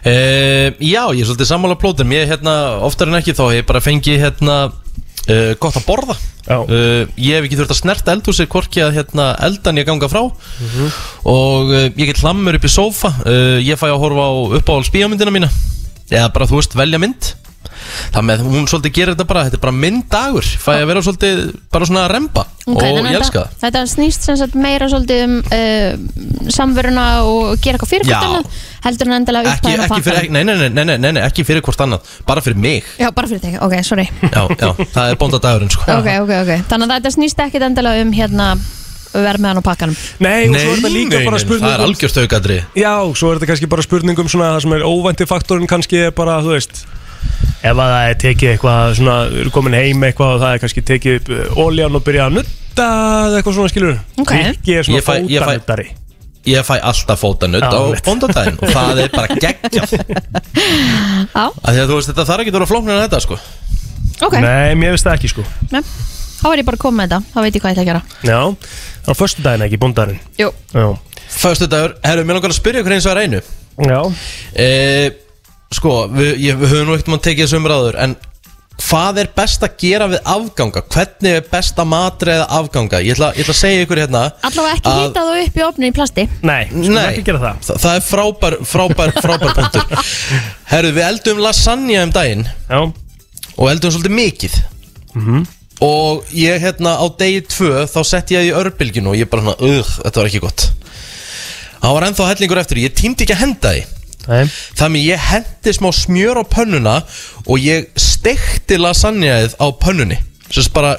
S2: Uh, já, ég er svolítið sammála plótum Ég hérna, oftar en ekki þá hef ég bara fengið hérna, uh, gott að borða uh, Ég hef ekki þurft að snerta eldhúsið Hvorki að hérna, eldan ég ganga frá Og uh, ég get hlammur upp í sófa uh, Ég fæ að horfa á uppáhalds bíómyndina mína Eða bara, þú veist, velja mynd Það með hún svolítið gerir þetta bara Þetta er bara mynddagur Fæ að vera svolítið bara svona að remba
S3: Ok,
S2: Og
S3: þannig
S2: ég
S3: að
S2: elska
S3: þetta,
S2: það
S3: þetta snýst sem sagt meira svolítið um uh, samveruna og gera eitthvað fyrir
S2: Já.
S3: hvort annað heldur en endilega
S2: Ekki,
S3: upphæðin og
S2: ekki, fyrir,
S3: pakkan
S2: nei, nei, nei, nei, nei, nei, nei, ekki fyrir hvort annað Bara fyrir mig
S3: Já, bara fyrir þig, ok, sorry
S2: Já, já, það er bóndadagurinn sko
S3: Ok, ok, ok, þannig að þetta snýst ekkit endilega um hérna vermiðan og pakkanum
S4: Nei, og svo er þetta líka bara spurning
S2: Það er
S4: um-
S2: algjörst aukadri
S4: Já, svo er þetta kannski bara spurning um svona það sem er óvænti faktorinn kannski er bara, þú veist Ef að það er tekið eitthvað svona, við erum komin heim eitthvað og það er kannski tekið upp óljan og byrjað að nutta eða eitthvað svona skilur
S3: Ok.
S4: Rikki er svona
S2: Ég fæ- ég fæ-
S4: fótanuttari
S2: Ég fæ alltaf fótanutt
S4: Já,
S2: á
S4: mitt.
S2: bóndadaginn Og það er bara geggjað
S3: Já,
S2: Af því að Þú veist, þetta þarf ekki að vera flóknir en þetta sko
S3: ok
S4: Nei, mér finnst það ekki sko
S3: Nei, Þá er ég bara að koma með þetta, þá veit ég hvað ég ætla að gera
S4: Já, það er förstu daginn ekki, bóndarinn
S3: Jú,
S4: Já,
S2: Föstu dagur, herru, mér langar að spyrja ykkur eins og að reynu
S4: Já
S2: e, Sko, við, ég, við höfum nú ekkert mann tekið þessu umræður En hvað er best að gera við afganga? Hvernig er best að matra eða afganga? Ég ætla, ég ætla að segja ykkur hérna
S3: allavega ekki
S2: að-
S3: hýta þú upp í opni í plasti
S4: Nei,
S2: Nei, það. það er frábær, frábær, frábær punktur Herru, við eldum lasagna um daginn
S4: Já
S2: Og eldum svolítið mikið
S4: Mhm.
S2: Og ég hérna á degi tvö Þá sett ég það í örbylginu og ég bara svona Ugh, þetta var ekki gott Það var ennþá hellingur eftir, ég tímdi ekki að henda því Nei. Þannig ég hendi smá smjör á pönnuna og ég stekti lasagnaðið á pönnunni Sess bara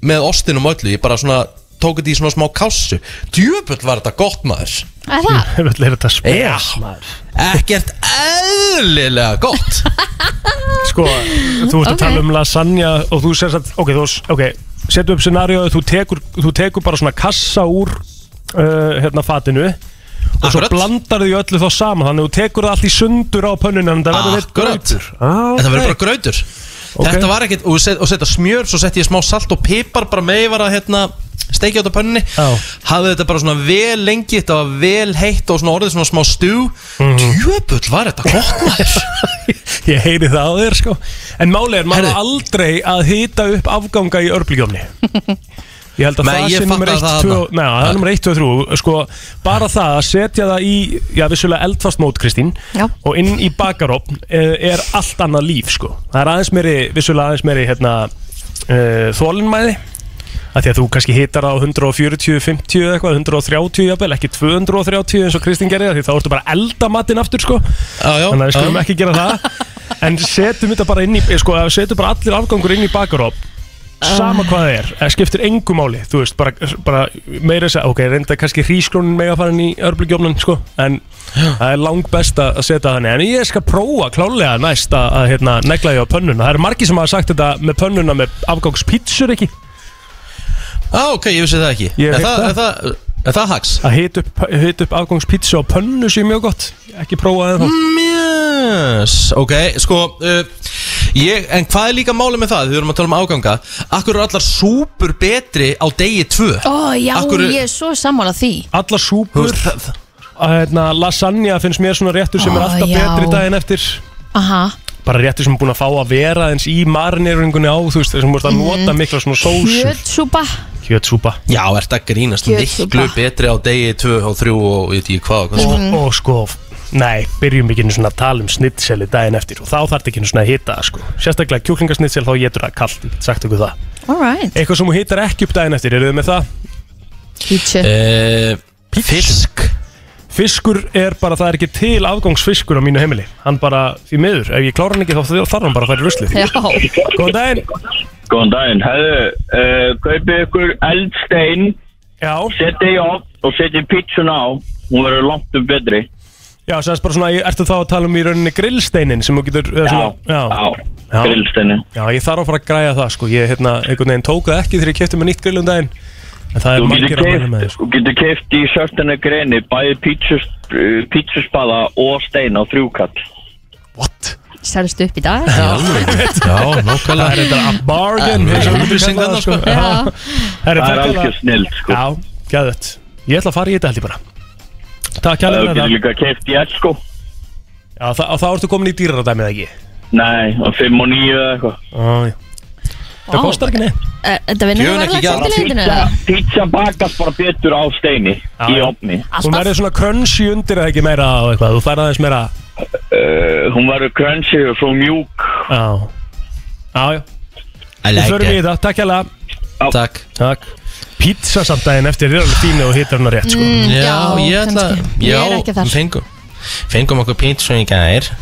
S2: með ostinum og öllu, ég bara svona tók þetta í svona smá kássu Djöfull var þetta gott maður
S3: Er það?
S4: Þetta er þetta
S2: Já, ekkert eðlilega gott
S4: Sko, þú ert að
S2: Ok.
S4: tala um lasagna og þú sér að, ok, þú, ok, setu upp scenarióið, þú tekur, þú tekur bara svona kassa úr uh, hérna fatinu og svo blandar því öllu þá saman þannig að þú tekur það allt í sundur á pönnunum en það verður eitt
S2: Akkurat.
S4: gröður ah,
S2: Þetta verður bara grautur Þetta var ekkert, og, set, og setja smjör, svo setti ég smá salt og pipar bara með ég var að hérna, steikja út á pönni Hafði þetta bara svona vel lengi, þetta var vel heitt og svona orðið svona smá stú mm.
S4: Mhm.
S2: Djöfull var þetta gott maður
S4: Ég heyri það á þér sko En máli er maður á aldrei að hýta upp afganga í örblíkjómni Ég held að
S2: Nei,
S4: það
S2: ég
S4: sé nummer
S2: fattaði
S4: 1,
S2: það
S4: 2
S2: þarna.
S4: Nei, það er nummer 1, 2, 3 Sko, bara það að setja það í Já, vissulega eldfast mót, Kristín
S3: Já.
S4: Og inn í bakarofn eh, er allt annað líf sko Það er aðeins meiri, vissulega aðeins meiri hérna, uh, Þólinmæði að því að þú kannski hitar á 140, 50 eða eitthvað, 130 jafnvel, ekki 230 eins og Kristín gerir af því þá ertu bara að elda matinn aftur sko já, já, þannig að við skulum
S2: já.
S4: ekki gera það en setjum þetta bara inn í eh, sko, setjum bara allir afgangur inn í bakaróp sama hvað það er, það skiptir engu máli þú veist, bara, bara meira þess að ok, reynda kannski hrísklónin mega farin í örblikjófnan, sko, en það er lang best að að setja þannig, en ég skal prófa klálega næst að, að hérna, negla ég á pönnuna, það eru margir sem hafa sagt þetta með pönnuna með afgangspítsur ekki
S2: Á, ok, ég vissi það ekki
S4: Ég
S2: Er
S4: hef
S2: það,
S4: heyrt
S2: er það, er það hags?
S4: Að hita upp, hita upp afgangspítsu á pönnu sé mjög gott Ekki prófaði það
S2: mm, yes. Ok, sko uh, ég, En hvað er líka máli með það? Við erum að tala um áganga Akkur eru allar súpur betri á degi 2
S3: Ó, já,
S2: Akkur,
S3: ég er svo sammála því
S4: Allar súpur að, hérna, Lasagna finnst mér svona réttur sem
S3: Ó,
S4: er alltaf
S3: já.
S4: betri daginn eftir
S3: Aha,
S4: Bara réttur sem er búin að fá að vera eins í marineringunni á Þú veist, þessum voru
S3: Mhm.
S4: að nota mikla svona sósur
S3: kjötsúpa
S4: Kjötsúpa
S2: Já, er þetta grínast
S3: Kjötsúpa.
S2: miklu betri á degi 2 og 3 og ég veit ekki hvað, og hvað
S4: og, og sko, nei, byrjum ekki einu svona að tala um snittseli daginn eftir og þá þarf ekki einu svona að hita það sko. sérstaklega kjúklingasnittsel þá getur það kallt, ég get sagt ykkur það
S3: alright
S4: eitthvað sem þú hitar ekki upp daginn eftir, eru þið með það?
S3: Pítsu
S2: Fisk
S4: Fiskur er bara, það er ekki til afgangsfiskur á mínu heimili Hann bara, því miður, ef ég klára hann ekki þá þarf hann bara að færa ruslið
S3: Já
S4: Góðan daginn
S14: Góðan daginn, hefðu, uh, kaupið ykkur eldstein
S4: Já
S14: Setið í opn og setið pítsuna á Hún verður langt um betri
S4: Já, sem þess bara svona, ertu þá að tala um í rauninni grillsteinin sem þú getur eða svona,
S14: já, grillsteinin
S4: Já, ég þarf að fara að græja það, sko Ég, hérna, einhvern veginn tók það ekki þegar ég kefti með nýtt grill um daginn En
S14: Þú
S4: það
S14: getur
S4: er margir að mæla með sko.
S14: keypt-
S4: þér
S14: þú getur keift í sörtana greni Bæði pítsus, uh, pítsuspada og stein á þrjúkall
S3: Selstu upp í dag
S2: Já, nokkala
S4: Það er þetta a bargain eins og við myndum kalla það, sko. Já. Herri,
S14: Það er
S4: takk
S14: algjör
S4: hérlega.
S14: snild sko
S4: Já, gæðut Ég ætla að fara í þetta held ég bara Takk
S14: Þú
S4: kærlega fyrir
S14: Eh, getur
S4: þetta.
S14: líka keift í eld sko
S4: Já, þa- og þá ertu komin í dýraradæmið ekki
S14: Nei, á 5 og 9 eða eitthvað
S4: Ó, já. Það kostar ekki neitt
S3: Eh, Þetta vinnur það verðlag sendilindinu
S14: Pizza- Pizza bakast bara betur á steini Í opni
S4: Hún verður svona crunchy undir eða ekki meira og eitthvað, þú færði aðeins meira
S14: uh, Hún verður crunchy og svo mjúk
S4: Já, já, já
S2: I
S4: Við
S14: like
S4: förum í
S14: it.
S4: þetta, takk hérlega
S2: Takk
S4: Takk Pizza samt daginn eftir er alveg fín og hittar hún að rétt sko
S2: Mm, já, ég ætla
S4: kannski.
S2: Já,
S4: Ég er ekki þar.
S2: við fengum Fengum okkur pítsu í gær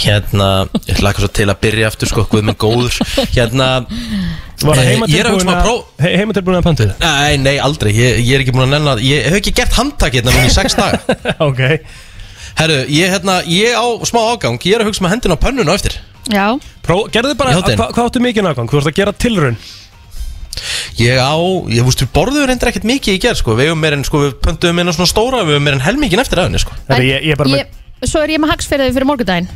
S2: Hérna, ég hlakka svo til að byrja aftur sko, hvað með góður Hérna
S4: Var það
S2: eh, Ég er að hugsa um að prófa
S4: heimatilbúin að pantið þetta?
S2: Nei, nei, aldrei, ég, ég er ekki búin að nenna Ég hef ekki gert handtakið hérna núna í sex daga
S4: Ok
S2: Herru, ég, hérna, ég á smá ágang Ég er að hugsa með hendina á pönnuna á eftir
S3: Já
S4: Pró, gerðu bara,
S2: Já, þeim.
S4: hva, hvað áttu mikið nákvæm? Þú ert að gera tilraun
S2: Ég á, ég veist, við borðum reyndar ekkert mikið í gerð sko. Við eigum meir en, sko, við pöntum einu svona stóra Við eigum meir en helmingin eftir aðinni sko.
S3: ég, Svo er ég með hagsferðið fyrir morgundaginn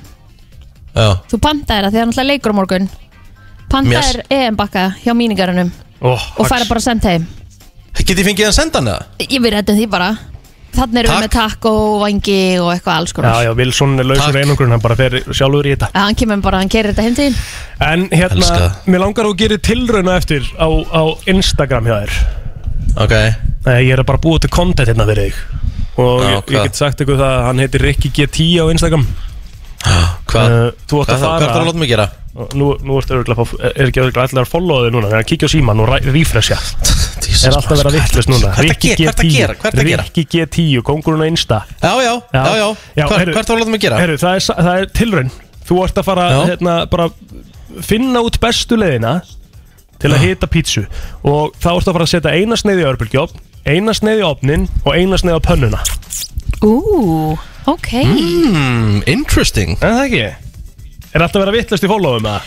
S2: Já.
S3: Þú pantaðir það því það er náttúrulega leikur á morgun Pantaðir EM-bakka hjá míningarunum
S4: oh,
S3: Og færa bara send heim
S2: Get ég fengið að senda hana?
S3: Ég við réttum því bara Þannig erum við með takk og vangi og eitthvað alls
S4: Já,
S3: konar
S4: já, Wilson er lausur einangrun, hann bara fer sjálfur í þetta
S3: Að Hann kemur bara, hann gerir þetta heim til þín
S4: En hérna,
S2: Elska það.
S4: mér langar að þú gerir tilrauna eftir á, á Instagram hjá þér
S2: Ok
S4: Nei, ég er að bara búa til content hérna fyrir þig
S2: Já,
S4: Og ég, ég
S2: hvað?
S4: get sagt ykkur það að hann heitir Rikki G10 á Instagram Eh,
S2: Hvað?
S4: Þú átt
S2: Ah, Hvað
S4: að
S2: þarf-
S4: fara
S2: hvað þarf að láta mig gera?
S4: Og Nú, nú ertu örugglega að fá- er ekki örugglega allar að followa þig núna Þegar að kíkja á síman og ræ- refresha
S2: Jesus
S4: Er alltaf að vera
S2: Christ,
S4: vittlust núna
S2: hvað ertu að
S4: Rikki
S2: gera- hvað ertu að
S4: G10,
S2: gera- hvað ertu að gera?
S4: Rikki G10, kongurinn á Insta
S2: Já, já, já, já, Hvað-
S4: heyrðu-
S2: Hvert var að láta mig gera?
S4: Heyrðu, það, er, sa- það er tilraun Þú ert að fara
S2: Já.
S4: hérna, bara, finna út bestu leiðina til að hita pítsu og þá ertu að fara að setja eina sneiði í örbulgjófn eina sneiði í ofnin og eina sneiði á pönnuna
S3: Ú, ok
S2: Hmm,
S4: mm, Interesting En það ekki Er alltaf að vera vittlust í followum eða?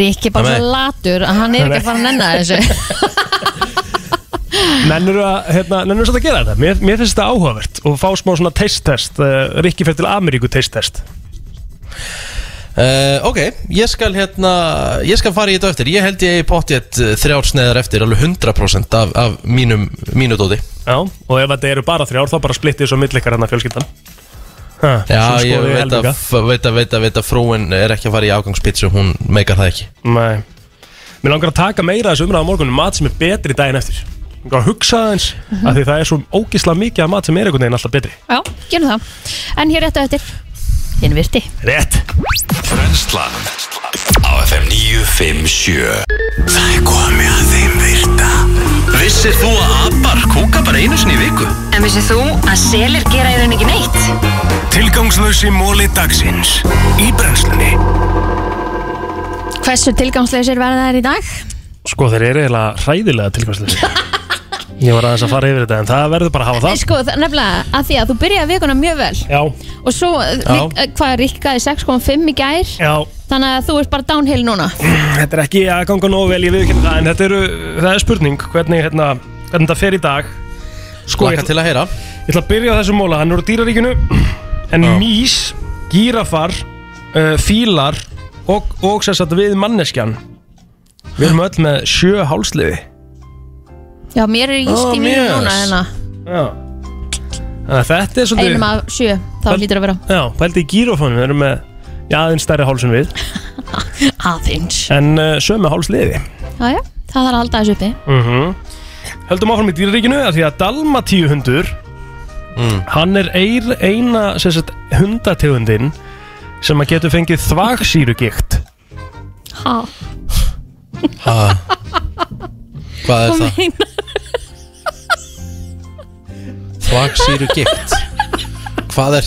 S3: Rikki er bara
S4: Nei.
S3: svo latur að hann er ekki að fara að nenna þessu
S4: Nennur að, hérna, nennur að gera þetta mér, mér finnst þetta áhugavert og fá smá svona taste-test uh, Rikki fyrir til Ameríku taste-test
S2: Uh, ok, ég skal hérna ég skal fara í þetta eftir, ég held ég í pottjett þrjár sneiðar eftir, alveg 100% af, af mínum, mínu dóti
S4: Já, og ef þetta eru bara þrjár þá bara splittið svo millikar hérna fjölskyldan ha,
S2: Já,
S4: svo
S2: ég
S4: skoðið
S2: veit að,
S4: helminga.
S2: f- veit að, veit að, veit að frúin er ekki að fara í afgangspítsu, hún meikar það ekki
S4: Nei Mér langar að taka meira af þessu umræða á morgunum mat sem er betri daginn eftir Mig langar að hugsa aðeins mm
S3: Mhm.
S4: af því það er svo ógislega mikið af mat sem er einhvern veginn alltaf betri
S3: Já, gerum það En hér réttu eftir Hinn virti
S4: Rétt
S1: Brennslan á FM 957 Það er komið að þeim virta Vissir þú að abar kúka bara einu sinni í viku?
S5: En vissið þú að selir gera í rauninni ekki neitt?
S1: Tilgangslösi móli dagsins í brennslunni
S3: Hversu tilgangsleysir verða þær í dag?
S4: Sko þeir eru eiginlega hræðilega tilkvæmslega Ég var aðeins að fara yfir þetta en það verður bara að hafa það
S3: Sko, það- nefnilega, að því að þú byrjaði vikuna mjög vel
S4: Já,
S3: Og svo, rík, hvað, ríkkaði 6,5 í gær
S4: já Mm.
S3: Þannig að þú ert bara downhill núna
S4: Þetta er ekki að ganga nógu vel, ég viðkynna það en þetta eru, það er spurning hvernig, hérna, hvernig þetta fer í dag Sko,
S2: Laka til að heyra
S4: Ég ætla að byrja á þessum móla, hann er úr dýraríkinu En mís, gírafar, uh, fílar og, og sér satt við manneskjan Við erum öll með sjö hálsliði
S3: Já, mér er íst
S4: Ó,
S3: í mínu
S4: mjöss.
S3: núna hennar
S4: Já Þannig að þetta er svolítið
S3: Einum af sjö, þá lítur að vera
S4: Já, pældi í gírafónum, við erum með já, aðeins stærri háls en við
S3: Aðeins
S4: En uh, sömu hálsliði
S3: Já, já, það þarf að halda þessu uppi
S4: mm
S2: Mhm.
S4: Höldum áfram í dýraríkinu af Því að Dalmatíu hundur
S2: Mm.
S4: Hann er eir, eina sem sagt, hundategundin sem að getur fengið þvagsýrugikt
S3: Ha,
S2: ha. Hvað er
S3: hvað
S2: það?
S3: meinar
S2: Þvagsýru gikt Hvað er,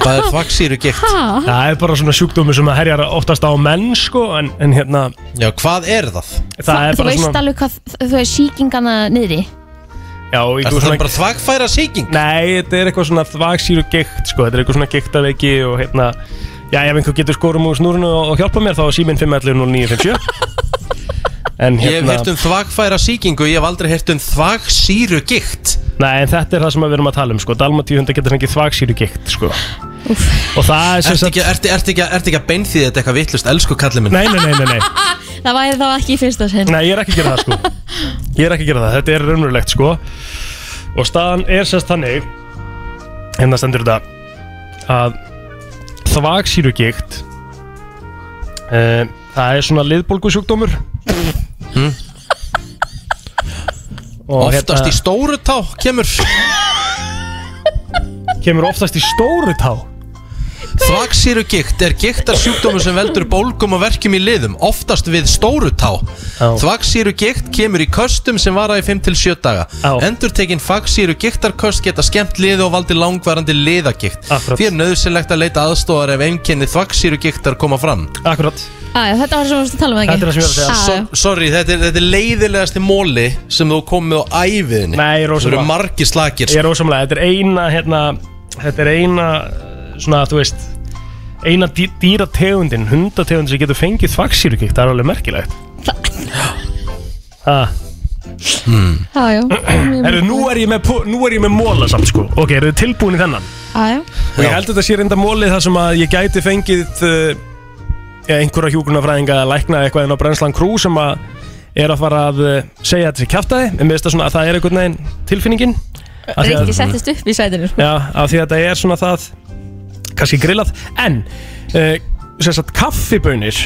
S2: hvað er þvagsýru gikt?
S3: Ha?
S4: Það er bara svona sjúkdómi sem að herjar oftast á menn sko, en, en hérna
S2: Já, hvað er það?
S4: Það er
S3: Þú
S4: bara
S3: veist
S4: svona
S3: alveg hvað, þú veist síkingana niðri
S4: já,
S2: Er það bara þvagfæra sýking?
S4: Nei, þetta er eitthvað svona þvagsýrugikt sko, þetta er eitthvað svona giktaveiki og hérna Já, ef einhver getur skorum úr snúrinu og, og hjálpa mér þá er síminn 511 En
S2: Ég hef
S4: hérna
S2: heyrt um þvagfæra sýkingu, ég hef aldrei heyrt um þvagsýru gikt
S4: Nei, en þetta er það sem við erum að tala um sko. Dalmatíuhundar geta fengið þvagsýrugikt sko. Og það er sem
S2: Ertu ekki, ertu, ertu, ekki, ertu ekki að beinþýði þetta eitthvað vittlust, elsku kallið minn?
S4: Nei, nei, nei, nei, nei.
S3: Það væri þá ekki í fyrsta sinn
S4: Nei, ég er ekki að gera það sko Ég er ekki að gera það, þetta er raunverulegt sko Og staðan er sérst þannig Hérna stendur þetta Að Þvagsýrugikt uh, Það er svona liðbólgusjúkdómur mm.
S2: Hmm? Oftast
S4: hérna-
S2: í stóru tá kemur
S4: Kemur oftast í stóru tá
S2: Þvagsýru gikt er giktarsjúkdómur sem veldur bólgum og verkjum í liðum Oftast við stóru tá Þvagsýru gikt kemur í köstum sem vara í 5-7 daga Endur tekin fagsýru giktarköst geta skemmt liði og valdi langvarandi liðagikt Akkurat. Því er nöðsynlegt að leita aðstóðar ef einkenni þvagsýru giktar koma fram
S4: Akkurat
S3: Æja, þetta var sem við varst að tala um ekki
S2: So, Sorry, þetta er, þetta er leiðilegasti móli sem þú komið á æfiðinni
S4: Nei, ég er
S2: Þú
S4: ósamlega
S2: eru margir slakir sko.
S4: Ég er ósamlega, þetta er eina hérna, Þetta er eina eh, Svona, þú veist Eina dý, dýrategundin, hundategundin sem getur fengið þvagsýrugikt, það er alveg merkilegt Ha,
S2: hmm.
S3: Æja,
S4: Herru, nú er ég með, pú- nú er ég með móla samt sko Ok, eru þið tilbúin í þennan?
S3: Æja
S4: Og ég held að þetta sé reynda móli þar sem að ég gæti fengið uh, ja, einhverja hjúkurnafræðinga að lækna eitthvað inn á Brennslan Crew sem að er að fara að uh, segja þetta sem kjaftaði en miðst að svona að það er einhvern veginn tilfinningin Af því að-
S3: Rikki settist upp í sætinu
S4: Já, af því að þetta er svona það kannski grillað en uh, sem sagt kaffibönir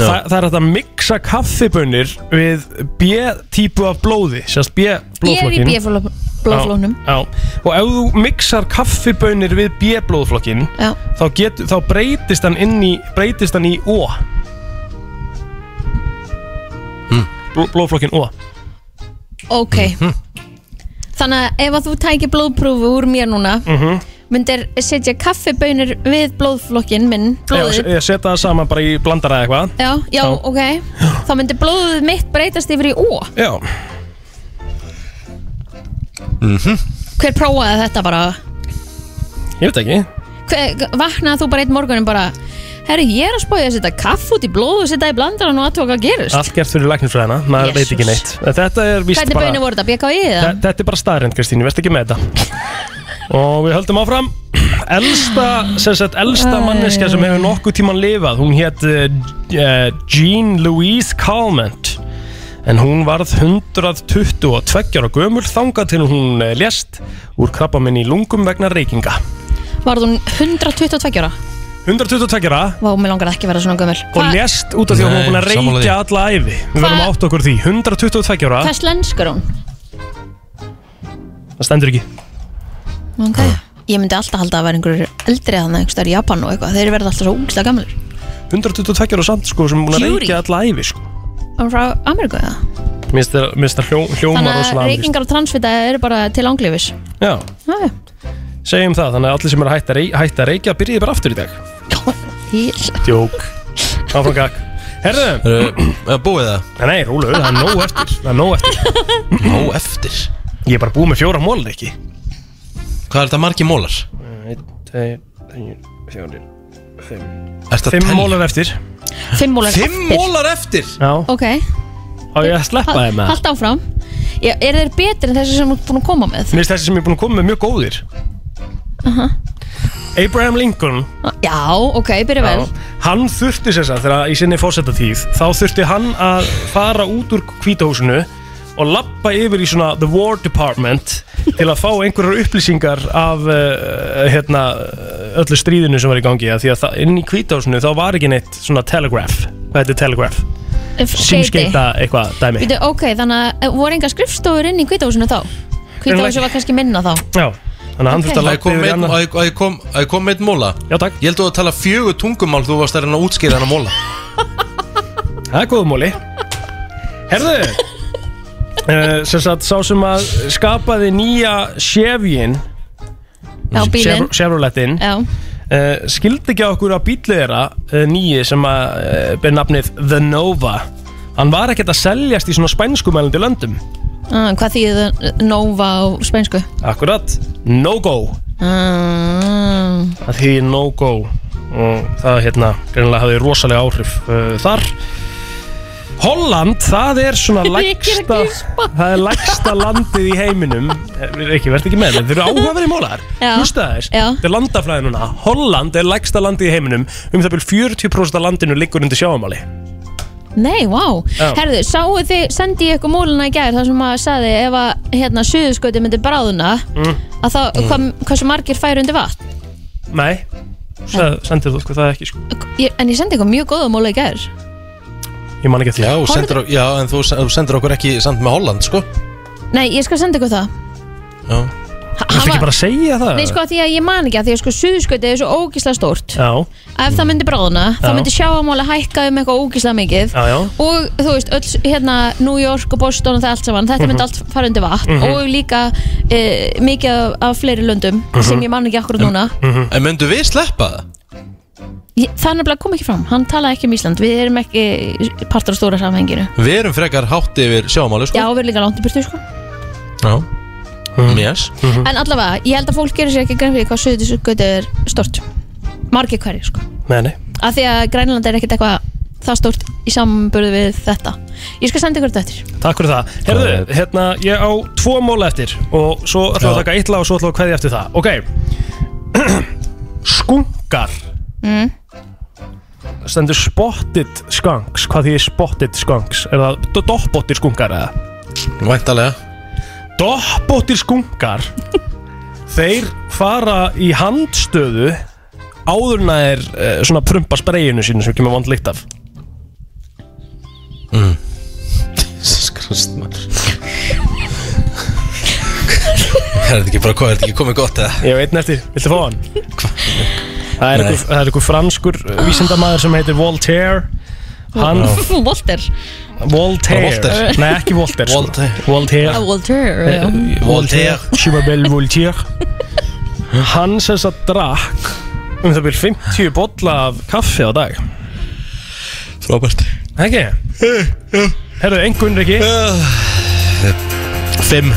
S4: Þa, það er hægt að mixa kaffibönir við B-típu af blóði sem sagt
S3: Ég er í
S4: B-blóðflokkin
S3: bíflóflónum
S4: Já, já. Og ef þú mixar kaffibönir við B-blóðflokkin
S3: Já.
S4: þá, get- þá breytist hann inn í breytist hann í O bló- blóðflokkin O
S3: Ok
S4: Mhm.
S3: Þannig að ef að þú tækir blóðprúfu úr mér núna
S4: Mhm.
S3: myndir setja kaffibönir við blóðflokkin minn
S4: Ég
S3: blóðið
S4: ég setja það saman bara í blandara eða eitthvað
S3: Já, já,
S4: Já.
S3: ok Þá myndir blóðið mitt breytast yfir í ó
S4: Já
S3: Mhm. Hver prófaði þetta bara?
S4: Ég veit ekki
S3: Hver, vaknaði þú bara einn morgunin bara Herri, ég er að spója að setja kaff út í blóð og setja í blandaran og aðtóka að gerist
S4: Allt gert fyrir læknisfræðina, maður veit ekki neitt Þetta er víst
S3: Hvernig
S4: bara
S3: bönir voru þetta? BKI eða?
S4: Þe- Þetta er bara staðrind Kristín, ég veist ekki með þetta Og við höldum áfram Elsta, sem sagt, elsta manneskja sem hefur nokkuð tíman lifað Hún hétt uh, Jean Louise Calment En hún varð 122 ára gömul þangað til hún eh, lést úr krabbaminn í lungum vegna reykinga
S3: Varð hún 122 ára?
S4: 122 ára
S3: Vá, mér langar ekki að vera svona gömul
S4: og lést út af því að hún var búin að
S2: Nei, sammála
S4: reykja alla æfi Við verðum átt okkur á því, 122 ára
S3: Hvað slenskur hún?
S4: Það stendur ekki
S3: Ok Ég myndi alltaf halda að vera einhverjur eldri að hann einhverstaðar í Japan og eitthvað Þeir verða alltaf svo úkslega gamlir
S4: 122 ára samt sko sem er búin að
S3: Curie.
S4: reykja alla æfi sko
S3: Hann frá Ameríku eða?
S4: Mér finnst það- mér finnst það hljó, hljóma
S3: Þannig að
S4: rosalega amerískt.
S3: reykingar og transfita eru bara til ánglifis
S4: Já,
S3: Já, já.
S4: segjum það, þannig að allir sem er að hætta, rey, hætta að reykja byrjiði bara aftur í dag
S3: Ég-
S4: Djók Áfram gag Herðu Búið það? Nei, nei, rúlu, það er nóg eftir Það er nóg eftir Nóg eftir? Ég er bara búið með fjóra mólar ekki
S2: Hvað er þetta margi mólar?
S4: Einn, tveir, þrír, fjórir, fimm
S2: Ertu að
S4: Fimm
S2: telja?
S4: mólar eftir
S3: Fimm mólar
S2: Fimm
S3: eftir.
S2: mólar eftir?
S4: Já
S3: Ok
S4: Á ég að sleppa
S3: Hal-
S4: þeim með það?
S3: Halda áfram Já, Er þeir betri en þessi sem þú ert búin að koma með?
S4: Mér finnst þessi sem ég er búin að koma með mjög góðir
S3: Aha.
S4: Abraham Lincoln
S3: Já, ok, byrja vel
S4: Já. Hann þurfti sér það þegar í sinni fósettatíð þá þurfti hann að fara út úr kvítahúsinu og lappa yfir í svona the war department til að fá einhverjar upplýsingar af uh, hérna, öllu stríðinu sem var í gangi af því að það, inn í kvítahúsinu þá var ekki neitt svona telegraph, hvað heitir telegraph?
S3: F-
S4: Símskeita eitthvað dæmi
S3: Býtu, ok, þannig að eh, voru enga skrifstofur inn í kvítahúsinu þá? Kvítahúsi var kannski minna þá
S4: Já, þannig að hann þurfti
S2: Að
S4: að
S2: ég
S4: lappa
S2: kom
S4: yfir í
S2: með-
S4: annað
S2: að ég- að ég kom- að ég kom með einn móla
S4: Já, takk
S2: Ég held að þú að tala fjögur tungumál þú varst að reyna að útskýra hennar móla
S4: Það er góðum móli Herðu uh, sem sagt sá sem að skapaði nýja Chevyin Mm,
S3: Já, bílinn.
S4: Chev- Chevroletin
S3: Já.
S4: Uh, skildi ekki á okkur að bílið þeirra uh, nýji sem að uh, ber nafnið The Nova hann var ekkert að seljast í svona spænskumælandi löndum
S3: Ah, Hvað þýðir Nova á spænsku?
S4: akkurat, no go
S3: Mm,
S4: að því no go og það hérna greinilega hafði rosalega áhrif uh, þar Holland, það er svona lægsta það er lægsta landið í heiminum Eh, ekki, verð ekki með þetta, þeir eru áhugaverið mólar
S3: Já.
S4: hlusta þess, þetta er landaflæði núna Holland er lægsta landið í heiminum um það byrjum 40% af landinu liggur undir sjáumáli
S3: Nei, vá
S4: Já.
S3: Herðu, sáu þið, sendi ég ykkur múluna í gær þar sem maður sagði ef að hérna suðuskauti myndi bráðuna
S4: mm.
S3: að þá,
S4: Mm.
S3: hvað, hversu margir færu undir vatn
S4: nei, Sæ- sendir þú sko það ekki sko
S3: ég, En ég sendi ykkur mjög góða múla í gær
S4: ég man ekki eftir
S2: Já, þú sendir, já en þú, sen- þú sendir okkur ekki samt með Holland sko
S3: Nei, ég skal senda ykkur það
S2: Já
S4: Þú ekki bara að segja það?
S3: Nei, sko, af því að ég man ekki að því að sko suðuskauti er svo ógislega stórt
S4: Já,
S3: Ef það myndi bráðuna, þá
S4: Já.
S3: myndi sjáamáli hækka um eitthvað ógislega mikið
S4: já, já
S3: og þú veist, öll hérna New York og Boston og það allt saman, þetta myndi
S4: Mhm.
S3: allt fara undir vatn
S2: Mhm.
S3: og líka e, mikið af, af fleiri löndum
S2: Mhm.
S3: sem ég man ekki akkur núna
S4: Mhm.
S2: En myndu við sleppa það?
S3: ég, það er nefnilega kom ekki fram, hann talaði ekki um Ísland við erum ekki partur á stóra samhenginu
S2: Við erum frekar hátt yfir sjámáli sko
S3: já, við erum líka langt í burtu sko
S2: Já
S4: Mhm.
S2: Yes
S3: en allavega, ég held að fólk gerir sér ekki grein fyrir hvað söðuðsgötu er stort margir hverju sko
S4: Nei, nei
S3: af því að Grænland er ekkit eitthvað það stort í samanburðu við þetta ég skal senda ykkur þetta eftir
S4: Takk fyrir það. Herðu, hérna, ég á tvo móla eftir og svo ætlum við að taka eitt lag og svo ætlum við að kveðja eftir það. Ok. Skunkar.
S3: mm.
S4: Stendur spotted skunks. Hvað því spotted skunks? Er það do- doppóttir skunkar eða?
S2: Væntalega.
S4: Doppóttir skunkar. þeir fara í handstöðu áðurna er uh, svona prumpa spreyinu sínu sem kemur vond lykt af.
S2: Skrust maður Er þetta ekki bara hvað, er þetta ekki komið gott eða?
S4: Ég veit neftir, viltu fá hann? Það er
S2: Nei.
S4: eh, einhver- það er einhver franskur vísindamæður sem heitir Voltaire Hann-
S3: Walter
S4: Voltaire
S3: Voltaire.
S4: Nei, ekki Voltaire Voltaire Voltaire,
S3: Ah, Walter já.
S4: Eh, Voltaire Chimabel Voltaire Hann sem sagt drakk um það byrjum 50 bolla af kaffi á dag
S2: Frábært
S4: Ekki? Herðu, engun Riki? Fimm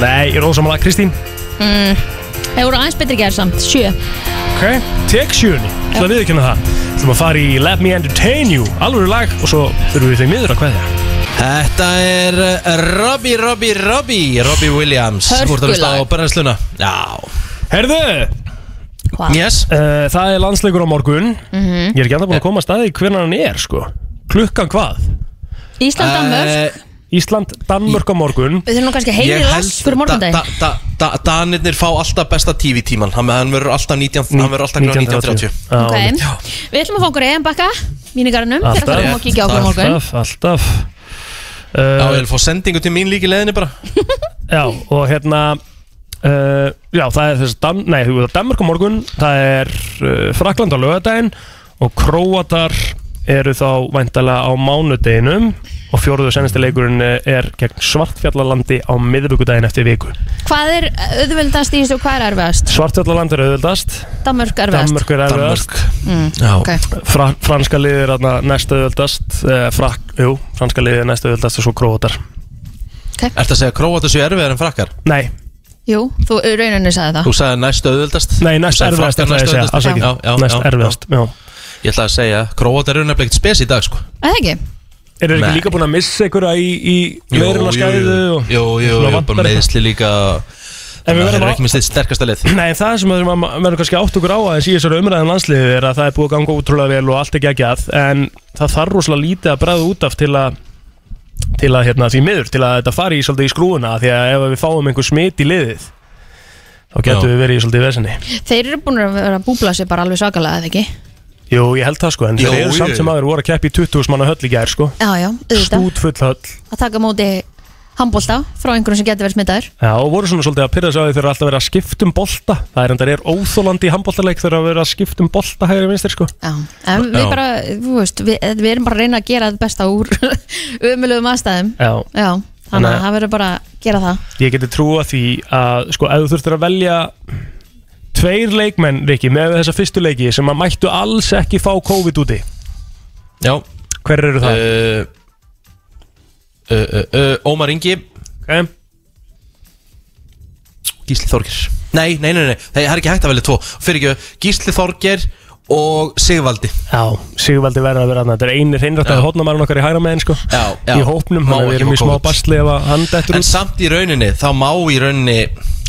S4: Nei, ég er ósamlega Kristín
S3: Mm, Þeir voru aðeins betri gerð samt, sjö
S4: eh, Ok, tek sjöunni Það við ekki hana það Þú maður að fara í Let Me Entertain You Alvöru lag og svo þurfum við þau miður að kveðja
S2: Þetta er eh, Robbie, Robbie, Robbie Robbie Williams
S4: Hörkulag.
S2: Þú ert að hlusta á brennsluna Já
S4: Herðu Eh,
S3: Hvað?
S2: Yes
S4: Það er landsleikur á morgun
S3: Mhm.
S4: Ég er ekki annað búin að koma að staði hvernig hann er sko Klukkan hvað?
S3: Ísland,
S4: Eh,
S3: Danmörk
S4: Ísland, Danmörk á morgun
S3: Við þurfum nú kannski heimir rask fyrir morgundag
S2: da, da, da, Danirnir fá alltaf besta TV-tíman Hann hann verður alltaf 19 Hann verður alltaf 1930
S3: Ok, við ætlum að fá okkur eðan bakka Mínigarunum, þegar
S2: Alltaf.
S3: það komum að kíkja á okkur á morgun
S4: Alltaf, alltaf uh,
S2: Já, ég vil fá sendingu til mín líka í leðinni bara
S4: Já, og hérna uh, Já, það er þess að Dan, Nei, þú veist að Danmark á morgun Það er uh, Frakland á lögadaginn Og Króatar eru þá væntalega á mánudeginum Og fjórðu og senasti leikurinn er gegn Svartfjallalandi á miðvíkudaginn eftir viku
S3: Hvað er auðveldast í þessu og hvað er erfiðast?
S4: Svartfjallaland er auðvildast
S3: Danmörk erfiðast
S4: Danmark er erfiðast
S3: Mm,
S2: Já.
S3: ok.
S4: Fra, franska liðið er þarna næst auðvöldast eh, frak, jú, franska liðið er næst auðvöldast og svo króatar
S2: Ertu að segja króata sér erfiðar en frakkar?
S4: Nei
S3: Jú, þú í rauninni sagði það
S2: Þú sagði næst auðvöldast
S4: Nei, næst
S2: Þú sagðir frakkar
S4: erfiðast, ætlaði ég að segja,
S2: næst
S4: afsakið.
S2: auðveldast. Já, já,
S4: Næst
S2: já,
S4: erfiðast, já
S2: Ég ætla að segja Króata eru nefnilega ekkert spes í dag sko
S3: Er það ekki?
S4: Er þeir
S2: Nei.
S4: ekki líka búin að missa einhverja í, í
S2: Jú,
S4: leirinn á
S2: jú,
S4: skæðu
S2: jú.
S4: og
S2: Jú, jú,
S4: svona
S2: jú,
S4: vantar
S2: bara
S4: eitthvað?
S2: meðsli líka
S4: En
S2: Þannig
S4: við
S2: að
S4: verðum
S2: þeir eru
S4: að-
S2: ekki með sitt sterkasta lið
S4: Nei, það sem við verðum að- verðum kannski átt okkur á aðeins í þessari umræðan landsliðið er að það er búið að ganga útrúlega vel og allt er geggjað en það þarf rosalega lítið að bræða út af til að til að hérna því miður, til að þetta fari í svolítið í skrúuna því að ef við fáum einhver smit í liðið þá getum
S2: Já.
S4: við verið í svolítið vesenni
S3: Þeir eru búin að vera að búbla sér bara alveg svakalega, eða ekki?
S4: Jú, ég held það sko, en
S2: Jú,
S4: þeir eru
S2: jú.
S4: samt sem aður voru að keppi í 20 manna höll í gær sko
S3: Já, já, auðvitað
S4: Stútfull höll
S3: Að taka á móti handbólta frá einhverjum sem getur verið smittaður
S4: Já, og voru svona svolítið að pyrra sig á því þegar alltaf verið að skipta um bolta Það er endar er óþólandi í handboltaleik þegar að vera að skipta um bolta hægri vinstir sko
S3: Já, En við bara, þú veist, við, eh, við erum bara að reyna að gera þetta besta úr umilögum aðstæðum
S4: Já,
S3: Já, þannig
S4: Þannig
S3: að
S4: að-
S3: það verður bara að gera það
S4: Ég geti trúa því að sko ef þú þurftir að velja tveir leikmenn, Rikki, með þessa fyrstu leiki sem að mættu alls ekki fá COVID úti
S2: Já
S4: Hver eru það?
S2: Uh, uh, uh, uh, Ómar Ingi
S4: okay.
S2: Gísli Þorgir Nei, nei, nei, nei, það er ekki hægt að velja tvo Fyrir ekki, Gísli Þorgir og Sigvaldi
S4: Já, Sigvaldi verður að vera þarna, þetta er einir hreinrættaði hótnamærin okkar í hægra meginn sko
S2: Já, já.
S4: Í hópnum,
S2: Má
S4: þannig að við
S2: ekki
S4: erum
S2: fá
S4: í smá
S2: COVID.
S4: basli ef að hann dettur
S2: En
S4: út
S2: samt í rauninni, þá má í rauninni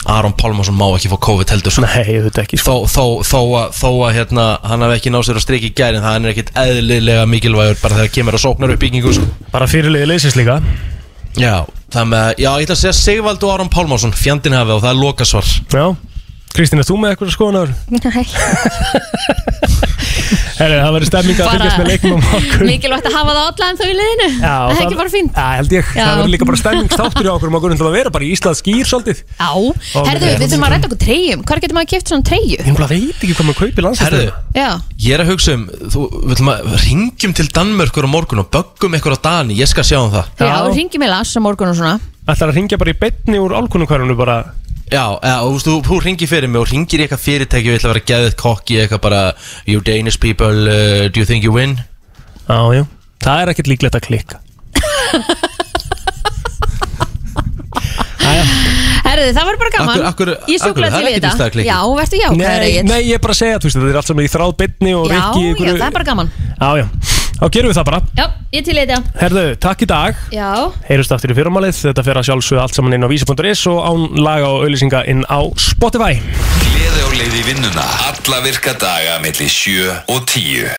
S2: Aron Pálmarsson má ekki fá COVID heldur sko.
S4: Nei, auðvitað ekki
S2: sko. Þó, þó, þó, að- þó að hérna, hann hafi ekki náð sér að streiki í gær En það er ekkit eðlilega mikilvægur Bara þegar kemur að sóknar upp byggingu sko.
S4: Bara fyrirliði leysist líka
S2: Já, þannig að, já, ég ætla að segja Sigvald og Aron Pálmarsson Fjandinn hafi og það er lokasvar
S4: Já, Kristín, er þú með eitthvað skoðunar? Herri, það verður stemming að fylgjast með leiknum á morgun
S3: mikilvægt að hafa það allan þau í liðinu
S4: Já,
S3: Það er
S4: það-
S3: ekki bara fínt
S4: Já, held ég,
S3: Já.
S4: það verður líka bara stemmingstáttur hjá okkur um okkur um að vera bara í Íslands skýr svolítið
S3: Já, herðu, við þurfum að ræta okkur treyjum Hvar getur maður að kipta svona treyju?
S4: Ég bara veit ekki hvað maður kaupir landslæðinu
S3: Já,
S2: Ég er að hugsa um, þú, við ætlum að ringjum til Danmörkur á morgun og böggum eitthvað á Dani, ég skal sjá um það
S3: já, ringjum í las á morgun og svona
S4: Það er að ringja bara í betni úr álkunumkvarunum bara
S2: Já, eða, og, þú veist, þú, þú ringir fyrir mig og ringir í eitthvað fyrirtæki og ég ætla að vera geðið kokki í eitthvað bara You Danish people, uh, do you think you win?
S4: Já, já, það er ekkert líklegt að klikka
S3: Herðu, það var bara gaman
S4: Akkur- akkur-
S3: Ég súklaði
S4: akkur, það
S3: til
S4: er
S3: við
S4: ekki víst að
S3: þetta
S4: klikki.
S3: Já, verður jákvæður
S4: Nei,
S3: Egill.
S4: nei, ég er bara að segja, þú veist, þetta er allt saman í þráð betni og
S3: Já,
S4: Rikki í
S3: já,
S4: einhverju-
S3: það er bara gaman
S4: Já, já, þá gerum við það bara
S3: Já, ég til í þetta
S4: Herðu, takk í dag
S3: Já,
S4: Heyrjumst aftur í fyrramálið, þetta fer að sjálfsögðu allt saman inn á vísa.is og án laga og auðlýsinga inn á Spotify
S1: Gleði á leið í vinnuna Alla virka daga melli 7 og 10